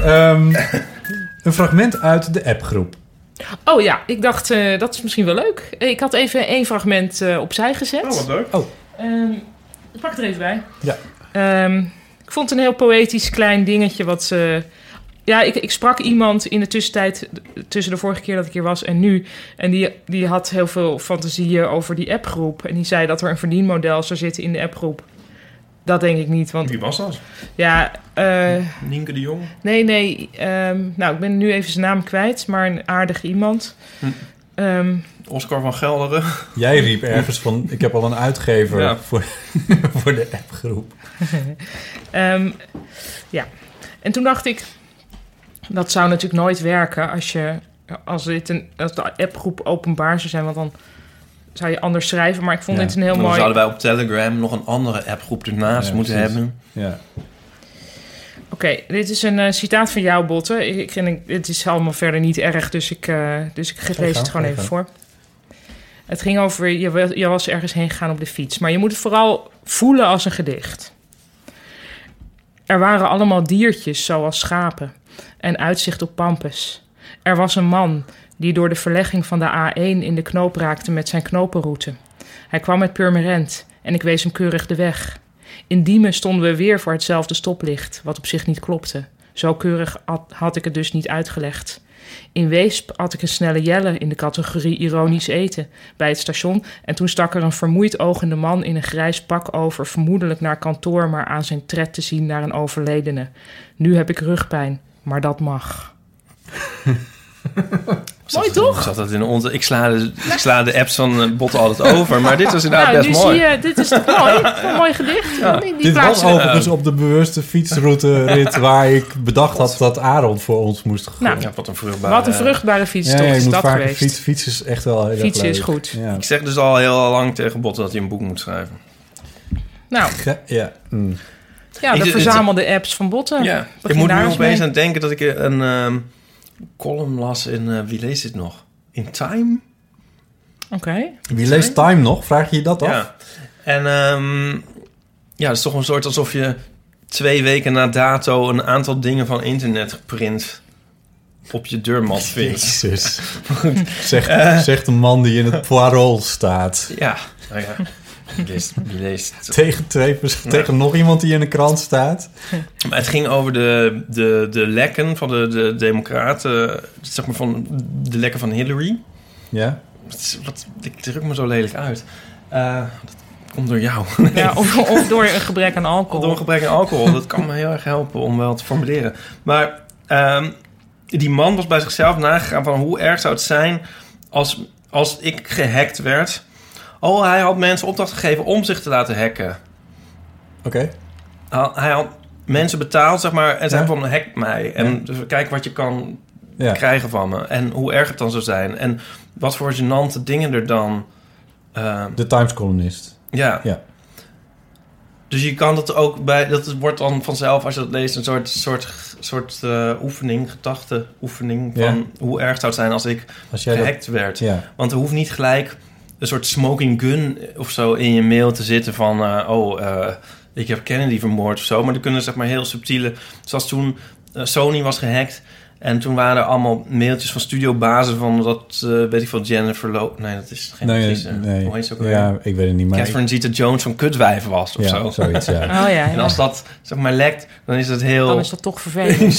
[SPEAKER 4] Ehm, een fragment uit de appgroep.
[SPEAKER 3] Oh ja, ik dacht eh, dat is misschien wel leuk. Eh, Ik had even één fragment eh, opzij gezet.
[SPEAKER 2] leuk.
[SPEAKER 3] Ehm, ik pak het er even bij.
[SPEAKER 4] Ja.
[SPEAKER 3] Ehm, ik vond het een heel poëtisch klein dingetje wat ze... Ja, ik, ik sprak iemand in de tussentijd, tussen de vorige keer dat ik hier was en nu. En die, die had heel veel fantasieën over die appgroep. En die zei dat er een verdienmodel zou zitten in de appgroep. Dat denk ik niet, want
[SPEAKER 2] was dat?
[SPEAKER 3] ja... eh,
[SPEAKER 2] Nienke de Jong.
[SPEAKER 3] Nee, nee. ehm, nou, ik ben nu even zijn naam kwijt, maar een aardig iemand.
[SPEAKER 2] Hm.
[SPEAKER 3] Ehm,
[SPEAKER 2] Oscar van Gelderen.
[SPEAKER 4] Jij riep ergens van, ik heb al een uitgever
[SPEAKER 2] Ja.
[SPEAKER 4] voor, voor de appgroep.
[SPEAKER 3] Ehm, ja. En toen dacht ik, dat zou natuurlijk nooit werken als, je, als, dit een, als de appgroep openbaar zou zijn, want dan zou je anders schrijven. Maar ik vond
[SPEAKER 4] Ja,
[SPEAKER 3] dit een heel
[SPEAKER 2] Dan
[SPEAKER 3] mooi.
[SPEAKER 2] zouden wij op Telegram nog een andere appgroep ernaast
[SPEAKER 4] Ja,
[SPEAKER 2] moeten
[SPEAKER 4] precies.
[SPEAKER 2] hebben.
[SPEAKER 4] Ja.
[SPEAKER 3] Oké, dit is een eh, citaat van jou, Botte. Ik, ik, en ik- het is allemaal verder niet erg, dus ik, eh, dus ik ge- lees
[SPEAKER 4] gang,
[SPEAKER 3] het gewoon
[SPEAKER 4] ga
[SPEAKER 3] even
[SPEAKER 4] gang.
[SPEAKER 3] voor. Het ging over, je, wa- je was ergens heen gegaan op de fiets. Maar je moet het vooral voelen als een gedicht. Er waren allemaal diertjes, zoals schapen. En uitzicht op Pampus. Er was een man die door de verlegging van de A1 in de knoop raakte met zijn knopenroute. Hij kwam uit Purmerend en ik wees hem keurig de weg. In Diemen stonden we weer voor hetzelfde stoplicht, wat op zich niet klopte. Zo keurig had- had ik het dus niet uitgelegd. In Weesp had ik een snelle jelle in de categorie ironisch eten bij het station en toen stak er een vermoeid ogende man in een grijs pak over, vermoedelijk naar kantoor, maar aan zijn tred te zien naar een overledene. Nu heb ik rugpijn, maar dat mag.
[SPEAKER 2] Zat
[SPEAKER 3] Mooi,
[SPEAKER 2] dat-
[SPEAKER 3] toch?
[SPEAKER 2] Zat dat in onze, ik, sla de, ik sla de apps van eh, Botten altijd over, maar dit was inderdaad
[SPEAKER 3] nou, nu
[SPEAKER 2] best mooi.
[SPEAKER 3] zie je, dit is toch mooi? Een mooi gedicht. Die, die
[SPEAKER 4] Dit was
[SPEAKER 3] plaatsen we-
[SPEAKER 4] overigens op de bewuste fietsroute rit waar ik bedacht had dat Aaron voor ons moest gaan.
[SPEAKER 3] Nou,
[SPEAKER 2] Ja, wat een vruchtbare...
[SPEAKER 3] wat een vruchtbare fiets toch
[SPEAKER 4] ik
[SPEAKER 3] is
[SPEAKER 4] moet
[SPEAKER 3] dat
[SPEAKER 4] vaker
[SPEAKER 3] geweest.
[SPEAKER 4] fietsen. Fietsen is echt wel heel erg
[SPEAKER 3] Fietsen is
[SPEAKER 4] leuk.
[SPEAKER 3] goed.
[SPEAKER 4] Ja.
[SPEAKER 2] Ik zeg dus al heel lang tegen Botten dat hij een boek moet schrijven.
[SPEAKER 3] Nou,
[SPEAKER 4] Ge- ja. mm.
[SPEAKER 3] Ja,
[SPEAKER 2] Ik
[SPEAKER 3] de
[SPEAKER 2] zit-
[SPEAKER 3] verzamelde apps van botten.
[SPEAKER 2] Ja, ik
[SPEAKER 3] Begin
[SPEAKER 2] moet
[SPEAKER 3] Oh, daar
[SPEAKER 2] nu
[SPEAKER 3] eens
[SPEAKER 2] opeens
[SPEAKER 3] mee.
[SPEAKER 2] aan het denken dat ik een ehm, column las in... eh, wie leest dit nog? In Time?
[SPEAKER 3] Oké.
[SPEAKER 4] Wie leest Time nog? Vraag je je dat af?
[SPEAKER 2] Ja. En ehm, ja, het is toch een soort alsof je twee weken na dato... een aantal dingen van internet geprint op je deurmat vindt.
[SPEAKER 4] Jezus. zegt,
[SPEAKER 2] Eh.
[SPEAKER 4] zegt een man die in het Poirol staat.
[SPEAKER 2] Ja, nou ja. Wie leest, wie leest
[SPEAKER 4] Tegen, twee, pers- tegen nog iemand die in de krant staat.
[SPEAKER 2] Maar het ging over de, de, de lekken van de, de democraten, zeg maar van de lekken van Hillary.
[SPEAKER 4] Ja.
[SPEAKER 2] Wat, is- wat- ik druk me zo lelijk uit. Eh, dat komt door jou.
[SPEAKER 3] Ja, of, of door een gebrek aan alcohol.
[SPEAKER 2] Door een gebrek aan alcohol. Dat kan me heel erg helpen om wel te formuleren. Maar ehm, die man was bij zichzelf nagegaan van hoe erg zou het zijn als, als ik gehackt werd. Oh, hij had mensen opdracht gegeven om zich te laten hacken.
[SPEAKER 4] Oké.
[SPEAKER 2] Hij hij had mensen betaald, zeg maar. En zei
[SPEAKER 4] Ja.
[SPEAKER 2] van, hack mij. En dus kijk wat je kan
[SPEAKER 4] Ja.
[SPEAKER 2] krijgen van me. En hoe erg het dan zou zijn. En wat voor gênante dingen er dan... eh,
[SPEAKER 4] De Times columnist.
[SPEAKER 2] ja.
[SPEAKER 4] Ja.
[SPEAKER 2] Dus je kan dat ook bij... Dat wordt dan vanzelf, als je dat leest, een soort, soort, soort eh, oefening, gedachte-oefening... van hoe erg zou het zijn als ik
[SPEAKER 4] Als jij dat...
[SPEAKER 2] gehackt werd.
[SPEAKER 4] Ja.
[SPEAKER 2] Want er hoeft niet gelijk een soort smoking gun of zo in je mail te zitten van... eh, oh, eh, ik heb Kennedy vermoord of zo. Maar er kunnen zeg maar heel subtiele... Zoals toen eh, Sony was gehackt... En toen waren er allemaal mailtjes van studiobazen van dat, eh, weet ik veel, Jennifer Lo... Nee, dat is geen
[SPEAKER 4] Nee,
[SPEAKER 2] precies. eh,
[SPEAKER 4] nee.
[SPEAKER 2] Hoe heet ze ook alweer?
[SPEAKER 4] ja, ik weet het niet, maar...
[SPEAKER 2] Catherine Zeta-Jones van kutwijf was of
[SPEAKER 4] ja,
[SPEAKER 2] zo.
[SPEAKER 4] zoiets, ja.
[SPEAKER 3] Oh ja,
[SPEAKER 2] En als dat, zeg maar, lekt, dan is dat heel...
[SPEAKER 3] dan is dat toch vervelend.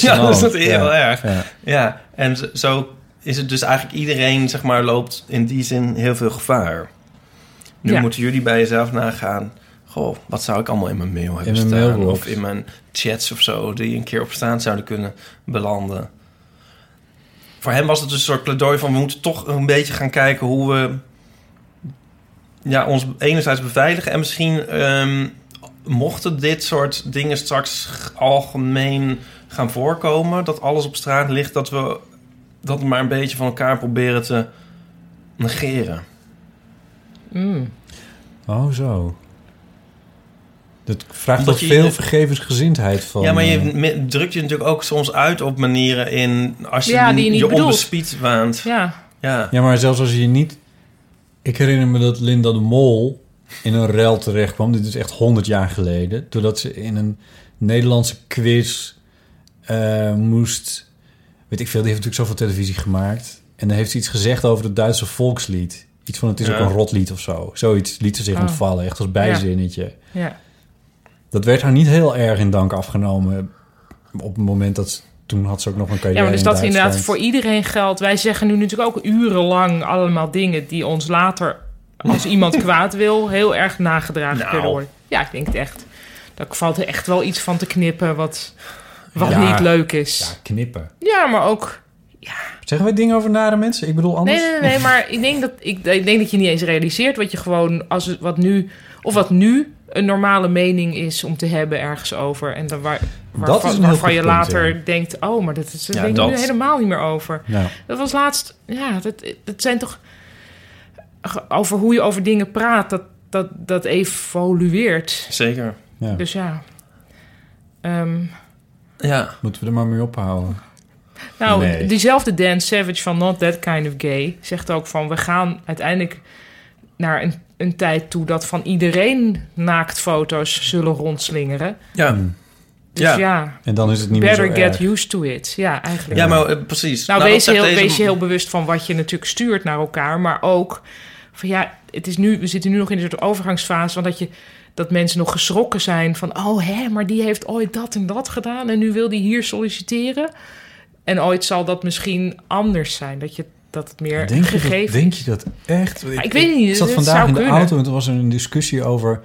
[SPEAKER 2] ja, dan is dat
[SPEAKER 4] Ja.
[SPEAKER 2] heel erg.
[SPEAKER 4] ja.
[SPEAKER 2] Ja, en z- zo is het dus eigenlijk iedereen, zeg maar, loopt in die zin heel veel gevaar. Nu
[SPEAKER 3] Ja.
[SPEAKER 2] moeten jullie bij jezelf nagaan. Goh, wat zou ik allemaal in mijn mail hebben
[SPEAKER 4] mijn
[SPEAKER 2] staan?
[SPEAKER 4] mailbox.
[SPEAKER 2] Of in mijn chats of zo, die een keer op staan zouden kunnen belanden. Voor hem was het dus een soort pleidooi van... we moeten toch een beetje gaan kijken hoe we... Ja, ons enerzijds beveiligen en misschien... ehm, mochten dit soort dingen straks algemeen gaan voorkomen... dat alles op straat ligt, dat we dat maar een beetje van elkaar proberen te negeren.
[SPEAKER 3] Mm.
[SPEAKER 4] Oh, zo. Dat vraagt
[SPEAKER 2] Omdat
[SPEAKER 4] toch
[SPEAKER 2] je-
[SPEAKER 4] veel vergevensgezindheid van...
[SPEAKER 2] ja, maar je
[SPEAKER 4] eh,
[SPEAKER 2] me- drukt je natuurlijk ook soms uit op manieren in... als je
[SPEAKER 3] Ja,
[SPEAKER 2] n-
[SPEAKER 3] die je niet bedoelt.
[SPEAKER 2] onbespied waant. Ja.
[SPEAKER 3] Ja.
[SPEAKER 4] Ja, maar zelfs als je je niet... Ik herinner me dat Linda de Mol in een rel terecht kwam. Dit is echt 100 jaar geleden. Doordat ze in een Nederlandse quiz eh, moest... Weet ik veel, die heeft natuurlijk zoveel televisie gemaakt. En dan heeft ze iets gezegd over het Duitse volkslied. Iets van het is
[SPEAKER 2] Ja.
[SPEAKER 4] ook een rotlied of zo. Zoiets liet ze zich
[SPEAKER 3] Oh.
[SPEAKER 4] ontvallen, echt als bijzinnetje.
[SPEAKER 3] ja.
[SPEAKER 4] Dat werd haar niet heel erg in dank afgenomen. Op het moment dat ze... Toen had ze ook nog een carrière
[SPEAKER 3] Ja, maar dus dat
[SPEAKER 4] in
[SPEAKER 3] inderdaad
[SPEAKER 4] Duitsland.
[SPEAKER 3] voor iedereen geldt. Wij zeggen nu natuurlijk ook urenlang allemaal dingen die ons later, als iemand kwaad wil, heel erg nagedragen
[SPEAKER 2] Nou.
[SPEAKER 3] kunnen worden. Ja, ik denk het echt. Daar valt er echt wel iets van te knippen wat, wat
[SPEAKER 4] Ja.
[SPEAKER 3] niet leuk is.
[SPEAKER 4] Ja, knippen.
[SPEAKER 3] Ja, maar ook.
[SPEAKER 4] Zeggen wij dingen over nare mensen? Ik bedoel anders.
[SPEAKER 3] Nee, nee, nee, maar ik denk, dat, ik, ik denk dat je niet eens realiseert wat je gewoon, als het, wat nu, of wat nu een normale mening is om te hebben ergens over. En dan waar, waarvan,
[SPEAKER 4] is een heel
[SPEAKER 3] waarvan
[SPEAKER 4] goed
[SPEAKER 3] je
[SPEAKER 4] punt,
[SPEAKER 3] later
[SPEAKER 4] ja.
[SPEAKER 3] denkt, oh, maar dat is, daar
[SPEAKER 2] Ja,
[SPEAKER 3] denk ik nu
[SPEAKER 2] dat.
[SPEAKER 3] helemaal niet meer over.
[SPEAKER 4] Nou,
[SPEAKER 3] Dat was laatst. Ja, dat, dat zijn toch. ge- Over hoe je over dingen praat, dat, dat, dat evolueert.
[SPEAKER 2] zeker.
[SPEAKER 4] ja.
[SPEAKER 3] Dus ja. Ehm,
[SPEAKER 2] Ja.
[SPEAKER 4] moeten we er maar mee ophouden.
[SPEAKER 3] nou,
[SPEAKER 4] Nee.
[SPEAKER 3] diezelfde Dan Savage van Not That Kind of Gay zegt ook van: we gaan uiteindelijk naar een, een tijd toe dat van iedereen naaktfoto's zullen rondslingeren.
[SPEAKER 2] Ja.
[SPEAKER 4] Hmm.
[SPEAKER 3] Dus
[SPEAKER 2] Ja.
[SPEAKER 3] ja,
[SPEAKER 4] En dan is het niet
[SPEAKER 3] better
[SPEAKER 4] meer zo
[SPEAKER 3] get
[SPEAKER 4] erg.
[SPEAKER 3] used to it. Ja, eigenlijk.
[SPEAKER 2] ja, maar eh, precies.
[SPEAKER 3] Nou,
[SPEAKER 2] dat
[SPEAKER 3] wees,
[SPEAKER 2] zegt
[SPEAKER 3] heel,
[SPEAKER 2] deze-
[SPEAKER 3] wees je heel bewust van wat je natuurlijk stuurt naar elkaar. Maar ook van ja, het is nu, we zitten nu nog in een soort overgangsfase. Want dat, je, dat mensen nog geschrokken zijn van... oh hè, maar die heeft ooit dat en dat gedaan... en nu wil die hier solliciteren. En ooit zal dat misschien anders zijn. Dat, je, dat het meer
[SPEAKER 4] Denk je, dat,
[SPEAKER 3] gegeven
[SPEAKER 4] denk je dat echt?
[SPEAKER 3] ik weet het niet,
[SPEAKER 4] Ik zat
[SPEAKER 3] het
[SPEAKER 4] vandaag
[SPEAKER 3] zou
[SPEAKER 4] in de
[SPEAKER 3] kunnen.
[SPEAKER 4] auto en toen was er een discussie over...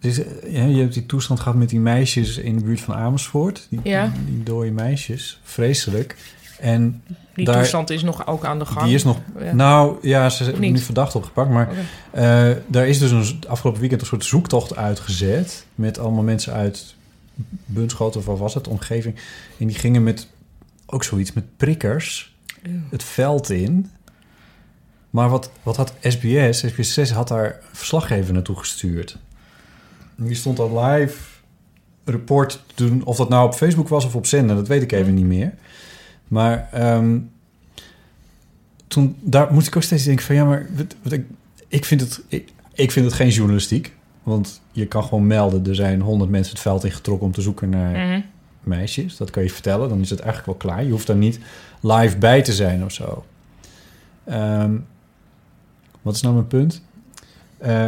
[SPEAKER 4] Dus, eh, ja, je hebt die toestand gehad met die meisjes in de buurt van Amersfoort. Die,
[SPEAKER 3] Ja.
[SPEAKER 4] die dode meisjes. Vreselijk. En
[SPEAKER 3] Die
[SPEAKER 4] daar-
[SPEAKER 3] toestand is nog ook aan de gang.
[SPEAKER 4] die is nog...
[SPEAKER 3] Ja.
[SPEAKER 4] Nou ja, ze zijn
[SPEAKER 3] niet?
[SPEAKER 4] nu verdacht opgepakt. Maar
[SPEAKER 3] Oké.
[SPEAKER 4] eh, daar is dus een, afgelopen weekend een soort zoektocht uitgezet. Met allemaal mensen uit Bunschoten of wat was het, omgeving. En die gingen met ook zoiets, met prikkers het veld in. Maar wat, wat had SBS, SBS 6 had daar een verslaggever naartoe gestuurd. En die stond al live report te doen. Of dat nou op Facebook was of op zender, dat weet ik even niet meer. Maar ehm, toen daar moest ik ook steeds denken van ja, maar wat, wat ik, ik, vind het, ik, ik vind het geen journalistiek. Want je kan gewoon melden, er zijn honderd mensen het veld ingetrokken om te zoeken naar
[SPEAKER 3] Mhm.
[SPEAKER 4] meisjes. Dat kan je vertellen, dan is het eigenlijk wel klaar. Je hoeft daar niet live bij te zijn of zo. Ehm, wat is nou mijn punt? Eh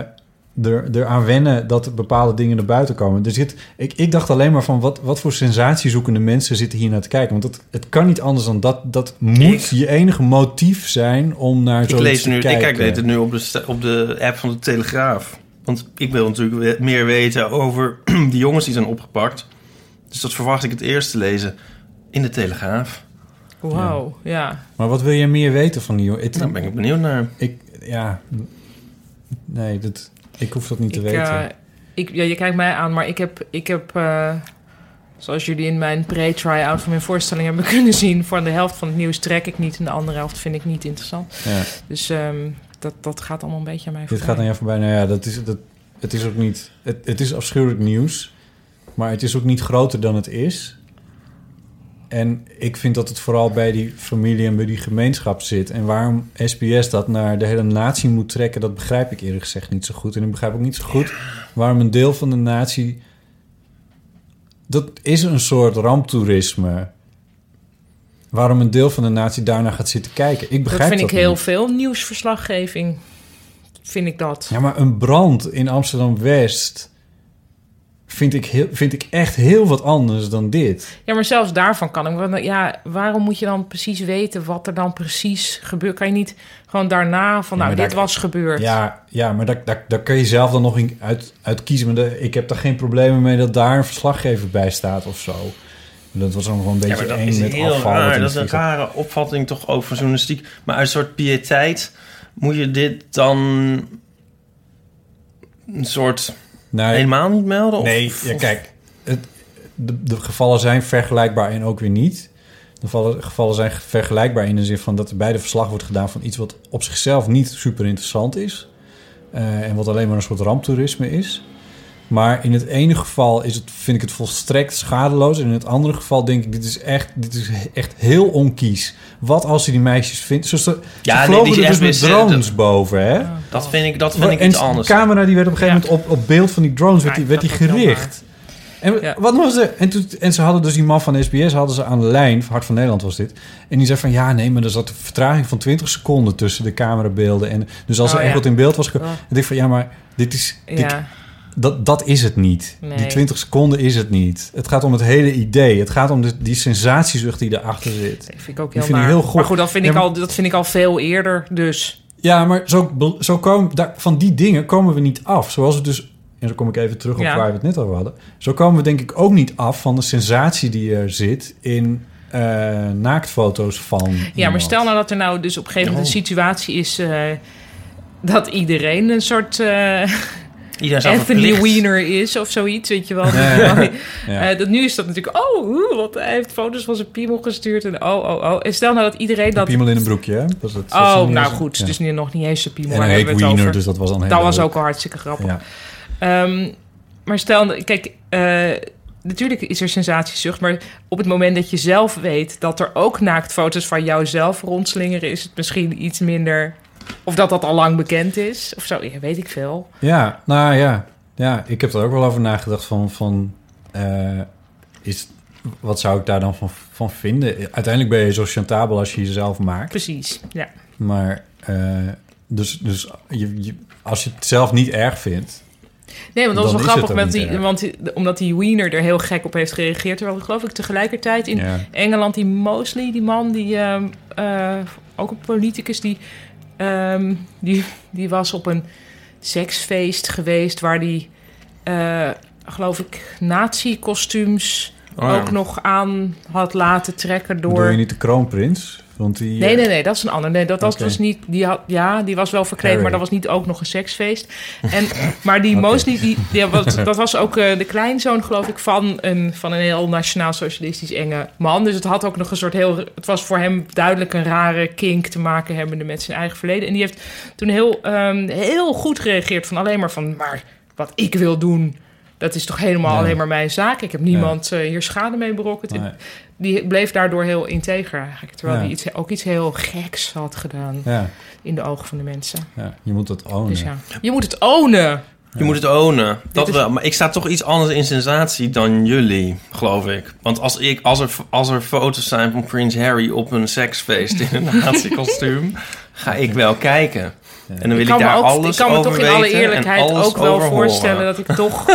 [SPEAKER 4] er, er aan wennen dat er bepaalde dingen naar buiten komen. Er zit, ik, ik dacht alleen maar van wat, wat voor sensatiezoekende mensen zitten hier naar te kijken. Want het, het kan niet anders dan dat. Dat moet
[SPEAKER 2] Ik-
[SPEAKER 4] je enige motief zijn om naar
[SPEAKER 2] Ik
[SPEAKER 4] zoiets
[SPEAKER 2] lees
[SPEAKER 4] te
[SPEAKER 2] nu,
[SPEAKER 4] kijken.
[SPEAKER 2] ik kijk weet het nu op de, sta- op de app van de Telegraaf. Want ik wil natuurlijk we- meer weten over die jongens die zijn opgepakt. Dus dat verwacht ik het eerst te lezen in de Telegraaf.
[SPEAKER 3] Wauw, ja.
[SPEAKER 4] Maar wat wil je meer weten van die jongen? Het-
[SPEAKER 2] Daar Nou, ben ik benieuwd naar.
[SPEAKER 4] ik, ja, nee, dat, ik hoef dat niet te
[SPEAKER 3] Ik,
[SPEAKER 4] weten.
[SPEAKER 3] eh, ik, ja, je kijkt mij aan, maar ik heb, ik heb eh, Zoals jullie in mijn pre-try-out van mijn voorstelling hebben kunnen zien... van de helft van het nieuws trek ik niet... en de andere helft vind ik niet interessant.
[SPEAKER 4] Ja.
[SPEAKER 3] Dus ehm, dat, dat gaat allemaal een beetje aan mij
[SPEAKER 4] Dit gaat aan
[SPEAKER 3] voorbij.
[SPEAKER 4] jou voorbij. Nou ja, dat is, dat, het is ook niet... Het, het is afschuwelijk nieuws. Maar het is ook niet groter dan het is. En ik vind dat het vooral bij die familie en bij die gemeenschap zit. En waarom SBS dat naar de hele natie moet trekken... dat begrijp ik eerlijk gezegd niet zo goed. En ik begrijp ook niet zo goed waarom een deel van de natie... Dat is een soort ramptoerisme. Waarom een deel van de natie daarna gaat zitten kijken. Ik begrijp
[SPEAKER 3] Dat vind
[SPEAKER 4] dat
[SPEAKER 3] ik heel
[SPEAKER 4] niet.
[SPEAKER 3] veel. Nieuwsverslaggeving vind ik dat.
[SPEAKER 4] Ja, maar een brand in Amsterdam-West vind ik, heel, vind ik echt heel wat anders dan dit.
[SPEAKER 3] Ja, maar zelfs daarvan kan ik. Want ja, waarom moet je dan precies weten wat er dan precies gebeurt? Kan je niet gewoon daarna van,
[SPEAKER 4] Ja,
[SPEAKER 3] nou,
[SPEAKER 4] maar
[SPEAKER 3] dit
[SPEAKER 4] daar-
[SPEAKER 3] was gebeurd.
[SPEAKER 4] Ja, ja maar daar, daar, daar kun je zelf dan nog in uit, uit kiezen. Maar de- ik heb daar geen problemen mee dat daar een verslaggever bij staat of zo. Dat was allemaal wel een
[SPEAKER 2] Ja,
[SPEAKER 4] beetje
[SPEAKER 2] maar dat
[SPEAKER 4] eng
[SPEAKER 2] is
[SPEAKER 4] met
[SPEAKER 2] heel
[SPEAKER 4] afval.
[SPEAKER 2] raar.
[SPEAKER 4] en
[SPEAKER 2] Dat is een
[SPEAKER 4] vliegen.
[SPEAKER 2] rare opvatting toch ook van journalistiek. Maar uit een soort piëteit moet je dit dan een soort
[SPEAKER 4] Nee,
[SPEAKER 2] helemaal niet melden? Of-
[SPEAKER 4] Nee,
[SPEAKER 2] of-
[SPEAKER 4] ja, kijk, het, de, de gevallen zijn vergelijkbaar en ook weer niet. De vallen- gevallen zijn vergelijkbaar in de zin van dat er beide verslag wordt gedaan van iets wat op zichzelf niet super interessant is. eh, en wat alleen maar een soort ramptoerisme is. Maar in het ene geval is het, vind ik het volstrekt schadeloos. En in het andere geval denk ik, dit is echt, dit is he- echt heel onkies. Wat als hij die meisjes vindt? Zo, ze
[SPEAKER 2] Ja,
[SPEAKER 4] ja,
[SPEAKER 2] nee,
[SPEAKER 4] vlogen
[SPEAKER 2] die
[SPEAKER 4] er dus met
[SPEAKER 2] SBS
[SPEAKER 4] drones boven, hè?
[SPEAKER 2] Dat vind ik, dat vind ik
[SPEAKER 4] en
[SPEAKER 2] iets
[SPEAKER 4] de
[SPEAKER 2] anders.
[SPEAKER 4] camera die werd op een gegeven
[SPEAKER 3] Ja.
[SPEAKER 4] moment op, op beeld van die drones werd,
[SPEAKER 3] Ja,
[SPEAKER 4] die, werd die
[SPEAKER 3] dat was heel
[SPEAKER 4] gericht. En,
[SPEAKER 3] Ja.
[SPEAKER 4] wat was er? En, toen, en ze hadden dus die man van SBS hadden ze aan de lijn, Hart van Nederland was dit. En die zei van ja, nee, maar er zat een vertraging van 20 seconden tussen de camerabeelden. En, dus als
[SPEAKER 3] Oh,
[SPEAKER 4] er echt
[SPEAKER 3] ja.
[SPEAKER 4] wat in beeld was gekomen.
[SPEAKER 3] Ja.
[SPEAKER 4] Ik dacht van ja, maar dit is, dit,
[SPEAKER 3] Ja.
[SPEAKER 4] dat, dat is het niet.
[SPEAKER 3] Nee.
[SPEAKER 4] Die 20 seconden is het niet. Het gaat om het hele idee. Het gaat om de, die sensatiezucht die erachter zit.
[SPEAKER 3] Dat vind ik ook
[SPEAKER 4] Die
[SPEAKER 3] heel
[SPEAKER 4] vind ik
[SPEAKER 3] naar.
[SPEAKER 4] heel goor.
[SPEAKER 3] Maar goed, dat vind,
[SPEAKER 4] Ja,
[SPEAKER 3] ik
[SPEAKER 4] maar-
[SPEAKER 3] al, dat vind ik al veel eerder. Dus
[SPEAKER 4] Ja, maar zo, zo komen, daar, van die dingen komen we niet af. Zoals we dus, en zo kom ik even terug op
[SPEAKER 3] Ja.
[SPEAKER 4] waar we het net over hadden. Zo komen we denk ik ook niet af van de sensatie die er zit in eh, naaktfoto's van.
[SPEAKER 3] ja, maar
[SPEAKER 4] iemand.
[SPEAKER 3] stel nou dat er nou dus op een gegeven moment een situatie is eh, dat iedereen een soort eh,
[SPEAKER 2] Iedereen zou
[SPEAKER 3] Anthony
[SPEAKER 2] verplicht-
[SPEAKER 3] Weiner is of zoiets, weet je wel.
[SPEAKER 4] Ja. Ja.
[SPEAKER 3] Eh, dat, nu is dat natuurlijk, oh, oeh, wat, hij heeft foto's van zijn piemel gestuurd. En oh, oh, oh. En stel nou dat iedereen
[SPEAKER 4] Een
[SPEAKER 3] dat...
[SPEAKER 4] piemel in een broekje, hè? Dat is het, dat is
[SPEAKER 3] Oh,
[SPEAKER 4] dan niet
[SPEAKER 3] nou
[SPEAKER 4] eens-
[SPEAKER 3] goed,
[SPEAKER 4] ja.
[SPEAKER 3] dus nu nog niet eens zijn piemel.
[SPEAKER 4] en
[SPEAKER 3] waar
[SPEAKER 4] hij heet
[SPEAKER 3] hebben we het
[SPEAKER 4] Wiener,
[SPEAKER 3] over.
[SPEAKER 4] dus dat was dan heel
[SPEAKER 3] dat was ook al hartstikke grappig.
[SPEAKER 4] Ja.
[SPEAKER 3] Ehm, maar stel, kijk, eh, natuurlijk is er sensatiezucht, maar op het moment dat je zelf weet dat er ook naaktfoto's van jouzelf rondslingeren, is het misschien iets minder. Of dat dat al lang bekend is, of zo, ja, weet ik veel.
[SPEAKER 4] ja, nou ja. Ja, ik heb er ook wel over nagedacht van... van eh, is, wat zou ik daar dan van, van vinden? Uiteindelijk ben je zo chantabel als je jezelf maakt.
[SPEAKER 3] Precies, ja.
[SPEAKER 4] Maar eh, dus, dus je, je- als je het zelf niet erg vindt.
[SPEAKER 3] Nee, want dat was wel
[SPEAKER 4] Dan is het
[SPEAKER 3] grappig,
[SPEAKER 4] ook
[SPEAKER 3] met
[SPEAKER 4] niet
[SPEAKER 3] die,
[SPEAKER 4] erg.
[SPEAKER 3] want die- omdat die Wiener er heel gek op heeft gereageerd. Terwijl, geloof ik, tegelijkertijd in
[SPEAKER 4] Ja.
[SPEAKER 3] Engeland die Mosley, die man, die ehm, eh, ook een politicus, die, ehm, die, die was op een seksfeest geweest waar die, eh, geloof ik, nazi-kostuums
[SPEAKER 2] Oh, ja.
[SPEAKER 3] ook nog aan had laten trekken door...
[SPEAKER 4] Doe je niet de kroonprins? Want die, eh,
[SPEAKER 3] Nee, nee, nee, dat is een ander. Nee, dat was
[SPEAKER 4] Oké.
[SPEAKER 3] dus niet. Die had, ja, die was wel verkleed,
[SPEAKER 4] Harry.
[SPEAKER 3] maar dat was niet ook nog een seksfeest. En, maar die Mosley, die, die, was- dat was ook eh, de kleinzoon, geloof ik, van een, van een heel nationaal-socialistisch enge man. Dus het had ook nog een soort heel. Het was voor hem duidelijk een rare kink te maken hebbende met zijn eigen verleden. En die heeft toen heel, ehm, heel goed gereageerd van alleen maar van. Maar wat ik wil doen. Dat is toch helemaal
[SPEAKER 4] Ja.
[SPEAKER 3] alleen maar mijn zaak. Ik heb niemand eh, hier schade mee berokkend.
[SPEAKER 4] Nee.
[SPEAKER 3] Die bleef daardoor heel integer eigenlijk. Terwijl
[SPEAKER 4] Ja.
[SPEAKER 3] hij iets, ook iets heel geks had gedaan
[SPEAKER 4] eh, Ja,
[SPEAKER 3] in de ogen van de mensen.
[SPEAKER 2] Oh,
[SPEAKER 4] ja, je moet dat ownen.
[SPEAKER 3] dus ja, je moet het ownen.
[SPEAKER 2] Je moet het ownen. Dat
[SPEAKER 3] Dit is-
[SPEAKER 2] wel. Maar ik sta toch iets anders in sensatie dan jullie, geloof ik. Want als, ik, als, er, als er foto's zijn van Prins Harry op een seksfeest in een nazi-kostuum, ga ik wel kijken. En dan wil ik,
[SPEAKER 3] kan me,
[SPEAKER 2] daar
[SPEAKER 3] ook,
[SPEAKER 2] alles
[SPEAKER 3] ik kan me
[SPEAKER 2] over
[SPEAKER 3] toch in alle
[SPEAKER 2] weten en
[SPEAKER 3] eerlijkheid
[SPEAKER 2] alles
[SPEAKER 3] ook wel
[SPEAKER 2] over
[SPEAKER 3] voorstellen
[SPEAKER 2] horen.
[SPEAKER 3] dat ik toch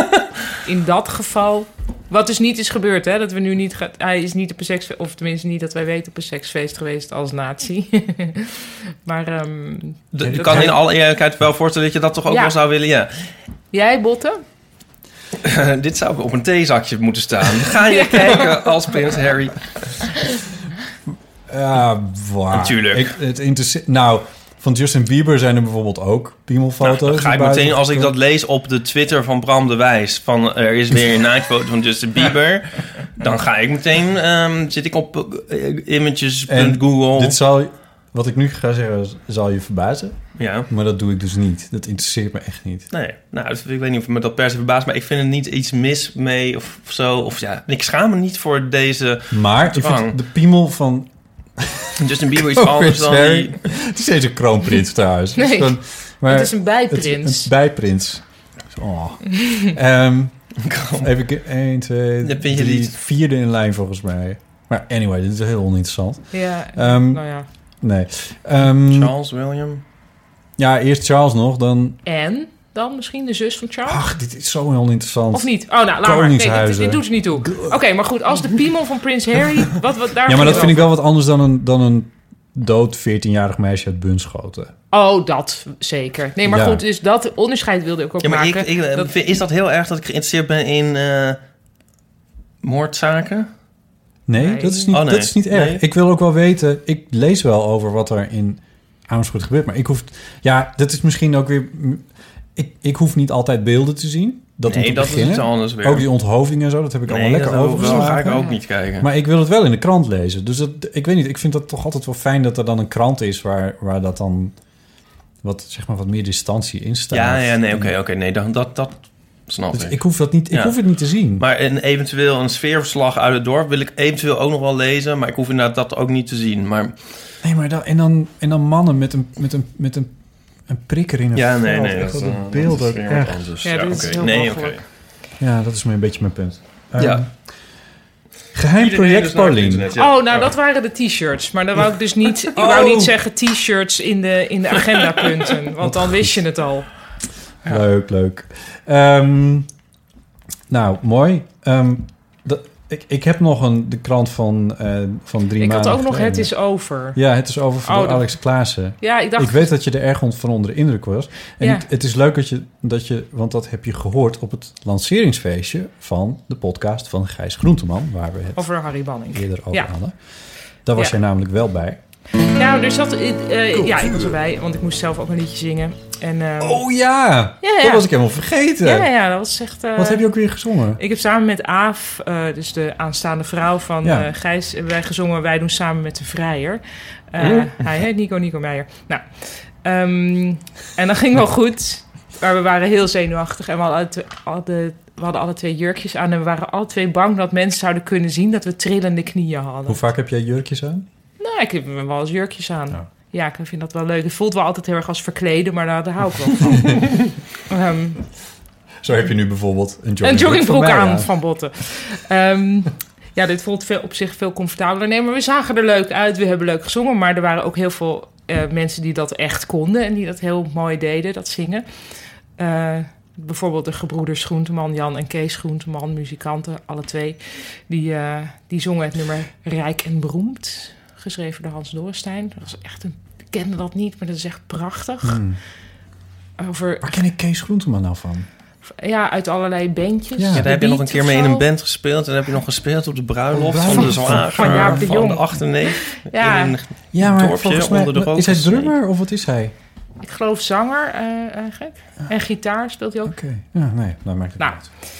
[SPEAKER 3] in dat geval. Wat dus niet is gebeurd, hè? Dat we nu niet. gaat- hij is niet op een seksfeest. Of tenminste, niet dat wij weten op een seksfeest geweest als natie. maar ehm,
[SPEAKER 2] De- ik
[SPEAKER 3] dat
[SPEAKER 2] kan
[SPEAKER 3] kan-
[SPEAKER 2] in alle eerlijkheid wel voorstellen dat je dat toch ook
[SPEAKER 3] Ja.
[SPEAKER 2] wel zou willen, ja.
[SPEAKER 3] jij, Botten?
[SPEAKER 2] Dit zou op een theezakje moeten staan. Ga je kijken als Prins Harry.
[SPEAKER 4] Ja, waar.
[SPEAKER 2] Natuurlijk.
[SPEAKER 4] Ik, het interesse- nou, van Justin Bieber zijn er bijvoorbeeld ook piemelfoto's.
[SPEAKER 2] Nou, dan ga
[SPEAKER 4] naar
[SPEAKER 2] ik
[SPEAKER 4] buiten
[SPEAKER 2] meteen, als ik
[SPEAKER 4] getrokken.
[SPEAKER 2] eh, dat lees op de Twitter van Bram de Wijs... van er is weer een naaktfoto van Justin Bieber... Dan ga ik meteen, ehm, zit ik op eh,
[SPEAKER 4] En
[SPEAKER 2] images.google.
[SPEAKER 4] Dit zal, wat ik nu ga zeggen, zal je verbazen.
[SPEAKER 2] Ja.
[SPEAKER 4] Maar dat doe ik dus niet. Dat interesseert me echt niet.
[SPEAKER 2] Nee, nou, het- ik weet niet of me dat per se verbaast, maar ik vind er niet iets mis mee of zo. Of ja, ik schaam me niet voor deze.
[SPEAKER 4] Maar ik
[SPEAKER 2] Dwang.
[SPEAKER 4] vind de piemel van
[SPEAKER 2] Justin Bieber
[SPEAKER 4] Oh,
[SPEAKER 2] is anders dan
[SPEAKER 4] Harry-
[SPEAKER 2] die.
[SPEAKER 4] Het is deze kroonprins trouwens.
[SPEAKER 3] Nee,
[SPEAKER 4] Het is gewoon- maar
[SPEAKER 3] het is een
[SPEAKER 4] het is
[SPEAKER 3] bijprins.
[SPEAKER 4] een bijprins. Oh. Ehm, even ki- 1, 2,
[SPEAKER 2] Dat vind je
[SPEAKER 4] 3,
[SPEAKER 2] niet.
[SPEAKER 4] vierde in lijn volgens mij. Maar anyway, dit is heel oninteressant.
[SPEAKER 3] Ja,
[SPEAKER 4] Ehm,
[SPEAKER 3] nou ja.
[SPEAKER 4] nee. Ehm,
[SPEAKER 2] Charles William.
[SPEAKER 4] ja, eerst Charles nog, dan...
[SPEAKER 3] En dan misschien de zus van Charles?
[SPEAKER 4] Ach, dit is zo oninteressant.
[SPEAKER 3] Of niet? Oh, nou, laat maar. Nee, dit,
[SPEAKER 4] Koningshuizen.
[SPEAKER 3] dit doet er niet toe. Oké, maar goed, als de piemel van prins Harry... Wat, wat, daar
[SPEAKER 4] Ja, maar
[SPEAKER 3] ging
[SPEAKER 4] dat
[SPEAKER 3] het
[SPEAKER 4] vind ik wel wat anders dan een, dan een dood 14-jarig meisje uit Bunschoten.
[SPEAKER 3] Oh, dat zeker. Nee, maar
[SPEAKER 4] Ja.
[SPEAKER 3] goed, dus dat onderscheid wilde ik ook
[SPEAKER 2] Ja, maar ik,
[SPEAKER 3] maken.
[SPEAKER 2] ik, eh,
[SPEAKER 3] dat-
[SPEAKER 2] vind- is dat heel erg dat ik geïnteresseerd ben in eh, moordzaken?
[SPEAKER 4] Nee,
[SPEAKER 3] Nee.
[SPEAKER 4] Dat, is niet,
[SPEAKER 2] Oh, nee.
[SPEAKER 4] dat is niet erg.
[SPEAKER 2] Nee.
[SPEAKER 4] Ik wil ook wel weten, ik lees wel over wat er in Amersfoort gebeurt. Maar ik hoef, ja, dat is misschien ook weer... Ik, ik hoef niet altijd beelden te zien. Dat om
[SPEAKER 2] nee,
[SPEAKER 4] te
[SPEAKER 2] dat
[SPEAKER 4] beginnen.
[SPEAKER 2] is iets anders weer.
[SPEAKER 4] Ook die onthoofdingen en zo, dat heb ik
[SPEAKER 2] nee,
[SPEAKER 4] allemaal lekker
[SPEAKER 2] dat ook- dat ga
[SPEAKER 4] overgeslagen.
[SPEAKER 2] ik ook niet kijken.
[SPEAKER 4] Maar ik wil het wel in de krant lezen. Dus dat, ik weet niet, ik vind dat toch altijd wel fijn dat er dan een krant is waar, waar dat dan wat, zeg maar, wat meer distantie in staat.
[SPEAKER 2] ja, ja, nee, oké, oké. nee, dan, dat, dat snap
[SPEAKER 4] Dus
[SPEAKER 2] ik.
[SPEAKER 4] ik hoef, dat niet, ik
[SPEAKER 2] Ja.
[SPEAKER 4] hoef het niet te zien.
[SPEAKER 2] Maar een, eventueel een sfeerverslag uit het dorp wil ik eventueel ook nog wel lezen. Maar ik hoef inderdaad dat ook niet te zien. Maar
[SPEAKER 4] Nee, maar dan, en, dan, en dan mannen met een, met een, met een, een prikker in een
[SPEAKER 2] ja, nee,
[SPEAKER 4] veld.
[SPEAKER 2] nee.
[SPEAKER 4] Echt, wat
[SPEAKER 2] eh,
[SPEAKER 4] een beeld
[SPEAKER 2] dat
[SPEAKER 4] ook.
[SPEAKER 2] is weer wat
[SPEAKER 4] Echt.
[SPEAKER 2] anders.
[SPEAKER 3] Ja,
[SPEAKER 2] Ja,
[SPEAKER 3] dit is
[SPEAKER 2] oké.
[SPEAKER 3] heel
[SPEAKER 2] Nee, oké.
[SPEAKER 3] belachelijk.
[SPEAKER 4] Ja, dat is mijn- een beetje mijn punt. Ehm,
[SPEAKER 2] Ja.
[SPEAKER 4] Geheim
[SPEAKER 2] Iedereen
[SPEAKER 4] project
[SPEAKER 2] is naar het
[SPEAKER 4] Paulien.
[SPEAKER 2] internet, ja. Oh.
[SPEAKER 3] Oh, nou, dat waren de t-shirts. Maar dan wou ik dus niet, ik wou niet zeggen t-shirts in de, in de agendapunten. Want dan wist je het al.
[SPEAKER 4] Leuk, leuk. Ehm, nou, mooi. Ehm, dat, ik, ik heb nog een, de krant van, eh van drie
[SPEAKER 3] Ik had
[SPEAKER 4] maanden
[SPEAKER 3] ook nog Het
[SPEAKER 4] geleden.
[SPEAKER 3] is over.
[SPEAKER 4] Ja, het is over van
[SPEAKER 3] Oh,
[SPEAKER 4] door
[SPEAKER 3] dat-
[SPEAKER 4] Alex Klaassen.
[SPEAKER 3] Ja, ik dacht...
[SPEAKER 4] Ik weet dat je er erg on- van onder de indruk was. En
[SPEAKER 3] Ja.
[SPEAKER 4] het, het is leuk dat je, dat je, want dat heb je gehoord op het lanceringsfeestje van de podcast van Gijs Groenteman, waar we het
[SPEAKER 3] Over Harry Banning.
[SPEAKER 4] eerder over
[SPEAKER 3] Ja.
[SPEAKER 4] hadden. Daar was
[SPEAKER 3] Ja.
[SPEAKER 4] jij namelijk wel bij.
[SPEAKER 3] Nou, er zat... eh, eh, ja, ik was erbij, want ik moest zelf ook een liedje zingen. En, ehm,
[SPEAKER 4] Oh ja,
[SPEAKER 3] Ja, ja.
[SPEAKER 4] dat was ik helemaal vergeten.
[SPEAKER 3] ja, ja, dat was echt... eh,
[SPEAKER 4] Wat heb je ook weer gezongen?
[SPEAKER 3] Ik heb samen met Aaf, eh, dus de aanstaande vrouw van
[SPEAKER 4] Ja.
[SPEAKER 3] eh, Gijs, hebben wij gezongen Wij doen samen met de vrijer. Eh, Hij heet Nico Nico Meijer. Nou, ehm, en dat ging wel goed, maar we waren heel zenuwachtig en we hadden, alle twee, hadden- we hadden alle twee jurkjes aan en we waren alle twee bang dat mensen zouden kunnen zien dat we trillende knieën hadden.
[SPEAKER 4] Hoe vaak heb jij jurkjes aan?
[SPEAKER 3] Nou, ik heb wel eens jurkjes aan.
[SPEAKER 4] Ja.
[SPEAKER 3] Ja. ik vind dat wel leuk. Het voelt wel altijd heel erg als verkleden, maar daar, daar hou ik wel van. Ehm,
[SPEAKER 4] Zo heb je nu bijvoorbeeld een joggingbroek,
[SPEAKER 3] een joggingbroek
[SPEAKER 4] van mij
[SPEAKER 3] aan van botten. Ehm, ja, dit voelt veel, op zich veel comfortabeler. Nee, maar we zagen er leuk uit. We hebben leuk gezongen. Maar er waren ook heel veel eh, mensen die dat echt konden. En die dat heel mooi deden, dat zingen. Eh, bijvoorbeeld de gebroeders Groenteman, Jan en Kees Groenteman. Muzikanten, alle twee. Die, eh, die zongen het nummer Rijk en Beroemd. Geschreven door Hans Dorrestein. Dat was echt een... Ik kende dat niet, maar dat is echt prachtig.
[SPEAKER 4] Hmm.
[SPEAKER 3] Over,
[SPEAKER 4] Waar ken ik Kees Groenteman nou van?
[SPEAKER 3] ja, uit allerlei bandjes.
[SPEAKER 4] Ja, daar
[SPEAKER 2] Ja, daar heb je nog een keer mee in
[SPEAKER 3] Beat of
[SPEAKER 2] een
[SPEAKER 3] zo.
[SPEAKER 2] band gespeeld. En heb je nog gespeeld op de bruiloft
[SPEAKER 4] Bruiloft
[SPEAKER 2] van de
[SPEAKER 4] van-
[SPEAKER 2] zwager
[SPEAKER 3] van Jaap de
[SPEAKER 2] van
[SPEAKER 3] Jong.
[SPEAKER 2] de achterneef.
[SPEAKER 3] Ja.
[SPEAKER 2] in-
[SPEAKER 4] Ja, maar
[SPEAKER 2] dorpje
[SPEAKER 4] volgens mij
[SPEAKER 2] onder de
[SPEAKER 4] is hij
[SPEAKER 2] rokers.
[SPEAKER 4] drummer of wat is hij?
[SPEAKER 3] Ik geloof zanger eh, eigenlijk. En gitaar speelt hij ook.
[SPEAKER 4] Oké, ja, nee, dat maakt het
[SPEAKER 3] Nou,
[SPEAKER 4] niet uit.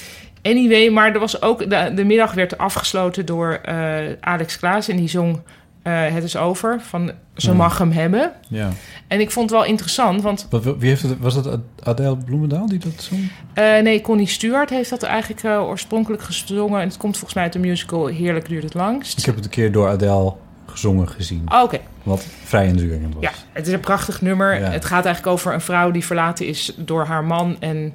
[SPEAKER 3] Anyway, maar er was ook, de, de middag werd afgesloten door eh, Alex Klaas. En die zong eh, Het is over van Ze
[SPEAKER 4] Hmm.
[SPEAKER 3] mag hem hebben.
[SPEAKER 4] Ja.
[SPEAKER 3] En ik vond het wel interessant, want
[SPEAKER 4] Wat, wie heeft het, was dat Adele Bloemendaal die dat zong?
[SPEAKER 3] eh, nee, Connie Stewart heeft dat eigenlijk eh, oorspronkelijk gezongen. En het komt volgens mij uit de musical Heerlijk duurt het langst.
[SPEAKER 4] Ik heb het een keer door Adele gezongen gezien,
[SPEAKER 3] Oh, Oké,
[SPEAKER 4] wat vrij indrukwekkend was.
[SPEAKER 3] Ja, het is een prachtig nummer.
[SPEAKER 4] Ja.
[SPEAKER 3] Het gaat eigenlijk over een vrouw die verlaten is door haar man. En,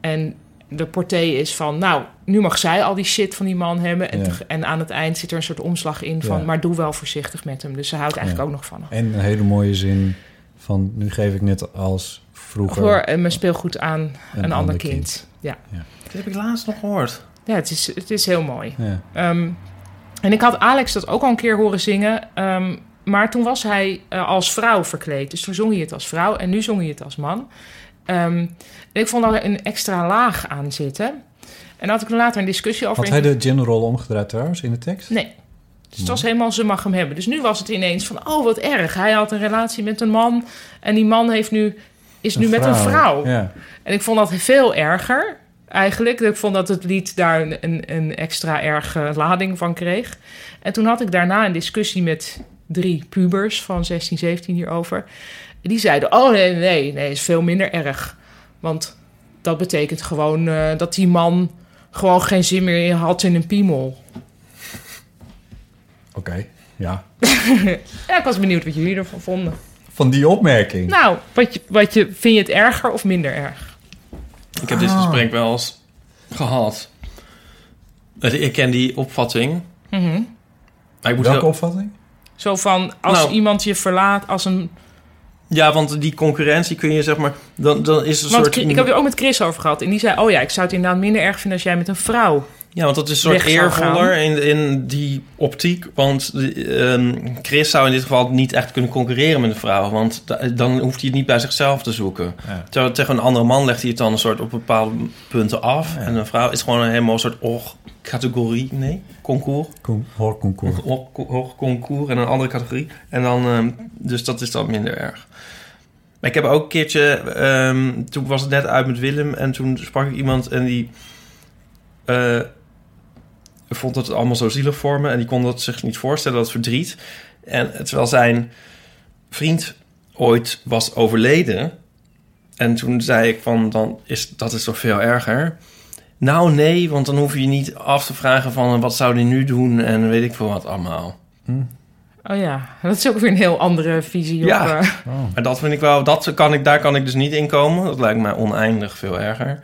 [SPEAKER 3] en de porté is van, nou, nu mag zij al die shit van die man hebben. En,
[SPEAKER 4] Ja.
[SPEAKER 3] teg- en aan het eind zit er een soort omslag in van,
[SPEAKER 4] Ja.
[SPEAKER 3] maar doe wel voorzichtig met hem. Dus ze houdt eigenlijk
[SPEAKER 4] Ja.
[SPEAKER 3] ook nog van hem.
[SPEAKER 4] En een hele mooie zin van nu geef ik net als vroeger
[SPEAKER 3] Voor eh, mijn speelgoed aan een, ander,
[SPEAKER 4] ander
[SPEAKER 3] kind.
[SPEAKER 4] kind.
[SPEAKER 3] Ja.
[SPEAKER 2] Dat heb ik laatst nog gehoord.
[SPEAKER 3] ja, het is, het is heel mooi.
[SPEAKER 4] Ja.
[SPEAKER 3] Ehm, en ik had Alex dat ook al een keer horen zingen. ehm, maar toen was hij eh, als vrouw verkleed. Dus toen zong hij het als vrouw en nu zong hij het als man. Ehm, en ik vond daar een extra laag aan zitten. En daar had ik er later een discussie over.
[SPEAKER 4] Had hij de general omgedraaid trouwens in de tekst?
[SPEAKER 3] Nee. Dus het was helemaal ze mag hem hebben. Dus nu was het ineens van, oh wat erg. Hij had een relatie met een man en die man heeft nu, is nu met een vrouw.
[SPEAKER 4] Ja.
[SPEAKER 3] En ik vond dat veel erger Eigenlijk. Ik vond dat het lied daar een, een, een extra erge lading van kreeg. En toen had ik daarna een discussie met drie pubers van 16, 17 hierover. Die zeiden: Oh nee, nee, nee, is veel minder erg. Want dat betekent gewoon eh, dat die man gewoon geen zin meer had in een piemel.
[SPEAKER 4] Oké, ja.
[SPEAKER 3] Ja, ik was benieuwd wat jullie ervan vonden.
[SPEAKER 4] Van die opmerking.
[SPEAKER 3] Nou, wat je, wat je, vind je het erger of minder erg?
[SPEAKER 2] Ik heb dit
[SPEAKER 4] Ah.
[SPEAKER 2] gesprek wel eens gehad. Eh, Ik ken die opvatting.
[SPEAKER 3] Mhm.
[SPEAKER 2] Maar ik moet
[SPEAKER 4] Welke
[SPEAKER 2] wel-
[SPEAKER 4] opvatting?
[SPEAKER 3] Zo van, als
[SPEAKER 2] Nou.
[SPEAKER 3] iemand je verlaat als een...
[SPEAKER 2] Ja, want die concurrentie kun je zeg maar... Dan, dan is een
[SPEAKER 3] Want
[SPEAKER 2] soort...
[SPEAKER 3] Chris- ik heb er ook met Chris over gehad. En die zei, oh ja, ik zou het inderdaad minder erg vinden als jij met een vrouw...
[SPEAKER 2] Ja, want dat is een soort
[SPEAKER 3] weg zou gaan.
[SPEAKER 2] eervoller in, in die optiek. Want eh, ehm, Chris zou in dit geval niet echt kunnen concurreren met een vrouw. Want da- dan hoeft hij het niet bij zichzelf te zoeken.
[SPEAKER 4] Ja.
[SPEAKER 2] Terwijl tegen een andere man legt hij het dan een soort op bepaalde punten af. En een vrouw is gewoon een helemaal soort och categorie. Nee, concours.
[SPEAKER 4] Kom, hoorconcours.
[SPEAKER 2] Och- Och concours en een andere categorie. En dan, ehm, dus dat is dan minder erg. Maar ik heb ook een keertje, ehm, toen was het net uit met Willem en toen sprak ik iemand en die eh, vond dat het allemaal zo zielig voor me en die kon dat zich niet voorstellen, dat verdriet. En terwijl zijn vriend ooit was overleden en toen zei ik van, dan is dat is toch veel erger. Nou nee, want dan hoef je je niet af te vragen van eh, wat zou die nu doen en weet ik veel wat allemaal.
[SPEAKER 3] Oh ja, dat is ook weer een heel andere visie.
[SPEAKER 2] Ja.
[SPEAKER 3] Op, eh,
[SPEAKER 2] Maar dat vind ik wel, dat kan ik, daar kan ik dus niet in komen. Dat lijkt mij oneindig veel erger.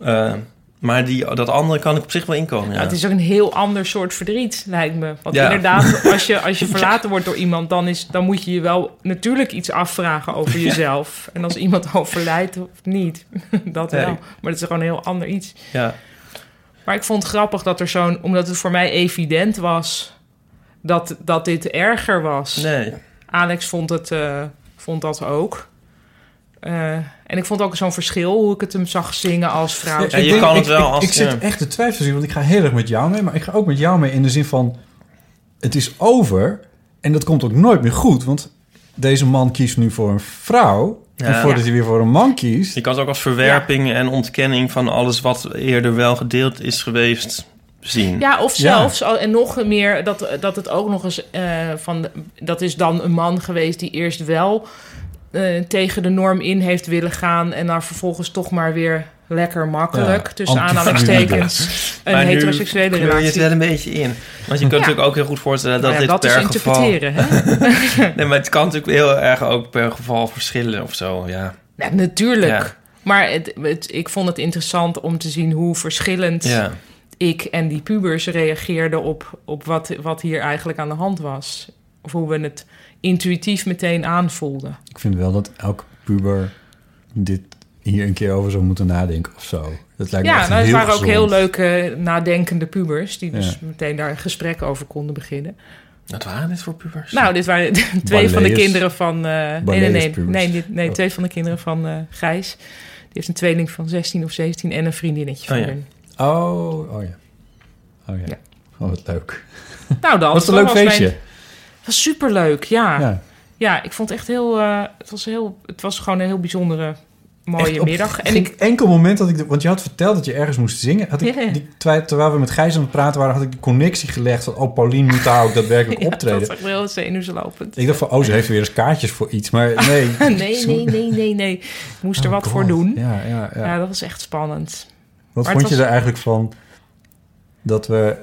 [SPEAKER 2] Eh, maar die, dat andere kan ik op zich wel inkomen. Ja.
[SPEAKER 3] nou, het is ook een heel ander soort verdriet, lijkt me. Want
[SPEAKER 2] Ja.
[SPEAKER 3] inderdaad, als je, als je verlaten wordt door iemand... Dan, is, dan moet je je wel natuurlijk iets afvragen over jezelf. En als iemand overlijdt of niet, dat
[SPEAKER 2] Nee.
[SPEAKER 3] wel. Maar dat is gewoon een heel ander iets.
[SPEAKER 2] ja.
[SPEAKER 3] Maar ik vond het grappig dat er zo'n... Omdat het voor mij evident was dat, dat dit erger was.
[SPEAKER 2] Nee.
[SPEAKER 3] Alex vond, het, eh, vond dat ook. Eh, en ik vond ook zo'n verschil hoe ik het hem zag zingen als vrouw.
[SPEAKER 2] Ja, je kan het wel
[SPEAKER 4] Nou, ik,
[SPEAKER 2] als- eh,
[SPEAKER 4] Ik zit
[SPEAKER 2] ja.
[SPEAKER 4] echt te twijfelen, want ik ga heel erg met jou mee. Maar ik ga ook met jou mee in de zin van... Het is over en dat komt ook nooit meer goed. Want deze man kiest nu voor een vrouw. En
[SPEAKER 2] Ja.
[SPEAKER 4] voordat hij weer voor een man kiest...
[SPEAKER 2] Je kan het ook als verwerping en ontkenning van alles wat eerder wel gedeeld is geweest zien.
[SPEAKER 3] Ja, of
[SPEAKER 4] Ja.
[SPEAKER 3] zelfs, al- en nog meer, dat, dat het ook nog eens eh, van... Dat is dan een man geweest die eerst wel eh, tegen de norm in heeft willen gaan... en daar vervolgens toch maar weer lekker makkelijk,
[SPEAKER 4] Ja,
[SPEAKER 3] tussen
[SPEAKER 4] antifamilie.
[SPEAKER 3] aanhalingstekens... een
[SPEAKER 2] Maar nu
[SPEAKER 3] heteroseksuele
[SPEAKER 2] kleur je
[SPEAKER 3] relatie.
[SPEAKER 2] het wel een beetje in. Want je kunt natuurlijk ook heel goed voorstellen dat
[SPEAKER 3] Nou ja,
[SPEAKER 2] dit
[SPEAKER 3] dat is
[SPEAKER 2] per geval...
[SPEAKER 3] interpreteren, hè?
[SPEAKER 2] Nee, maar het kan natuurlijk heel erg ook per geval verschillen of zo, ja.
[SPEAKER 3] Ja, natuurlijk.
[SPEAKER 2] Ja.
[SPEAKER 3] Maar het, het- ik vond het interessant om te zien hoe verschillend
[SPEAKER 2] Ja,
[SPEAKER 3] ik en die pubers reageerden op, op wat, wat hier eigenlijk aan de hand was. Of hoe we het intuïtief meteen aanvoelden.
[SPEAKER 4] Ik vind wel dat elke puber dit hier een keer over zou moeten nadenken of zo. Dat lijkt me
[SPEAKER 3] ja,
[SPEAKER 4] echt
[SPEAKER 3] nou, het
[SPEAKER 4] heel
[SPEAKER 3] waren ook
[SPEAKER 4] gezond.
[SPEAKER 3] heel leuke nadenkende pubers... die dus
[SPEAKER 4] Ja.
[SPEAKER 3] meteen daar een gesprek over konden beginnen.
[SPEAKER 2] wat waren dit voor pubers?
[SPEAKER 3] Nou, dit waren twee van de
[SPEAKER 4] Balletjes.
[SPEAKER 3] kinderen van... eh, nee, nee, nee,
[SPEAKER 4] Balletjespubers.
[SPEAKER 3] nee, dit- nee
[SPEAKER 4] Oh.
[SPEAKER 3] twee van de kinderen van eh, Gijs. Die heeft een tweeling van 16 of 17 en een vriendinnetje van
[SPEAKER 2] Oh ja.
[SPEAKER 3] hun.
[SPEAKER 4] Oh, oh ja. Oh ja.
[SPEAKER 3] Ja.
[SPEAKER 4] Oh, wat leuk.
[SPEAKER 3] Nou dan,
[SPEAKER 4] Was het
[SPEAKER 3] dat
[SPEAKER 4] een leuk
[SPEAKER 3] was mijn-
[SPEAKER 4] feestje?
[SPEAKER 3] Het was superleuk, ja. ja.
[SPEAKER 4] Ja.
[SPEAKER 3] ik vond het echt heel, eh, het was heel... Het was gewoon een heel bijzondere, mooie
[SPEAKER 4] Echt op
[SPEAKER 3] middag. En
[SPEAKER 4] geen
[SPEAKER 3] ik...
[SPEAKER 4] enkel moment dat ik... de- want je had verteld dat je ergens moest zingen. Had ik
[SPEAKER 3] Ja.
[SPEAKER 4] die, terwijl, terwijl we met Gijs aan het praten waren... had ik de connectie gelegd van... oh, Paulien moet daar ook daadwerkelijk
[SPEAKER 3] Ja, dat
[SPEAKER 4] optreden.
[SPEAKER 3] was echt heel zenuwslopend.
[SPEAKER 4] Ik dacht van, oh, ze heeft weer eens kaartjes voor iets. Maar nee.
[SPEAKER 3] Nee, nee, nee, nee, nee. Ik moest er
[SPEAKER 4] Oh,
[SPEAKER 3] wat
[SPEAKER 4] God.
[SPEAKER 3] voor doen. Ja.
[SPEAKER 4] Ja, ja, ja.
[SPEAKER 3] dat was echt spannend.
[SPEAKER 4] Wat
[SPEAKER 3] Maar
[SPEAKER 4] vond
[SPEAKER 3] het
[SPEAKER 4] je
[SPEAKER 3] was-
[SPEAKER 4] er eigenlijk van dat we,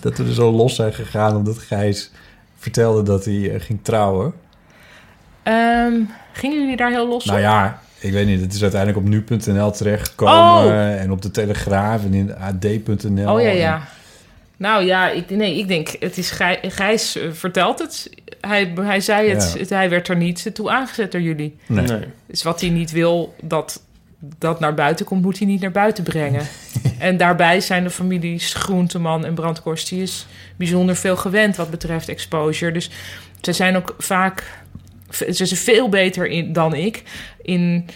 [SPEAKER 4] dat we er zo los zijn gegaan omdat Gijs vertelde dat hij eh, ging trouwen?
[SPEAKER 3] Ehm, gingen jullie daar heel los
[SPEAKER 4] Nou
[SPEAKER 3] op?
[SPEAKER 4] ja, ik weet niet. Het is uiteindelijk op nu.nl terechtgekomen
[SPEAKER 3] Oh!
[SPEAKER 4] en op de Telegraaf en in ad.nl.
[SPEAKER 3] Oh ja,
[SPEAKER 4] En-
[SPEAKER 3] ja. Nou ja, ik, nee, ik denk, het is Gij- Gijs eh, vertelt het. Hij, hij zei het,
[SPEAKER 4] Ja.
[SPEAKER 3] het, hij werd er niet toe aangezet door jullie.
[SPEAKER 4] nee.
[SPEAKER 2] nee.
[SPEAKER 3] Dus wat hij niet wil dat dat naar buiten komt, moet hij niet naar buiten brengen. en daarbij zijn de families Groenteman en Brandkorst, die is bijzonder veel gewend wat betreft exposure. Dus ze zijn ook vaak, ze zijn veel beter in, dan ik in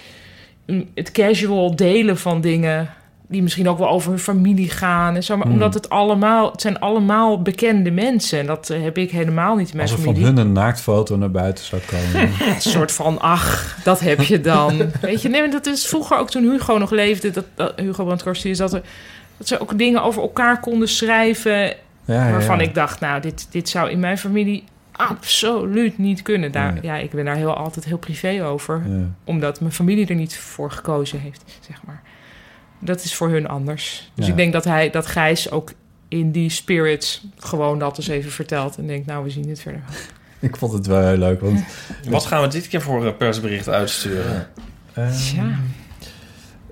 [SPEAKER 3] in het casual delen van dingen. die misschien ook wel over hun familie gaan en zo.
[SPEAKER 4] Hmm.
[SPEAKER 3] Maar omdat het allemaal, het zijn allemaal bekende mensen. En dat eh, heb ik helemaal niet in mijn
[SPEAKER 4] Als er van
[SPEAKER 3] familie.
[SPEAKER 4] hun een naaktfoto naar buiten zou komen.
[SPEAKER 3] Een soort van, ach, dat heb je dan. Weet je, nee, maar dat is vroeger ook toen Hugo nog leefde, dat, dat Hugo Brandkorst, is dat, er, dat ze ook dingen over elkaar konden schrijven.
[SPEAKER 4] Ah, Ja, ja,
[SPEAKER 3] waarvan
[SPEAKER 4] ja.
[SPEAKER 3] ik dacht, nou, dit, dit zou in mijn familie absoluut niet kunnen. Daar,
[SPEAKER 4] Nee.
[SPEAKER 3] Ja, ik ben daar heel, altijd heel privé over,
[SPEAKER 4] Ja.
[SPEAKER 3] omdat mijn familie er niet voor gekozen heeft, zeg maar. Dat is voor hun anders. Dus
[SPEAKER 4] Ja.
[SPEAKER 3] ik denk dat, hij, dat Gijs ook in die spirit gewoon dat eens even vertelt. En denkt, nou, we zien het verder. wel.
[SPEAKER 4] Ik vond het wel heel leuk, want...
[SPEAKER 2] Wat gaan we dit keer voor eh, persbericht uitsturen?
[SPEAKER 4] eh,
[SPEAKER 3] Tja,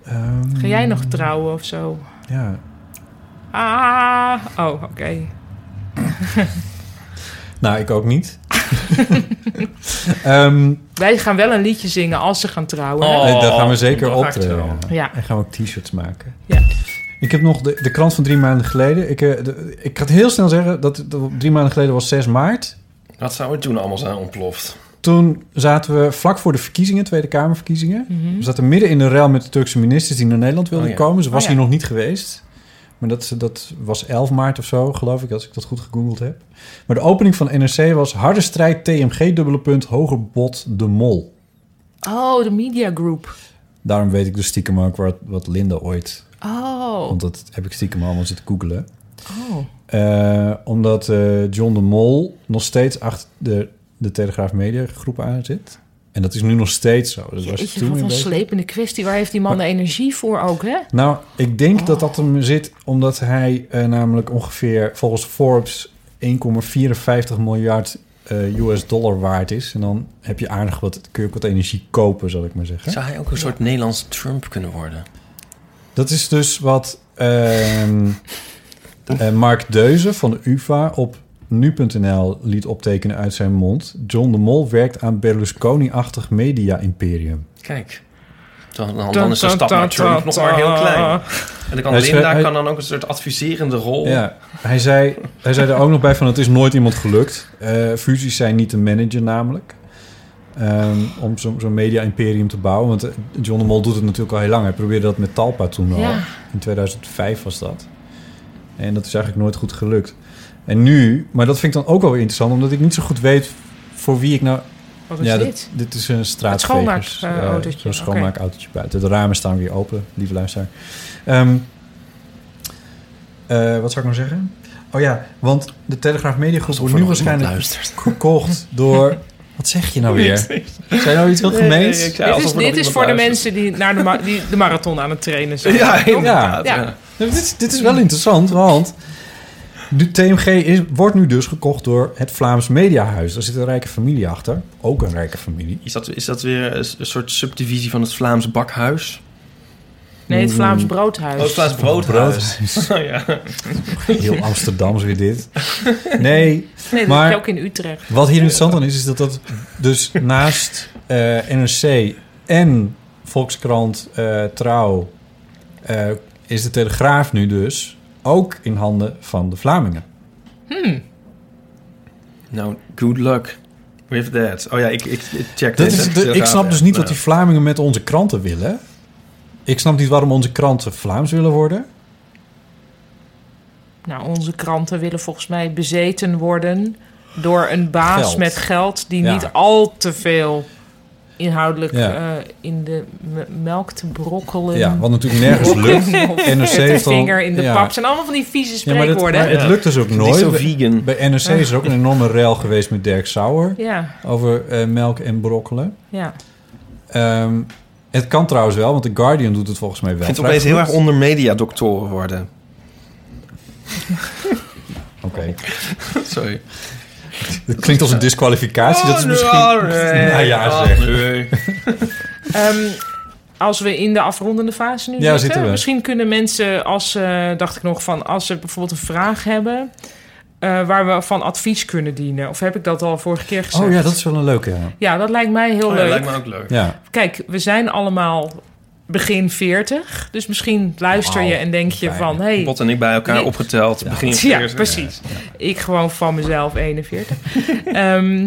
[SPEAKER 4] ehm,
[SPEAKER 3] ga jij nog trouwen of zo?
[SPEAKER 4] Ja,
[SPEAKER 3] Ah, oh, oké.
[SPEAKER 4] Nou, ik ook niet. Ehm,
[SPEAKER 3] Wij gaan wel een liedje zingen als ze gaan trouwen. hè?
[SPEAKER 2] Oh,
[SPEAKER 4] nee, daar gaan we zeker eh.
[SPEAKER 2] dat ga ik
[SPEAKER 4] optreden.
[SPEAKER 2] wel.
[SPEAKER 3] Ja.
[SPEAKER 4] En gaan we ook t-shirts maken.
[SPEAKER 3] Ja.
[SPEAKER 4] Ik heb nog de, de krant van drie maanden geleden. Ik, eh, de- ik ga het heel snel zeggen. Dat, dat drie maanden geleden was 6 maart.
[SPEAKER 2] Wat zou er toen allemaal zijn ontploft?
[SPEAKER 4] Toen zaten we vlak voor de verkiezingen, Tweede Kamerverkiezingen. We zaten midden in de rel met de Turkse ministers die naar Nederland wilden
[SPEAKER 2] Oh ja.
[SPEAKER 4] komen. Ze
[SPEAKER 3] Mhm.
[SPEAKER 4] was
[SPEAKER 3] Oh ja.
[SPEAKER 4] hier nog niet geweest. Maar dat, dat was 11 maart of zo, geloof ik, als ik dat goed gegoogeld heb. Maar de opening van NRC was harde strijd TMG dubbele punt hoger bod de mol.
[SPEAKER 3] Oh, de media group.
[SPEAKER 4] Daarom weet ik dus stiekem ook wat, wat Linda ooit...
[SPEAKER 3] Oh,
[SPEAKER 4] Want dat heb ik stiekem allemaal zitten googelen.
[SPEAKER 3] oh.
[SPEAKER 4] Eh, omdat eh, John de Mol nog steeds achter de, de Telegraaf Media groep aan zit. En dat is nu nog steeds zo. Dat was
[SPEAKER 3] Jeetje,
[SPEAKER 4] toen
[SPEAKER 3] wat
[SPEAKER 4] een
[SPEAKER 3] een
[SPEAKER 4] beetje...
[SPEAKER 3] slepende kwestie. Waar heeft die man de energie voor ook, hè?
[SPEAKER 4] Nou, ik denk dat dat
[SPEAKER 3] Oh.
[SPEAKER 4] hem zit omdat hij eh, namelijk ongeveer volgens Forbes 1,54 miljard eh, US dollar waard is. En dan heb je aardig wat, kun je ook wat energie kopen, zal ik maar zeggen.
[SPEAKER 2] Zou hij ook een soort Nederlands Trump kunnen worden?
[SPEAKER 4] Dat is dus wat ehm, eh, Mark Deuze van de UvA op nu.nl liet optekenen uit zijn mond. John de Mol werkt aan Berlusconi-achtig media-imperium.
[SPEAKER 2] Kijk. Dan, dan, dan is de stap naar Trump nog maar heel klein. En dan kan
[SPEAKER 4] Hij is,
[SPEAKER 2] Linda
[SPEAKER 4] eh, hij-
[SPEAKER 2] kan dan ook een soort adviserende rol.
[SPEAKER 4] Ja, hij zei, hij zei er ook nog bij van het is nooit iemand gelukt. Eh, fusies zijn niet te managen namelijk. Ehm, om zo'n zo'n media-imperium te bouwen. Want eh, John de Mol doet het natuurlijk al heel lang. Hij probeerde dat met Talpa toen al.
[SPEAKER 3] Ja.
[SPEAKER 4] In 2005 was dat. En dat is eigenlijk nooit goed gelukt. En nu, maar dat vind ik dan ook wel weer interessant... omdat ik niet zo goed weet voor wie ik nou...
[SPEAKER 3] Wat is
[SPEAKER 4] ja,
[SPEAKER 3] dit?
[SPEAKER 4] Dat, dit is een straatvegers.
[SPEAKER 3] schoonmaak, eh,
[SPEAKER 4] eh,
[SPEAKER 3] autootje.
[SPEAKER 4] Zo'n
[SPEAKER 3] Oké.
[SPEAKER 4] schoonmaakautootje buiten. De ramen staan weer open, lieve luisteraar. Ehm, eh, wat zou ik nou zeggen? Oh ja, want de Telegraaf Mediagroep wordt nu waarschijnlijk
[SPEAKER 2] luistert.
[SPEAKER 4] gekocht door... Wat zeg je nou weer? Zijn nou iets heel gemeens?
[SPEAKER 2] Nee, ik zei
[SPEAKER 3] Dit
[SPEAKER 2] alsof
[SPEAKER 3] is,
[SPEAKER 2] er nog
[SPEAKER 3] dit is
[SPEAKER 2] iemand
[SPEAKER 3] voor de
[SPEAKER 2] luistert.
[SPEAKER 3] mensen die, naar de, ma- die de marathon aan het trainen zijn.
[SPEAKER 2] Ja, inderdaad.
[SPEAKER 3] Ja.
[SPEAKER 2] ja.
[SPEAKER 4] Nou, dit, dit is wel interessant, want de TMG is, wordt nu dus gekocht door het Vlaams Mediahuis. Daar zit een rijke familie achter. Ook een rijke familie.
[SPEAKER 2] Is dat, is dat weer een s- een soort subdivisie van het Vlaams bakhuis?
[SPEAKER 3] Nee, het Vlaams Broodhuis.
[SPEAKER 2] Oh, het Vlaams broodhuis. Oh, ja.
[SPEAKER 4] Heel Amsterdams weer dit. Nee,
[SPEAKER 3] Nee, dat
[SPEAKER 4] Maar-
[SPEAKER 3] heb je ook in Utrecht.
[SPEAKER 4] wat hier interessant aan is, is dat dat dus naast eh, NRC en Volkskrant eh, Trouw... eh, is de Telegraaf nu dus ook in handen van de Vlamingen.
[SPEAKER 2] Nou, good luck with that. Oh ja, ik, ik, ik check
[SPEAKER 4] Dat
[SPEAKER 2] dit, hè.
[SPEAKER 4] is de- ik
[SPEAKER 2] Telegraaf,
[SPEAKER 4] snap dus
[SPEAKER 2] ja.
[SPEAKER 4] niet
[SPEAKER 2] Nou.
[SPEAKER 4] wat die Vlamingen met onze kranten willen. Ik snap niet waarom onze kranten Vlaams willen worden.
[SPEAKER 3] Nou, onze kranten willen volgens mij bezeten worden door een baas
[SPEAKER 4] Geld.
[SPEAKER 3] met geld die
[SPEAKER 4] Ja.
[SPEAKER 3] niet al te veel inhoudelijk
[SPEAKER 4] Ja.
[SPEAKER 3] eh, in de m- melk te brokkelen.
[SPEAKER 4] Ja, wat natuurlijk nergens lukt.
[SPEAKER 3] Of
[SPEAKER 4] NRC
[SPEAKER 3] met de
[SPEAKER 4] heeft al-
[SPEAKER 3] vinger in de
[SPEAKER 4] ja.
[SPEAKER 3] pap. zijn allemaal van die vieze
[SPEAKER 4] Ja, maar, dat-
[SPEAKER 3] spreekwoorden.
[SPEAKER 4] maar
[SPEAKER 3] hè?
[SPEAKER 4] het lukt dus ook
[SPEAKER 2] Niet zo
[SPEAKER 4] nooit.
[SPEAKER 2] vegan.
[SPEAKER 4] Bij NRC is er ook een enorme rel geweest met Dirk Sauer
[SPEAKER 3] ja,
[SPEAKER 4] over eh, melk en brokkelen.
[SPEAKER 3] ja.
[SPEAKER 4] Ehm, het kan trouwens wel, want The Guardian doet het volgens mij wel.
[SPEAKER 2] Ik vind het
[SPEAKER 4] vrij
[SPEAKER 2] opeens heel
[SPEAKER 4] goed.
[SPEAKER 2] erg onder mediadoktoren worden.
[SPEAKER 4] Oké,
[SPEAKER 2] Sorry.
[SPEAKER 4] dat klinkt als een disqualificatie.
[SPEAKER 2] Oh,
[SPEAKER 4] dat is misschien... Nou ja, zeg.
[SPEAKER 3] Ehm, als we in de afrondende fase nu
[SPEAKER 4] Ja,
[SPEAKER 3] zitten,
[SPEAKER 4] zitten we.
[SPEAKER 3] misschien kunnen mensen, als ze, dacht ik nog van, als ze bijvoorbeeld een vraag hebben, eh, waar we van advies kunnen dienen. Of heb ik dat al vorige keer gezegd?
[SPEAKER 4] Oh ja, dat is wel een leuke. Ja.
[SPEAKER 3] Ja, dat lijkt mij heel
[SPEAKER 2] Oh, ja,
[SPEAKER 3] leuk.
[SPEAKER 2] lijkt me ook leuk.
[SPEAKER 4] ja.
[SPEAKER 3] Kijk, we zijn allemaal begin 40, dus misschien luister je
[SPEAKER 4] Wauw,
[SPEAKER 3] en denk je
[SPEAKER 4] fijn.
[SPEAKER 3] van, hey,
[SPEAKER 2] Bot en ik bij elkaar
[SPEAKER 3] Nee.
[SPEAKER 2] opgeteld. Begin
[SPEAKER 3] ja,
[SPEAKER 2] 40.
[SPEAKER 3] precies. Ik gewoon van mezelf 41. Ehm,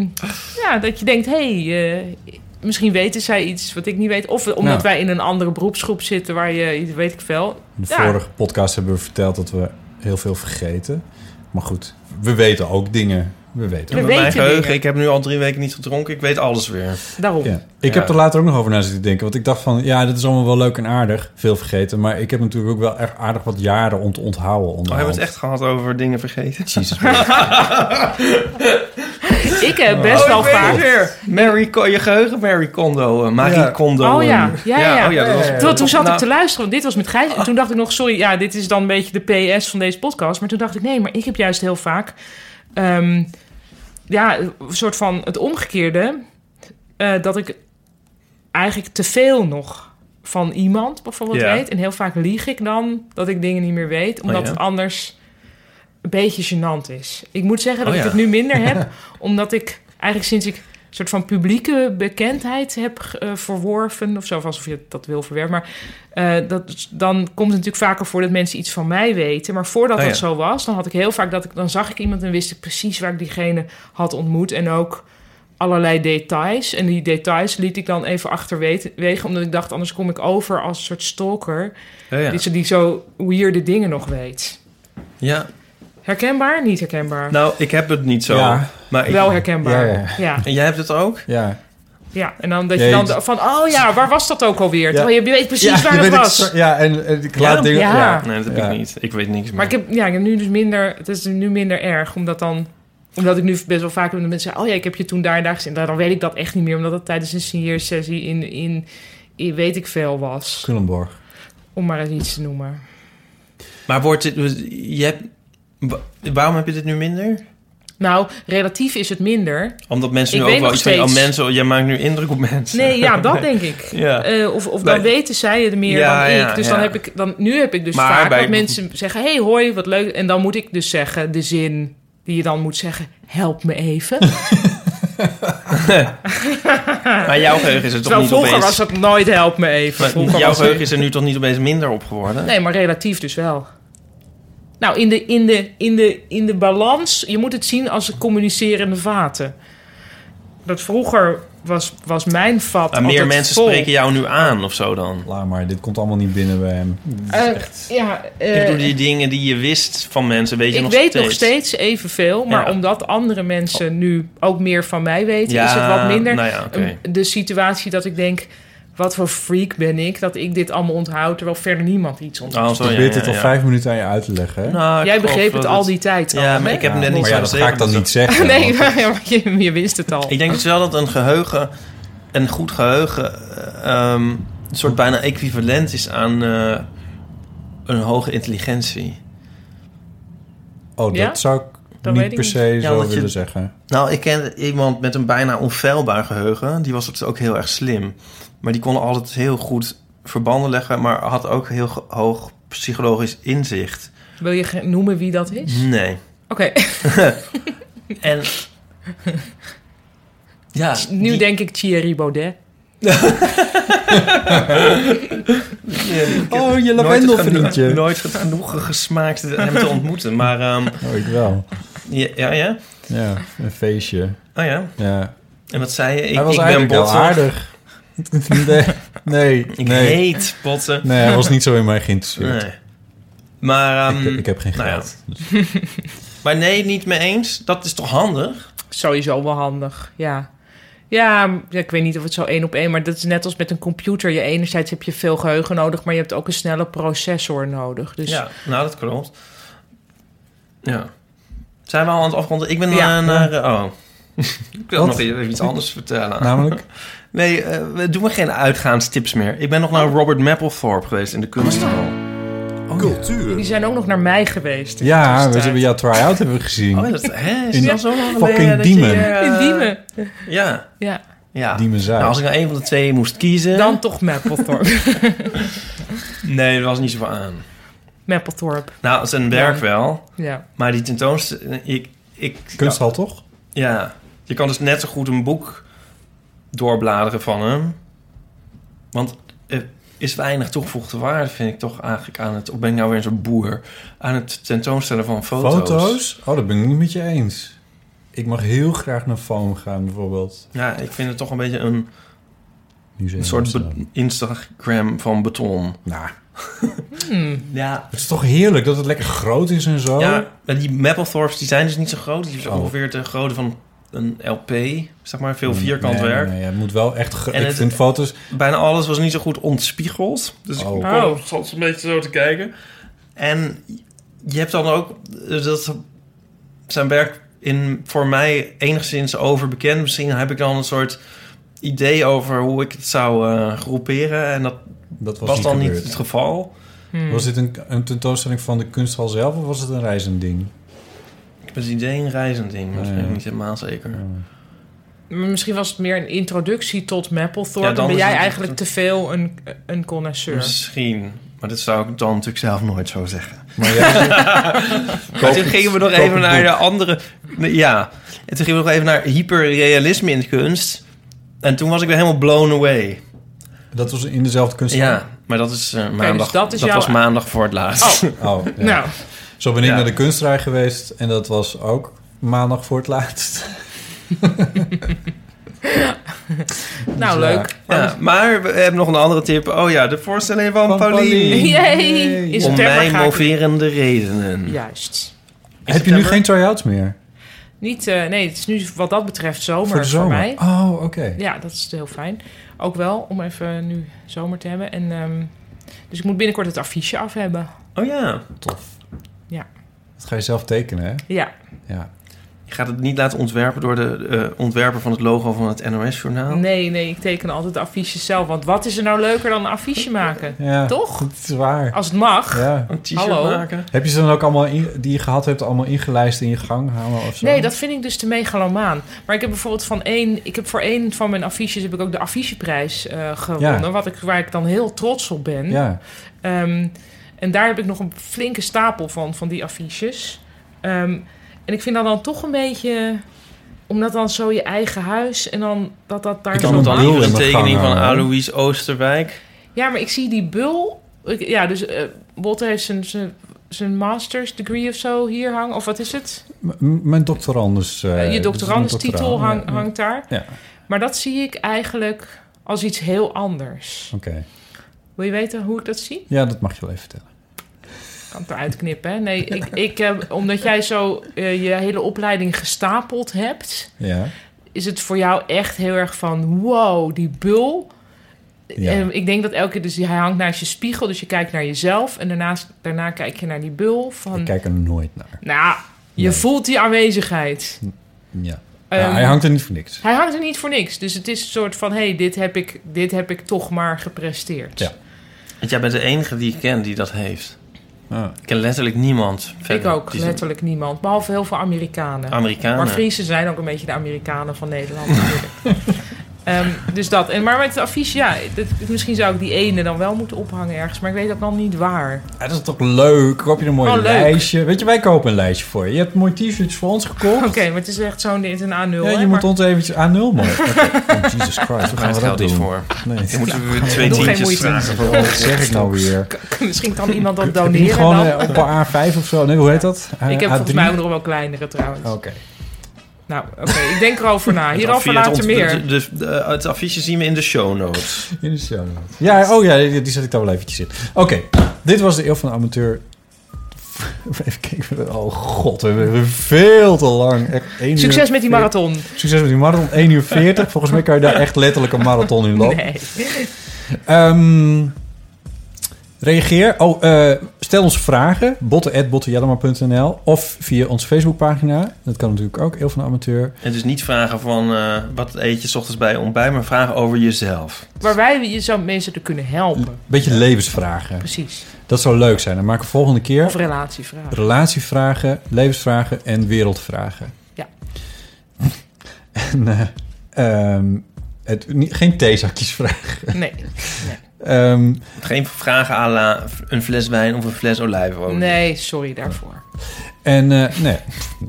[SPEAKER 3] ja, dat je denkt, hé, hey, eh, misschien weten zij iets wat ik niet weet. Of omdat
[SPEAKER 4] Ja.
[SPEAKER 2] Nou.
[SPEAKER 3] wij in een andere beroepsgroep zitten waar je, weet ik veel.
[SPEAKER 4] In de
[SPEAKER 3] Ja.
[SPEAKER 4] vorige podcast hebben we verteld dat we heel veel vergeten. Maar goed, we weten ook dingen. We weten
[SPEAKER 2] Bij
[SPEAKER 3] We
[SPEAKER 4] ook.
[SPEAKER 3] weten
[SPEAKER 2] mijn geheugen,
[SPEAKER 3] dingen.
[SPEAKER 2] ik heb nu al drie weken niet gedronken. Ik weet alles weer. Oh,
[SPEAKER 3] Daarom.
[SPEAKER 4] Ja. Ik
[SPEAKER 2] Ja.
[SPEAKER 4] heb er later ook nog over na zitten denken. Want ik dacht van, ja, dit is allemaal wel leuk en aardig. Veel vergeten. Maar ik heb natuurlijk ook wel echt aardig wat jaren om te onthouden.
[SPEAKER 2] We
[SPEAKER 4] onderhand.
[SPEAKER 2] hebben het Oh, echt gehad over dingen vergeten.
[SPEAKER 4] Jezus. man.
[SPEAKER 3] Ik heb best
[SPEAKER 2] Oh,
[SPEAKER 3] wel
[SPEAKER 2] ik weet het
[SPEAKER 3] vaak.
[SPEAKER 2] weer. Mary, Ko- je geheugen Mary Kondo. eh, Marie
[SPEAKER 4] Ja.
[SPEAKER 2] Kondo.
[SPEAKER 3] Oh ja,
[SPEAKER 2] eh.
[SPEAKER 3] ja, ja.
[SPEAKER 2] oh ja, dat was-
[SPEAKER 4] Ja, ja,
[SPEAKER 3] Toen, toen zat
[SPEAKER 2] Nou, Ah.
[SPEAKER 3] ik te luisteren, want dit was met Gijs. En toen dacht ik nog, sorry, ja, dit is dan een beetje de PS van deze podcast. Maar toen dacht ik, nee, maar ik heb juist heel vaak... ehm, ja, een soort van het omgekeerde. eh, dat ik eigenlijk te veel nog van iemand bijvoorbeeld
[SPEAKER 2] Ja. Oh
[SPEAKER 3] weet. En heel vaak lieg ik dan dat ik dingen niet meer weet. Omdat
[SPEAKER 2] ja.
[SPEAKER 3] het anders een beetje gênant is. Ik moet zeggen dat
[SPEAKER 2] Oh
[SPEAKER 3] ik
[SPEAKER 2] ja.
[SPEAKER 3] het nu minder heb. omdat ik eigenlijk sinds ik een soort van publieke bekendheid heb eh, verworven... of zo, of alsof je dat wil verwerven. Maar eh, dat, dan komt het natuurlijk vaker voor dat mensen iets van mij weten. Maar voordat
[SPEAKER 2] Oh ja.
[SPEAKER 3] dat zo was, dan had ik heel vaak dat ik... dan zag ik iemand en wist ik precies waar ik diegene had ontmoet. En ook allerlei details. En die details liet ik dan even achterwege... omdat ik dacht, anders kom ik over als een soort stalker...
[SPEAKER 2] ja, ja.
[SPEAKER 3] die, zo- die zo weirde dingen nog weet.
[SPEAKER 2] Ja.
[SPEAKER 3] Herkenbaar? Niet herkenbaar.
[SPEAKER 2] Nou, ik heb het niet zo.
[SPEAKER 4] Ja.
[SPEAKER 2] Maar ik-
[SPEAKER 3] Wel herkenbaar. Ja,
[SPEAKER 4] Ja, ja.
[SPEAKER 3] ja. ja.
[SPEAKER 2] En jij hebt het ook?
[SPEAKER 4] Ja.
[SPEAKER 3] En dan dat je
[SPEAKER 4] Ja,
[SPEAKER 3] dan
[SPEAKER 4] je-
[SPEAKER 3] van, oh ja, waar was dat ook alweer? Terwijl je weet precies
[SPEAKER 4] je
[SPEAKER 3] waar het
[SPEAKER 4] weet
[SPEAKER 3] was.
[SPEAKER 4] exa- Ja, en, en ik laat
[SPEAKER 2] Ja?
[SPEAKER 4] dingen...
[SPEAKER 3] Ja.
[SPEAKER 4] ja.
[SPEAKER 2] Nee, dat heb
[SPEAKER 4] Ja.
[SPEAKER 2] ik niet. Ik weet niks meer.
[SPEAKER 3] Maar ik heb, ja, ik heb nu dus minder, het is nu minder erg, omdat dan omdat ik nu best wel vaak met mensen zeg, oh ja, ik heb je toen daar en daar gezien. Nou, Dan weet ik dat echt niet meer, omdat dat tijdens een signeersessie in, in, in weet ik veel was.
[SPEAKER 4] Culemborg.
[SPEAKER 3] Om maar eens iets te noemen.
[SPEAKER 2] Maar wordt dit... dus, Je hebt, wa- waarom heb je dit nu minder?
[SPEAKER 3] Nou, relatief is het minder.
[SPEAKER 2] Omdat mensen nu
[SPEAKER 3] Ik
[SPEAKER 2] ook
[SPEAKER 3] weet
[SPEAKER 2] wel
[SPEAKER 3] nog
[SPEAKER 2] iets van... Oh,
[SPEAKER 3] steeds.
[SPEAKER 2] mensen, jij maakt nu indruk op mensen.
[SPEAKER 3] Nee, ja, dat denk ik.
[SPEAKER 2] Ja.
[SPEAKER 3] Eh, of of dan
[SPEAKER 2] Nee.
[SPEAKER 3] weten zij het meer
[SPEAKER 2] Ja,
[SPEAKER 3] dan ik.
[SPEAKER 2] ja,
[SPEAKER 3] dus
[SPEAKER 2] ja.
[SPEAKER 3] dan heb ik, dan, nu heb ik dus
[SPEAKER 2] Maar
[SPEAKER 3] vaak
[SPEAKER 2] bij-
[SPEAKER 3] dat mensen zeggen, hey, hoi, wat leuk. En dan moet ik dus zeggen, de zin die je dan moet zeggen, help me even.
[SPEAKER 2] Maar jouw geheugen is er toch
[SPEAKER 3] Terwijl
[SPEAKER 2] niet
[SPEAKER 3] vroeger
[SPEAKER 2] opeens...
[SPEAKER 3] was dat nooit help me even.
[SPEAKER 2] Maar
[SPEAKER 3] Vroeger
[SPEAKER 2] jouw
[SPEAKER 3] was het-
[SPEAKER 2] geheugen is er nu toch niet opeens minder op geworden?
[SPEAKER 3] Nee, maar relatief dus wel. Nou, in de, in de, in de, in de balans, je moet het zien als communicerende vaten. Dat vroeger was, was mijn vat.
[SPEAKER 2] Maar meer
[SPEAKER 3] altijd
[SPEAKER 2] mensen
[SPEAKER 3] vol.
[SPEAKER 2] spreken jou nu aan of zo dan?
[SPEAKER 4] Laat maar, dit komt allemaal niet binnen bij
[SPEAKER 2] Oh,
[SPEAKER 4] hem.
[SPEAKER 3] Eh, ja, eh,
[SPEAKER 2] ik bedoel, die dingen die je wist van mensen, weet je
[SPEAKER 3] ik
[SPEAKER 2] nog
[SPEAKER 3] weet
[SPEAKER 2] steeds?
[SPEAKER 3] nog steeds evenveel, maar
[SPEAKER 2] Ja.
[SPEAKER 3] omdat andere mensen nu ook meer van mij weten,
[SPEAKER 2] Ja,
[SPEAKER 3] is het wat minder. Ehm,
[SPEAKER 2] nou ja, oké.
[SPEAKER 3] Een- De situatie dat ik denk, wat voor freak ben ik dat ik dit allemaal onthoud, terwijl verder niemand iets onthoudt.
[SPEAKER 2] Oh, zo, ja,
[SPEAKER 4] Ik weet
[SPEAKER 2] ja,
[SPEAKER 4] het al
[SPEAKER 2] ja.
[SPEAKER 4] vijf minuten aan je uit te leggen. hè?
[SPEAKER 2] Nou, ik
[SPEAKER 3] Jij
[SPEAKER 2] geloof
[SPEAKER 3] begreep
[SPEAKER 2] wel
[SPEAKER 3] het
[SPEAKER 2] dat-
[SPEAKER 3] al die tijd. al,
[SPEAKER 2] Ja, maar
[SPEAKER 3] hè?
[SPEAKER 2] ik heb hem net
[SPEAKER 4] Ja,
[SPEAKER 2] niet
[SPEAKER 4] maar
[SPEAKER 2] zo
[SPEAKER 4] ja, dat ga ik dan
[SPEAKER 2] gezegd.
[SPEAKER 4] niet zeggen.
[SPEAKER 3] Nee,
[SPEAKER 4] want-
[SPEAKER 3] maar je, je wist het al.
[SPEAKER 2] Ik denk dus wel dat een geheugen, een goed geheugen, eh, ehm, een soort bijna equivalent is aan eh, een hoge intelligentie.
[SPEAKER 4] Oh, dat
[SPEAKER 3] Ja?
[SPEAKER 4] zou ik
[SPEAKER 3] Dat weet
[SPEAKER 4] niet
[SPEAKER 3] ik
[SPEAKER 4] per
[SPEAKER 3] niet.
[SPEAKER 4] se
[SPEAKER 2] Ja,
[SPEAKER 4] zo
[SPEAKER 2] want je-
[SPEAKER 4] willen zeggen.
[SPEAKER 2] Nou, ik ken iemand met een bijna onfeilbaar geheugen. Die was dus ook heel erg slim. Maar die kon altijd heel goed verbanden leggen, maar had ook heel ge- hoog psychologisch inzicht.
[SPEAKER 3] Wil je ge- noemen wie dat is?
[SPEAKER 2] Nee.
[SPEAKER 3] Oké,
[SPEAKER 2] En. Ja,
[SPEAKER 3] nu
[SPEAKER 2] die-
[SPEAKER 3] denk ik Thierry Baudet.
[SPEAKER 4] Oh, je
[SPEAKER 2] eh, nooit het geno-
[SPEAKER 4] lavendelvriendje.
[SPEAKER 2] Nooit het genoegen gesmaakt hem te ontmoeten. Maar ehm,
[SPEAKER 4] Oh, ik wel.
[SPEAKER 2] ja, ja, ja.
[SPEAKER 4] Ja, een feestje.
[SPEAKER 2] Oh ja.
[SPEAKER 4] Ja.
[SPEAKER 2] En wat zei je? Ik,
[SPEAKER 4] hij was
[SPEAKER 2] ik ben
[SPEAKER 4] eigenlijk heel
[SPEAKER 2] botter.
[SPEAKER 4] aardig. Nee, nee,
[SPEAKER 2] Ik
[SPEAKER 4] nee.
[SPEAKER 2] heet botten.
[SPEAKER 4] Nee, hij was niet zo in mij geïnteresseerd.
[SPEAKER 2] Nee. Maar, ehm,
[SPEAKER 4] Ik, ik heb geen
[SPEAKER 2] nou ja.
[SPEAKER 4] geld. dus-
[SPEAKER 2] maar nee, niet mee eens. Dat is toch handig?
[SPEAKER 3] Sowieso wel handig, ja. Ja, m- ja, ik weet niet of het zo één op één... maar dat is net als met een computer. Je enerzijds heb je veel geheugen nodig... maar je hebt ook een snelle processor nodig. Dus
[SPEAKER 2] Ja, nou dat klopt. Ja. Zijn we al aan het afronden? Ik ben
[SPEAKER 3] Ja.
[SPEAKER 2] eh, naar... oh. ik wil
[SPEAKER 4] Wat?
[SPEAKER 2] nog even iets anders vertellen.
[SPEAKER 4] Namelijk?
[SPEAKER 2] Nee, eh, we doen me geen uitgaanstips meer. Ik ben nog naar Robert Mapplethorpe geweest in de kunsthal.
[SPEAKER 3] die zijn ook nog naar mij geweest. in de
[SPEAKER 4] Ja, we
[SPEAKER 3] tussentijd.
[SPEAKER 4] hebben jouw try-out hebben
[SPEAKER 2] Oh,
[SPEAKER 4] we
[SPEAKER 2] ja,
[SPEAKER 4] gezien.
[SPEAKER 2] dat hè, is
[SPEAKER 4] In
[SPEAKER 2] dat zo lang
[SPEAKER 4] fucking
[SPEAKER 2] geleden dat je,
[SPEAKER 4] Diemen.
[SPEAKER 2] eh,
[SPEAKER 3] In Diemen.
[SPEAKER 2] Ja,
[SPEAKER 3] Ja,
[SPEAKER 2] ja.
[SPEAKER 4] Die me zei.
[SPEAKER 2] Nou, als ik nou een van de twee moest kiezen...
[SPEAKER 3] dan toch Mapplethorpe.
[SPEAKER 2] Nee, dat was niet zoveel aan.
[SPEAKER 3] Mapplethorpe,
[SPEAKER 2] Nou, zijn werk
[SPEAKER 3] Ja.
[SPEAKER 2] wel.
[SPEAKER 3] ja.
[SPEAKER 2] Maar die tentoonstelling... Ik, ik,
[SPEAKER 4] Kunsthal toch?
[SPEAKER 2] Ja, je kan dus net zo goed een boek doorbladeren van hem. Want er is weinig toegevoegde waarde, vind ik toch eigenlijk aan het... Of ben ik nou weer zo'n boer? Aan het tentoonstellen van foto's.
[SPEAKER 4] Foto's? Oh, dat ben ik niet met je eens. Ik mag heel graag naar Foam gaan, bijvoorbeeld.
[SPEAKER 2] Ja, ik vind het toch een beetje een
[SPEAKER 4] Museum
[SPEAKER 2] Een soort
[SPEAKER 4] Amsterdam.
[SPEAKER 2] be- Instagram van beton.
[SPEAKER 4] Nou,
[SPEAKER 2] Ja.
[SPEAKER 4] het is toch heerlijk dat het lekker groot is en zo.
[SPEAKER 2] Ja, maar die Mapplethorpes die zijn dus niet zo groot. Die zijn
[SPEAKER 4] Oh.
[SPEAKER 2] ongeveer de grootte van een LP. Zeg maar veel
[SPEAKER 4] Nee,
[SPEAKER 2] vierkant
[SPEAKER 4] nee,
[SPEAKER 2] werk.
[SPEAKER 4] Nee, het moet wel echt... gro-
[SPEAKER 2] En
[SPEAKER 4] ik
[SPEAKER 2] het-
[SPEAKER 4] vind foto's...
[SPEAKER 2] Bijna alles was niet zo goed ontspiegeld. Dus ik
[SPEAKER 4] Oh.
[SPEAKER 2] kon
[SPEAKER 3] Oh.
[SPEAKER 2] soms een beetje zo te kijken. En je hebt dan ook... eh, Dat zijn werk in, voor mij enigszins overbekend. Misschien heb ik dan een soort idee over hoe ik het zou eh, groeperen. En dat
[SPEAKER 4] Dat was,
[SPEAKER 2] was, dan
[SPEAKER 4] gebeurd.
[SPEAKER 2] niet het geval.
[SPEAKER 4] Was dit een, een tentoonstelling van de kunsthal zelf of was het een reizend ding?
[SPEAKER 2] Ik heb het idee een reizend ding. maar Dat
[SPEAKER 4] Ja.
[SPEAKER 2] weet ik niet helemaal zeker.
[SPEAKER 3] Misschien was het meer een introductie tot Mapplethorpe.
[SPEAKER 2] Ja, dan
[SPEAKER 3] dan ben
[SPEAKER 2] is
[SPEAKER 3] jij
[SPEAKER 2] het-
[SPEAKER 3] eigenlijk te veel een, een connoisseur.
[SPEAKER 2] Misschien. Maar dat zou ik dan natuurlijk zelf nooit zo zeggen.
[SPEAKER 4] Maar ja,
[SPEAKER 2] Maar toen gingen we nog
[SPEAKER 4] koop
[SPEAKER 2] even
[SPEAKER 4] het
[SPEAKER 2] naar
[SPEAKER 4] boek.
[SPEAKER 2] de andere... nee, Ja. En toen gingen we nog even naar hyperrealisme in de kunst. En toen was ik weer helemaal blown away.
[SPEAKER 4] dat was in dezelfde kunsthal?
[SPEAKER 2] Ja. Maar dat is eh, maandag.
[SPEAKER 3] dat
[SPEAKER 2] dat
[SPEAKER 3] is jouw-
[SPEAKER 2] was maandag voor het laatst.
[SPEAKER 4] Oh, ja.
[SPEAKER 3] Nou,
[SPEAKER 4] Zo ben ik
[SPEAKER 2] Ja.
[SPEAKER 4] naar de kunstrij geweest en dat was ook maandag voor het laatst.
[SPEAKER 3] nou
[SPEAKER 4] ja.
[SPEAKER 3] leuk.
[SPEAKER 2] Ja, maar we hebben nog een andere tip. Oh ja, de voorstelling oh. van,
[SPEAKER 4] Van
[SPEAKER 2] Pauline.
[SPEAKER 4] Pauline.
[SPEAKER 3] Jee! In
[SPEAKER 2] Om
[SPEAKER 3] september
[SPEAKER 2] mij
[SPEAKER 3] ga ik...
[SPEAKER 2] moverende redenen.
[SPEAKER 3] Juist.
[SPEAKER 4] Heb je nu geen try-outs meer?
[SPEAKER 3] Niet, eh, nee, het is nu wat dat betreft zomer
[SPEAKER 4] voor
[SPEAKER 3] voor,
[SPEAKER 4] de zomer?
[SPEAKER 3] mij.
[SPEAKER 4] Oh, oké.
[SPEAKER 3] Ja, dat is heel fijn. Ook wel om even nu zomer te hebben. En, ehm, dus ik moet binnenkort het affiche af hebben.
[SPEAKER 2] Oh ja.
[SPEAKER 4] Tof.
[SPEAKER 3] Ja.
[SPEAKER 4] Dat ga je zelf tekenen, hè?
[SPEAKER 3] Ja,
[SPEAKER 4] Ja.
[SPEAKER 2] Je gaat het niet laten ontwerpen door de eh, ontwerper van het logo van het
[SPEAKER 4] Oh.
[SPEAKER 2] NOS-journaal.
[SPEAKER 3] nee, nee, ik teken altijd de affiches zelf. Want wat is er nou leuker dan een affiche maken?
[SPEAKER 4] ja.
[SPEAKER 3] Toch? Oh.
[SPEAKER 4] Dat is waar.
[SPEAKER 3] Als het mag.
[SPEAKER 4] Ja.
[SPEAKER 2] Een t-shirt
[SPEAKER 3] Hallo.
[SPEAKER 2] maken.
[SPEAKER 4] Heb je ze dan ook allemaal in- die je gehad hebt, allemaal ingelijst in je gang hangen of zo?
[SPEAKER 3] Nee, dat vind ik dus te megalomaan. Maar ik heb bijvoorbeeld van één... Ik heb voor één van mijn affiches heb ik ook de afficheprijs eh, gewonnen.
[SPEAKER 4] Ja.
[SPEAKER 3] Wat ik, waar ik dan heel trots op ben.
[SPEAKER 4] Ja.
[SPEAKER 3] Ehm, en daar heb ik nog een flinke stapel van, van die affiches. Ehm, en ik vind dat dan toch een beetje... Omdat dan zo je eigen huis en dan dat dat daar
[SPEAKER 4] Ik
[SPEAKER 3] zo...
[SPEAKER 4] kan
[SPEAKER 2] Dan
[SPEAKER 4] Een
[SPEAKER 2] liever
[SPEAKER 4] bril in
[SPEAKER 2] een
[SPEAKER 4] mijn
[SPEAKER 2] tekening
[SPEAKER 4] gang
[SPEAKER 2] van
[SPEAKER 4] hangen, hoor.
[SPEAKER 2] Alois Oosterwijk.
[SPEAKER 3] Ja, maar ik zie die bul... ik- ja, dus eh Botter heeft zijn, zijn, zijn master's degree of zo hier hangen. Of wat is het?
[SPEAKER 4] M- m- mijn doctorandus. eh,
[SPEAKER 3] je
[SPEAKER 4] dat is mijn
[SPEAKER 3] doctorandustitel
[SPEAKER 4] doctoraan.
[SPEAKER 3] hang,
[SPEAKER 4] Ja.
[SPEAKER 3] hangt daar.
[SPEAKER 4] Ja.
[SPEAKER 3] Maar dat zie ik eigenlijk als iets heel anders.
[SPEAKER 4] Oké.
[SPEAKER 3] Wil je weten hoe ik dat zie?
[SPEAKER 4] Ja, dat mag je wel even vertellen.
[SPEAKER 3] kan het eruit knippen. Hè? Nee, ik, ik, eh, omdat jij zo eh, je hele opleiding gestapeld hebt,
[SPEAKER 4] Ja.
[SPEAKER 3] is het voor jou echt heel erg van wow, die bul.
[SPEAKER 4] Ja.
[SPEAKER 3] Eh, ik denk dat elke keer, dus hij hangt naast je spiegel, dus je kijkt naar jezelf en daarnaast, daarna kijk je naar die bul.
[SPEAKER 4] Ik
[SPEAKER 3] Van,
[SPEAKER 4] kijk er nooit naar.
[SPEAKER 3] nou, je
[SPEAKER 4] Nee.
[SPEAKER 3] voelt die aanwezigheid.
[SPEAKER 4] Hm. Ja.
[SPEAKER 3] Ehm,
[SPEAKER 4] Ja, hij hangt er niet voor niks.
[SPEAKER 3] Hij hangt er niet voor niks. Dus het is een soort van: hé, hey, dit, heb ik- dit heb ik toch maar gepresteerd.
[SPEAKER 4] Ja.
[SPEAKER 2] Want jij bent de enige die ik ken die dat heeft.
[SPEAKER 4] Ah.
[SPEAKER 2] Ik ken letterlijk niemand verder.
[SPEAKER 3] ik ook,
[SPEAKER 2] die-
[SPEAKER 3] letterlijk niemand. Behalve heel veel Amerikanen.
[SPEAKER 2] Amerikanen.
[SPEAKER 3] Maar Friesen zijn ook een beetje de Amerikanen van Nederland natuurlijk. Ehm, dus dat. En, maar met de affiche, ja, dat- misschien zou ik die ene dan wel moeten ophangen ergens. Maar ik weet ook dan niet waar.
[SPEAKER 4] Ja, dat is toch leuk? Koop je een mooi
[SPEAKER 3] Oh, leuk.
[SPEAKER 4] lijstje? Weet je, wij kopen een lijstje voor je. Je hebt mooie t-shirts voor ons gekocht.
[SPEAKER 3] Oké, maar het is echt zo'n dit en A0.
[SPEAKER 4] Ja,
[SPEAKER 3] hè,
[SPEAKER 4] je
[SPEAKER 3] maar-
[SPEAKER 4] moet ons eventjes aan nul maken. Oh, Jesus Christ, hoe
[SPEAKER 2] Maar
[SPEAKER 4] gaan
[SPEAKER 2] het
[SPEAKER 4] we dat
[SPEAKER 2] geldt
[SPEAKER 4] doen?
[SPEAKER 2] niet voor.
[SPEAKER 4] Nee,
[SPEAKER 2] Dan moeten we weer twee
[SPEAKER 3] Doe geen
[SPEAKER 2] tientjes
[SPEAKER 3] moeite.
[SPEAKER 2] vragen. voor-
[SPEAKER 4] wat zeg ik nou weer?
[SPEAKER 3] misschien kan iemand dat
[SPEAKER 4] Heb je niet
[SPEAKER 3] doneren
[SPEAKER 4] gewoon
[SPEAKER 3] dan.
[SPEAKER 4] eh, op een A5 of zo? Nee, hoe heet dat? Eh, A- Oh.
[SPEAKER 3] ik heb
[SPEAKER 4] A3?
[SPEAKER 3] volgens mij ook nog wel kleinere trouwens.
[SPEAKER 4] Oké.
[SPEAKER 3] Nou, oké, ik denk erover na. Hierover
[SPEAKER 2] Het
[SPEAKER 3] later
[SPEAKER 2] ont-
[SPEAKER 3] meer.
[SPEAKER 2] de- de- de- eh, het affiche zien we in de show notes.
[SPEAKER 4] In de show notes. Ja, oh ja, die, die zet ik daar wel eventjes in. Oké, dit was de Eeuw van de Amateur. Even kijken. Oh god, we hebben veel te lang. Echt één uur
[SPEAKER 3] Succes met die
[SPEAKER 4] veertig.
[SPEAKER 3] marathon.
[SPEAKER 4] Succes met die marathon. 1 uur 40. Volgens mij kan je daar echt letterlijk een marathon in lopen.
[SPEAKER 3] Nee.
[SPEAKER 4] Ehm, reageer. Oh, eh, stel ons vragen. botten.bottenjellema.nl Of via onze Facebookpagina. Dat kan natuurlijk ook. Heel van de amateur.
[SPEAKER 2] En dus niet vragen van eh, wat eet je 's ochtends bij je ontbijt, maar vragen over jezelf.
[SPEAKER 3] Waar wij je zou mensen er kunnen helpen.
[SPEAKER 4] Beetje levensvragen.
[SPEAKER 3] Precies.
[SPEAKER 4] Dat zou leuk zijn. Dan maken we volgende
[SPEAKER 3] Of
[SPEAKER 4] keer
[SPEAKER 3] relatievragen.
[SPEAKER 4] relatievragen, levensvragen en wereldvragen.
[SPEAKER 3] Ja.
[SPEAKER 4] en, eh, ehm, het, niet, geen theezakjesvraag.
[SPEAKER 3] Nee.
[SPEAKER 4] Oh, Ehm
[SPEAKER 2] Geen vragen à la een fles wijn of een fles olijfolie.
[SPEAKER 3] Nee, sorry daarvoor.
[SPEAKER 4] En eh, nee,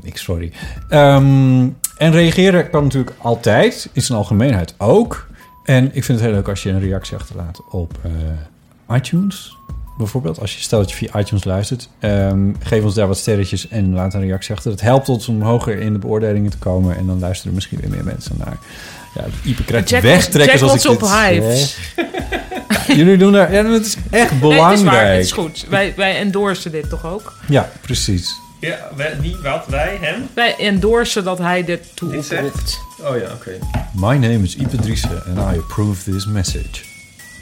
[SPEAKER 4] ik sorry. Ehm, en reageren kan natuurlijk altijd, in zijn algemeenheid ook. En ik vind het heel leuk als je een reactie achterlaat op eh, iTunes. bijvoorbeeld, als je stelt dat je via iTunes luistert, ehm, geef ons daar wat sterretjes en laat een reactie achter. Dat helpt ons om hoger in de beoordelingen te komen en dan luisteren misschien weer meer mensen naar. Ja, Ipe krijgt
[SPEAKER 3] Check-
[SPEAKER 4] wegtrekkers
[SPEAKER 3] check
[SPEAKER 4] als ik
[SPEAKER 3] ons op
[SPEAKER 4] dit
[SPEAKER 3] Hives.
[SPEAKER 4] zeg. Ja, jullie doen daar, ja, maar het is echt
[SPEAKER 3] Nee, het
[SPEAKER 4] belangrijk.
[SPEAKER 3] is waar, het is goed. Wij, wij endorsen dit toch ook?
[SPEAKER 4] Ja, precies.
[SPEAKER 2] Ja, wij- wie, wat, wij, hem?
[SPEAKER 3] Wij endorsen dat hij dit toe
[SPEAKER 2] Dit zegt?
[SPEAKER 3] oproept.
[SPEAKER 2] Oh ja, oké.
[SPEAKER 4] My name is Ipe Driessen and I approve this message.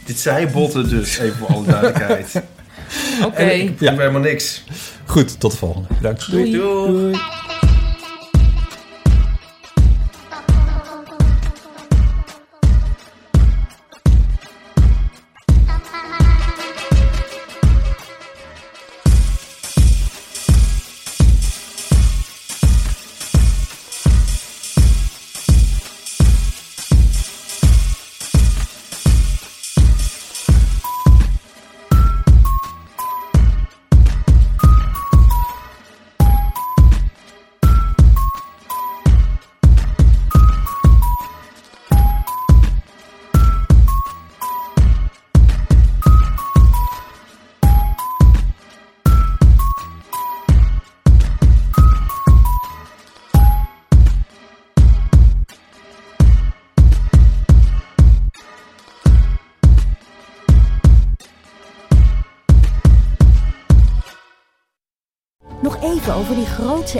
[SPEAKER 2] Dit zei Botten dus, even voor alle duidelijkheid.
[SPEAKER 3] Oké.
[SPEAKER 2] Ik doe helemaal niks.
[SPEAKER 4] Goed, tot de volgende. Bedankt. Doei.
[SPEAKER 2] Doei.
[SPEAKER 1] Nog even over die grootse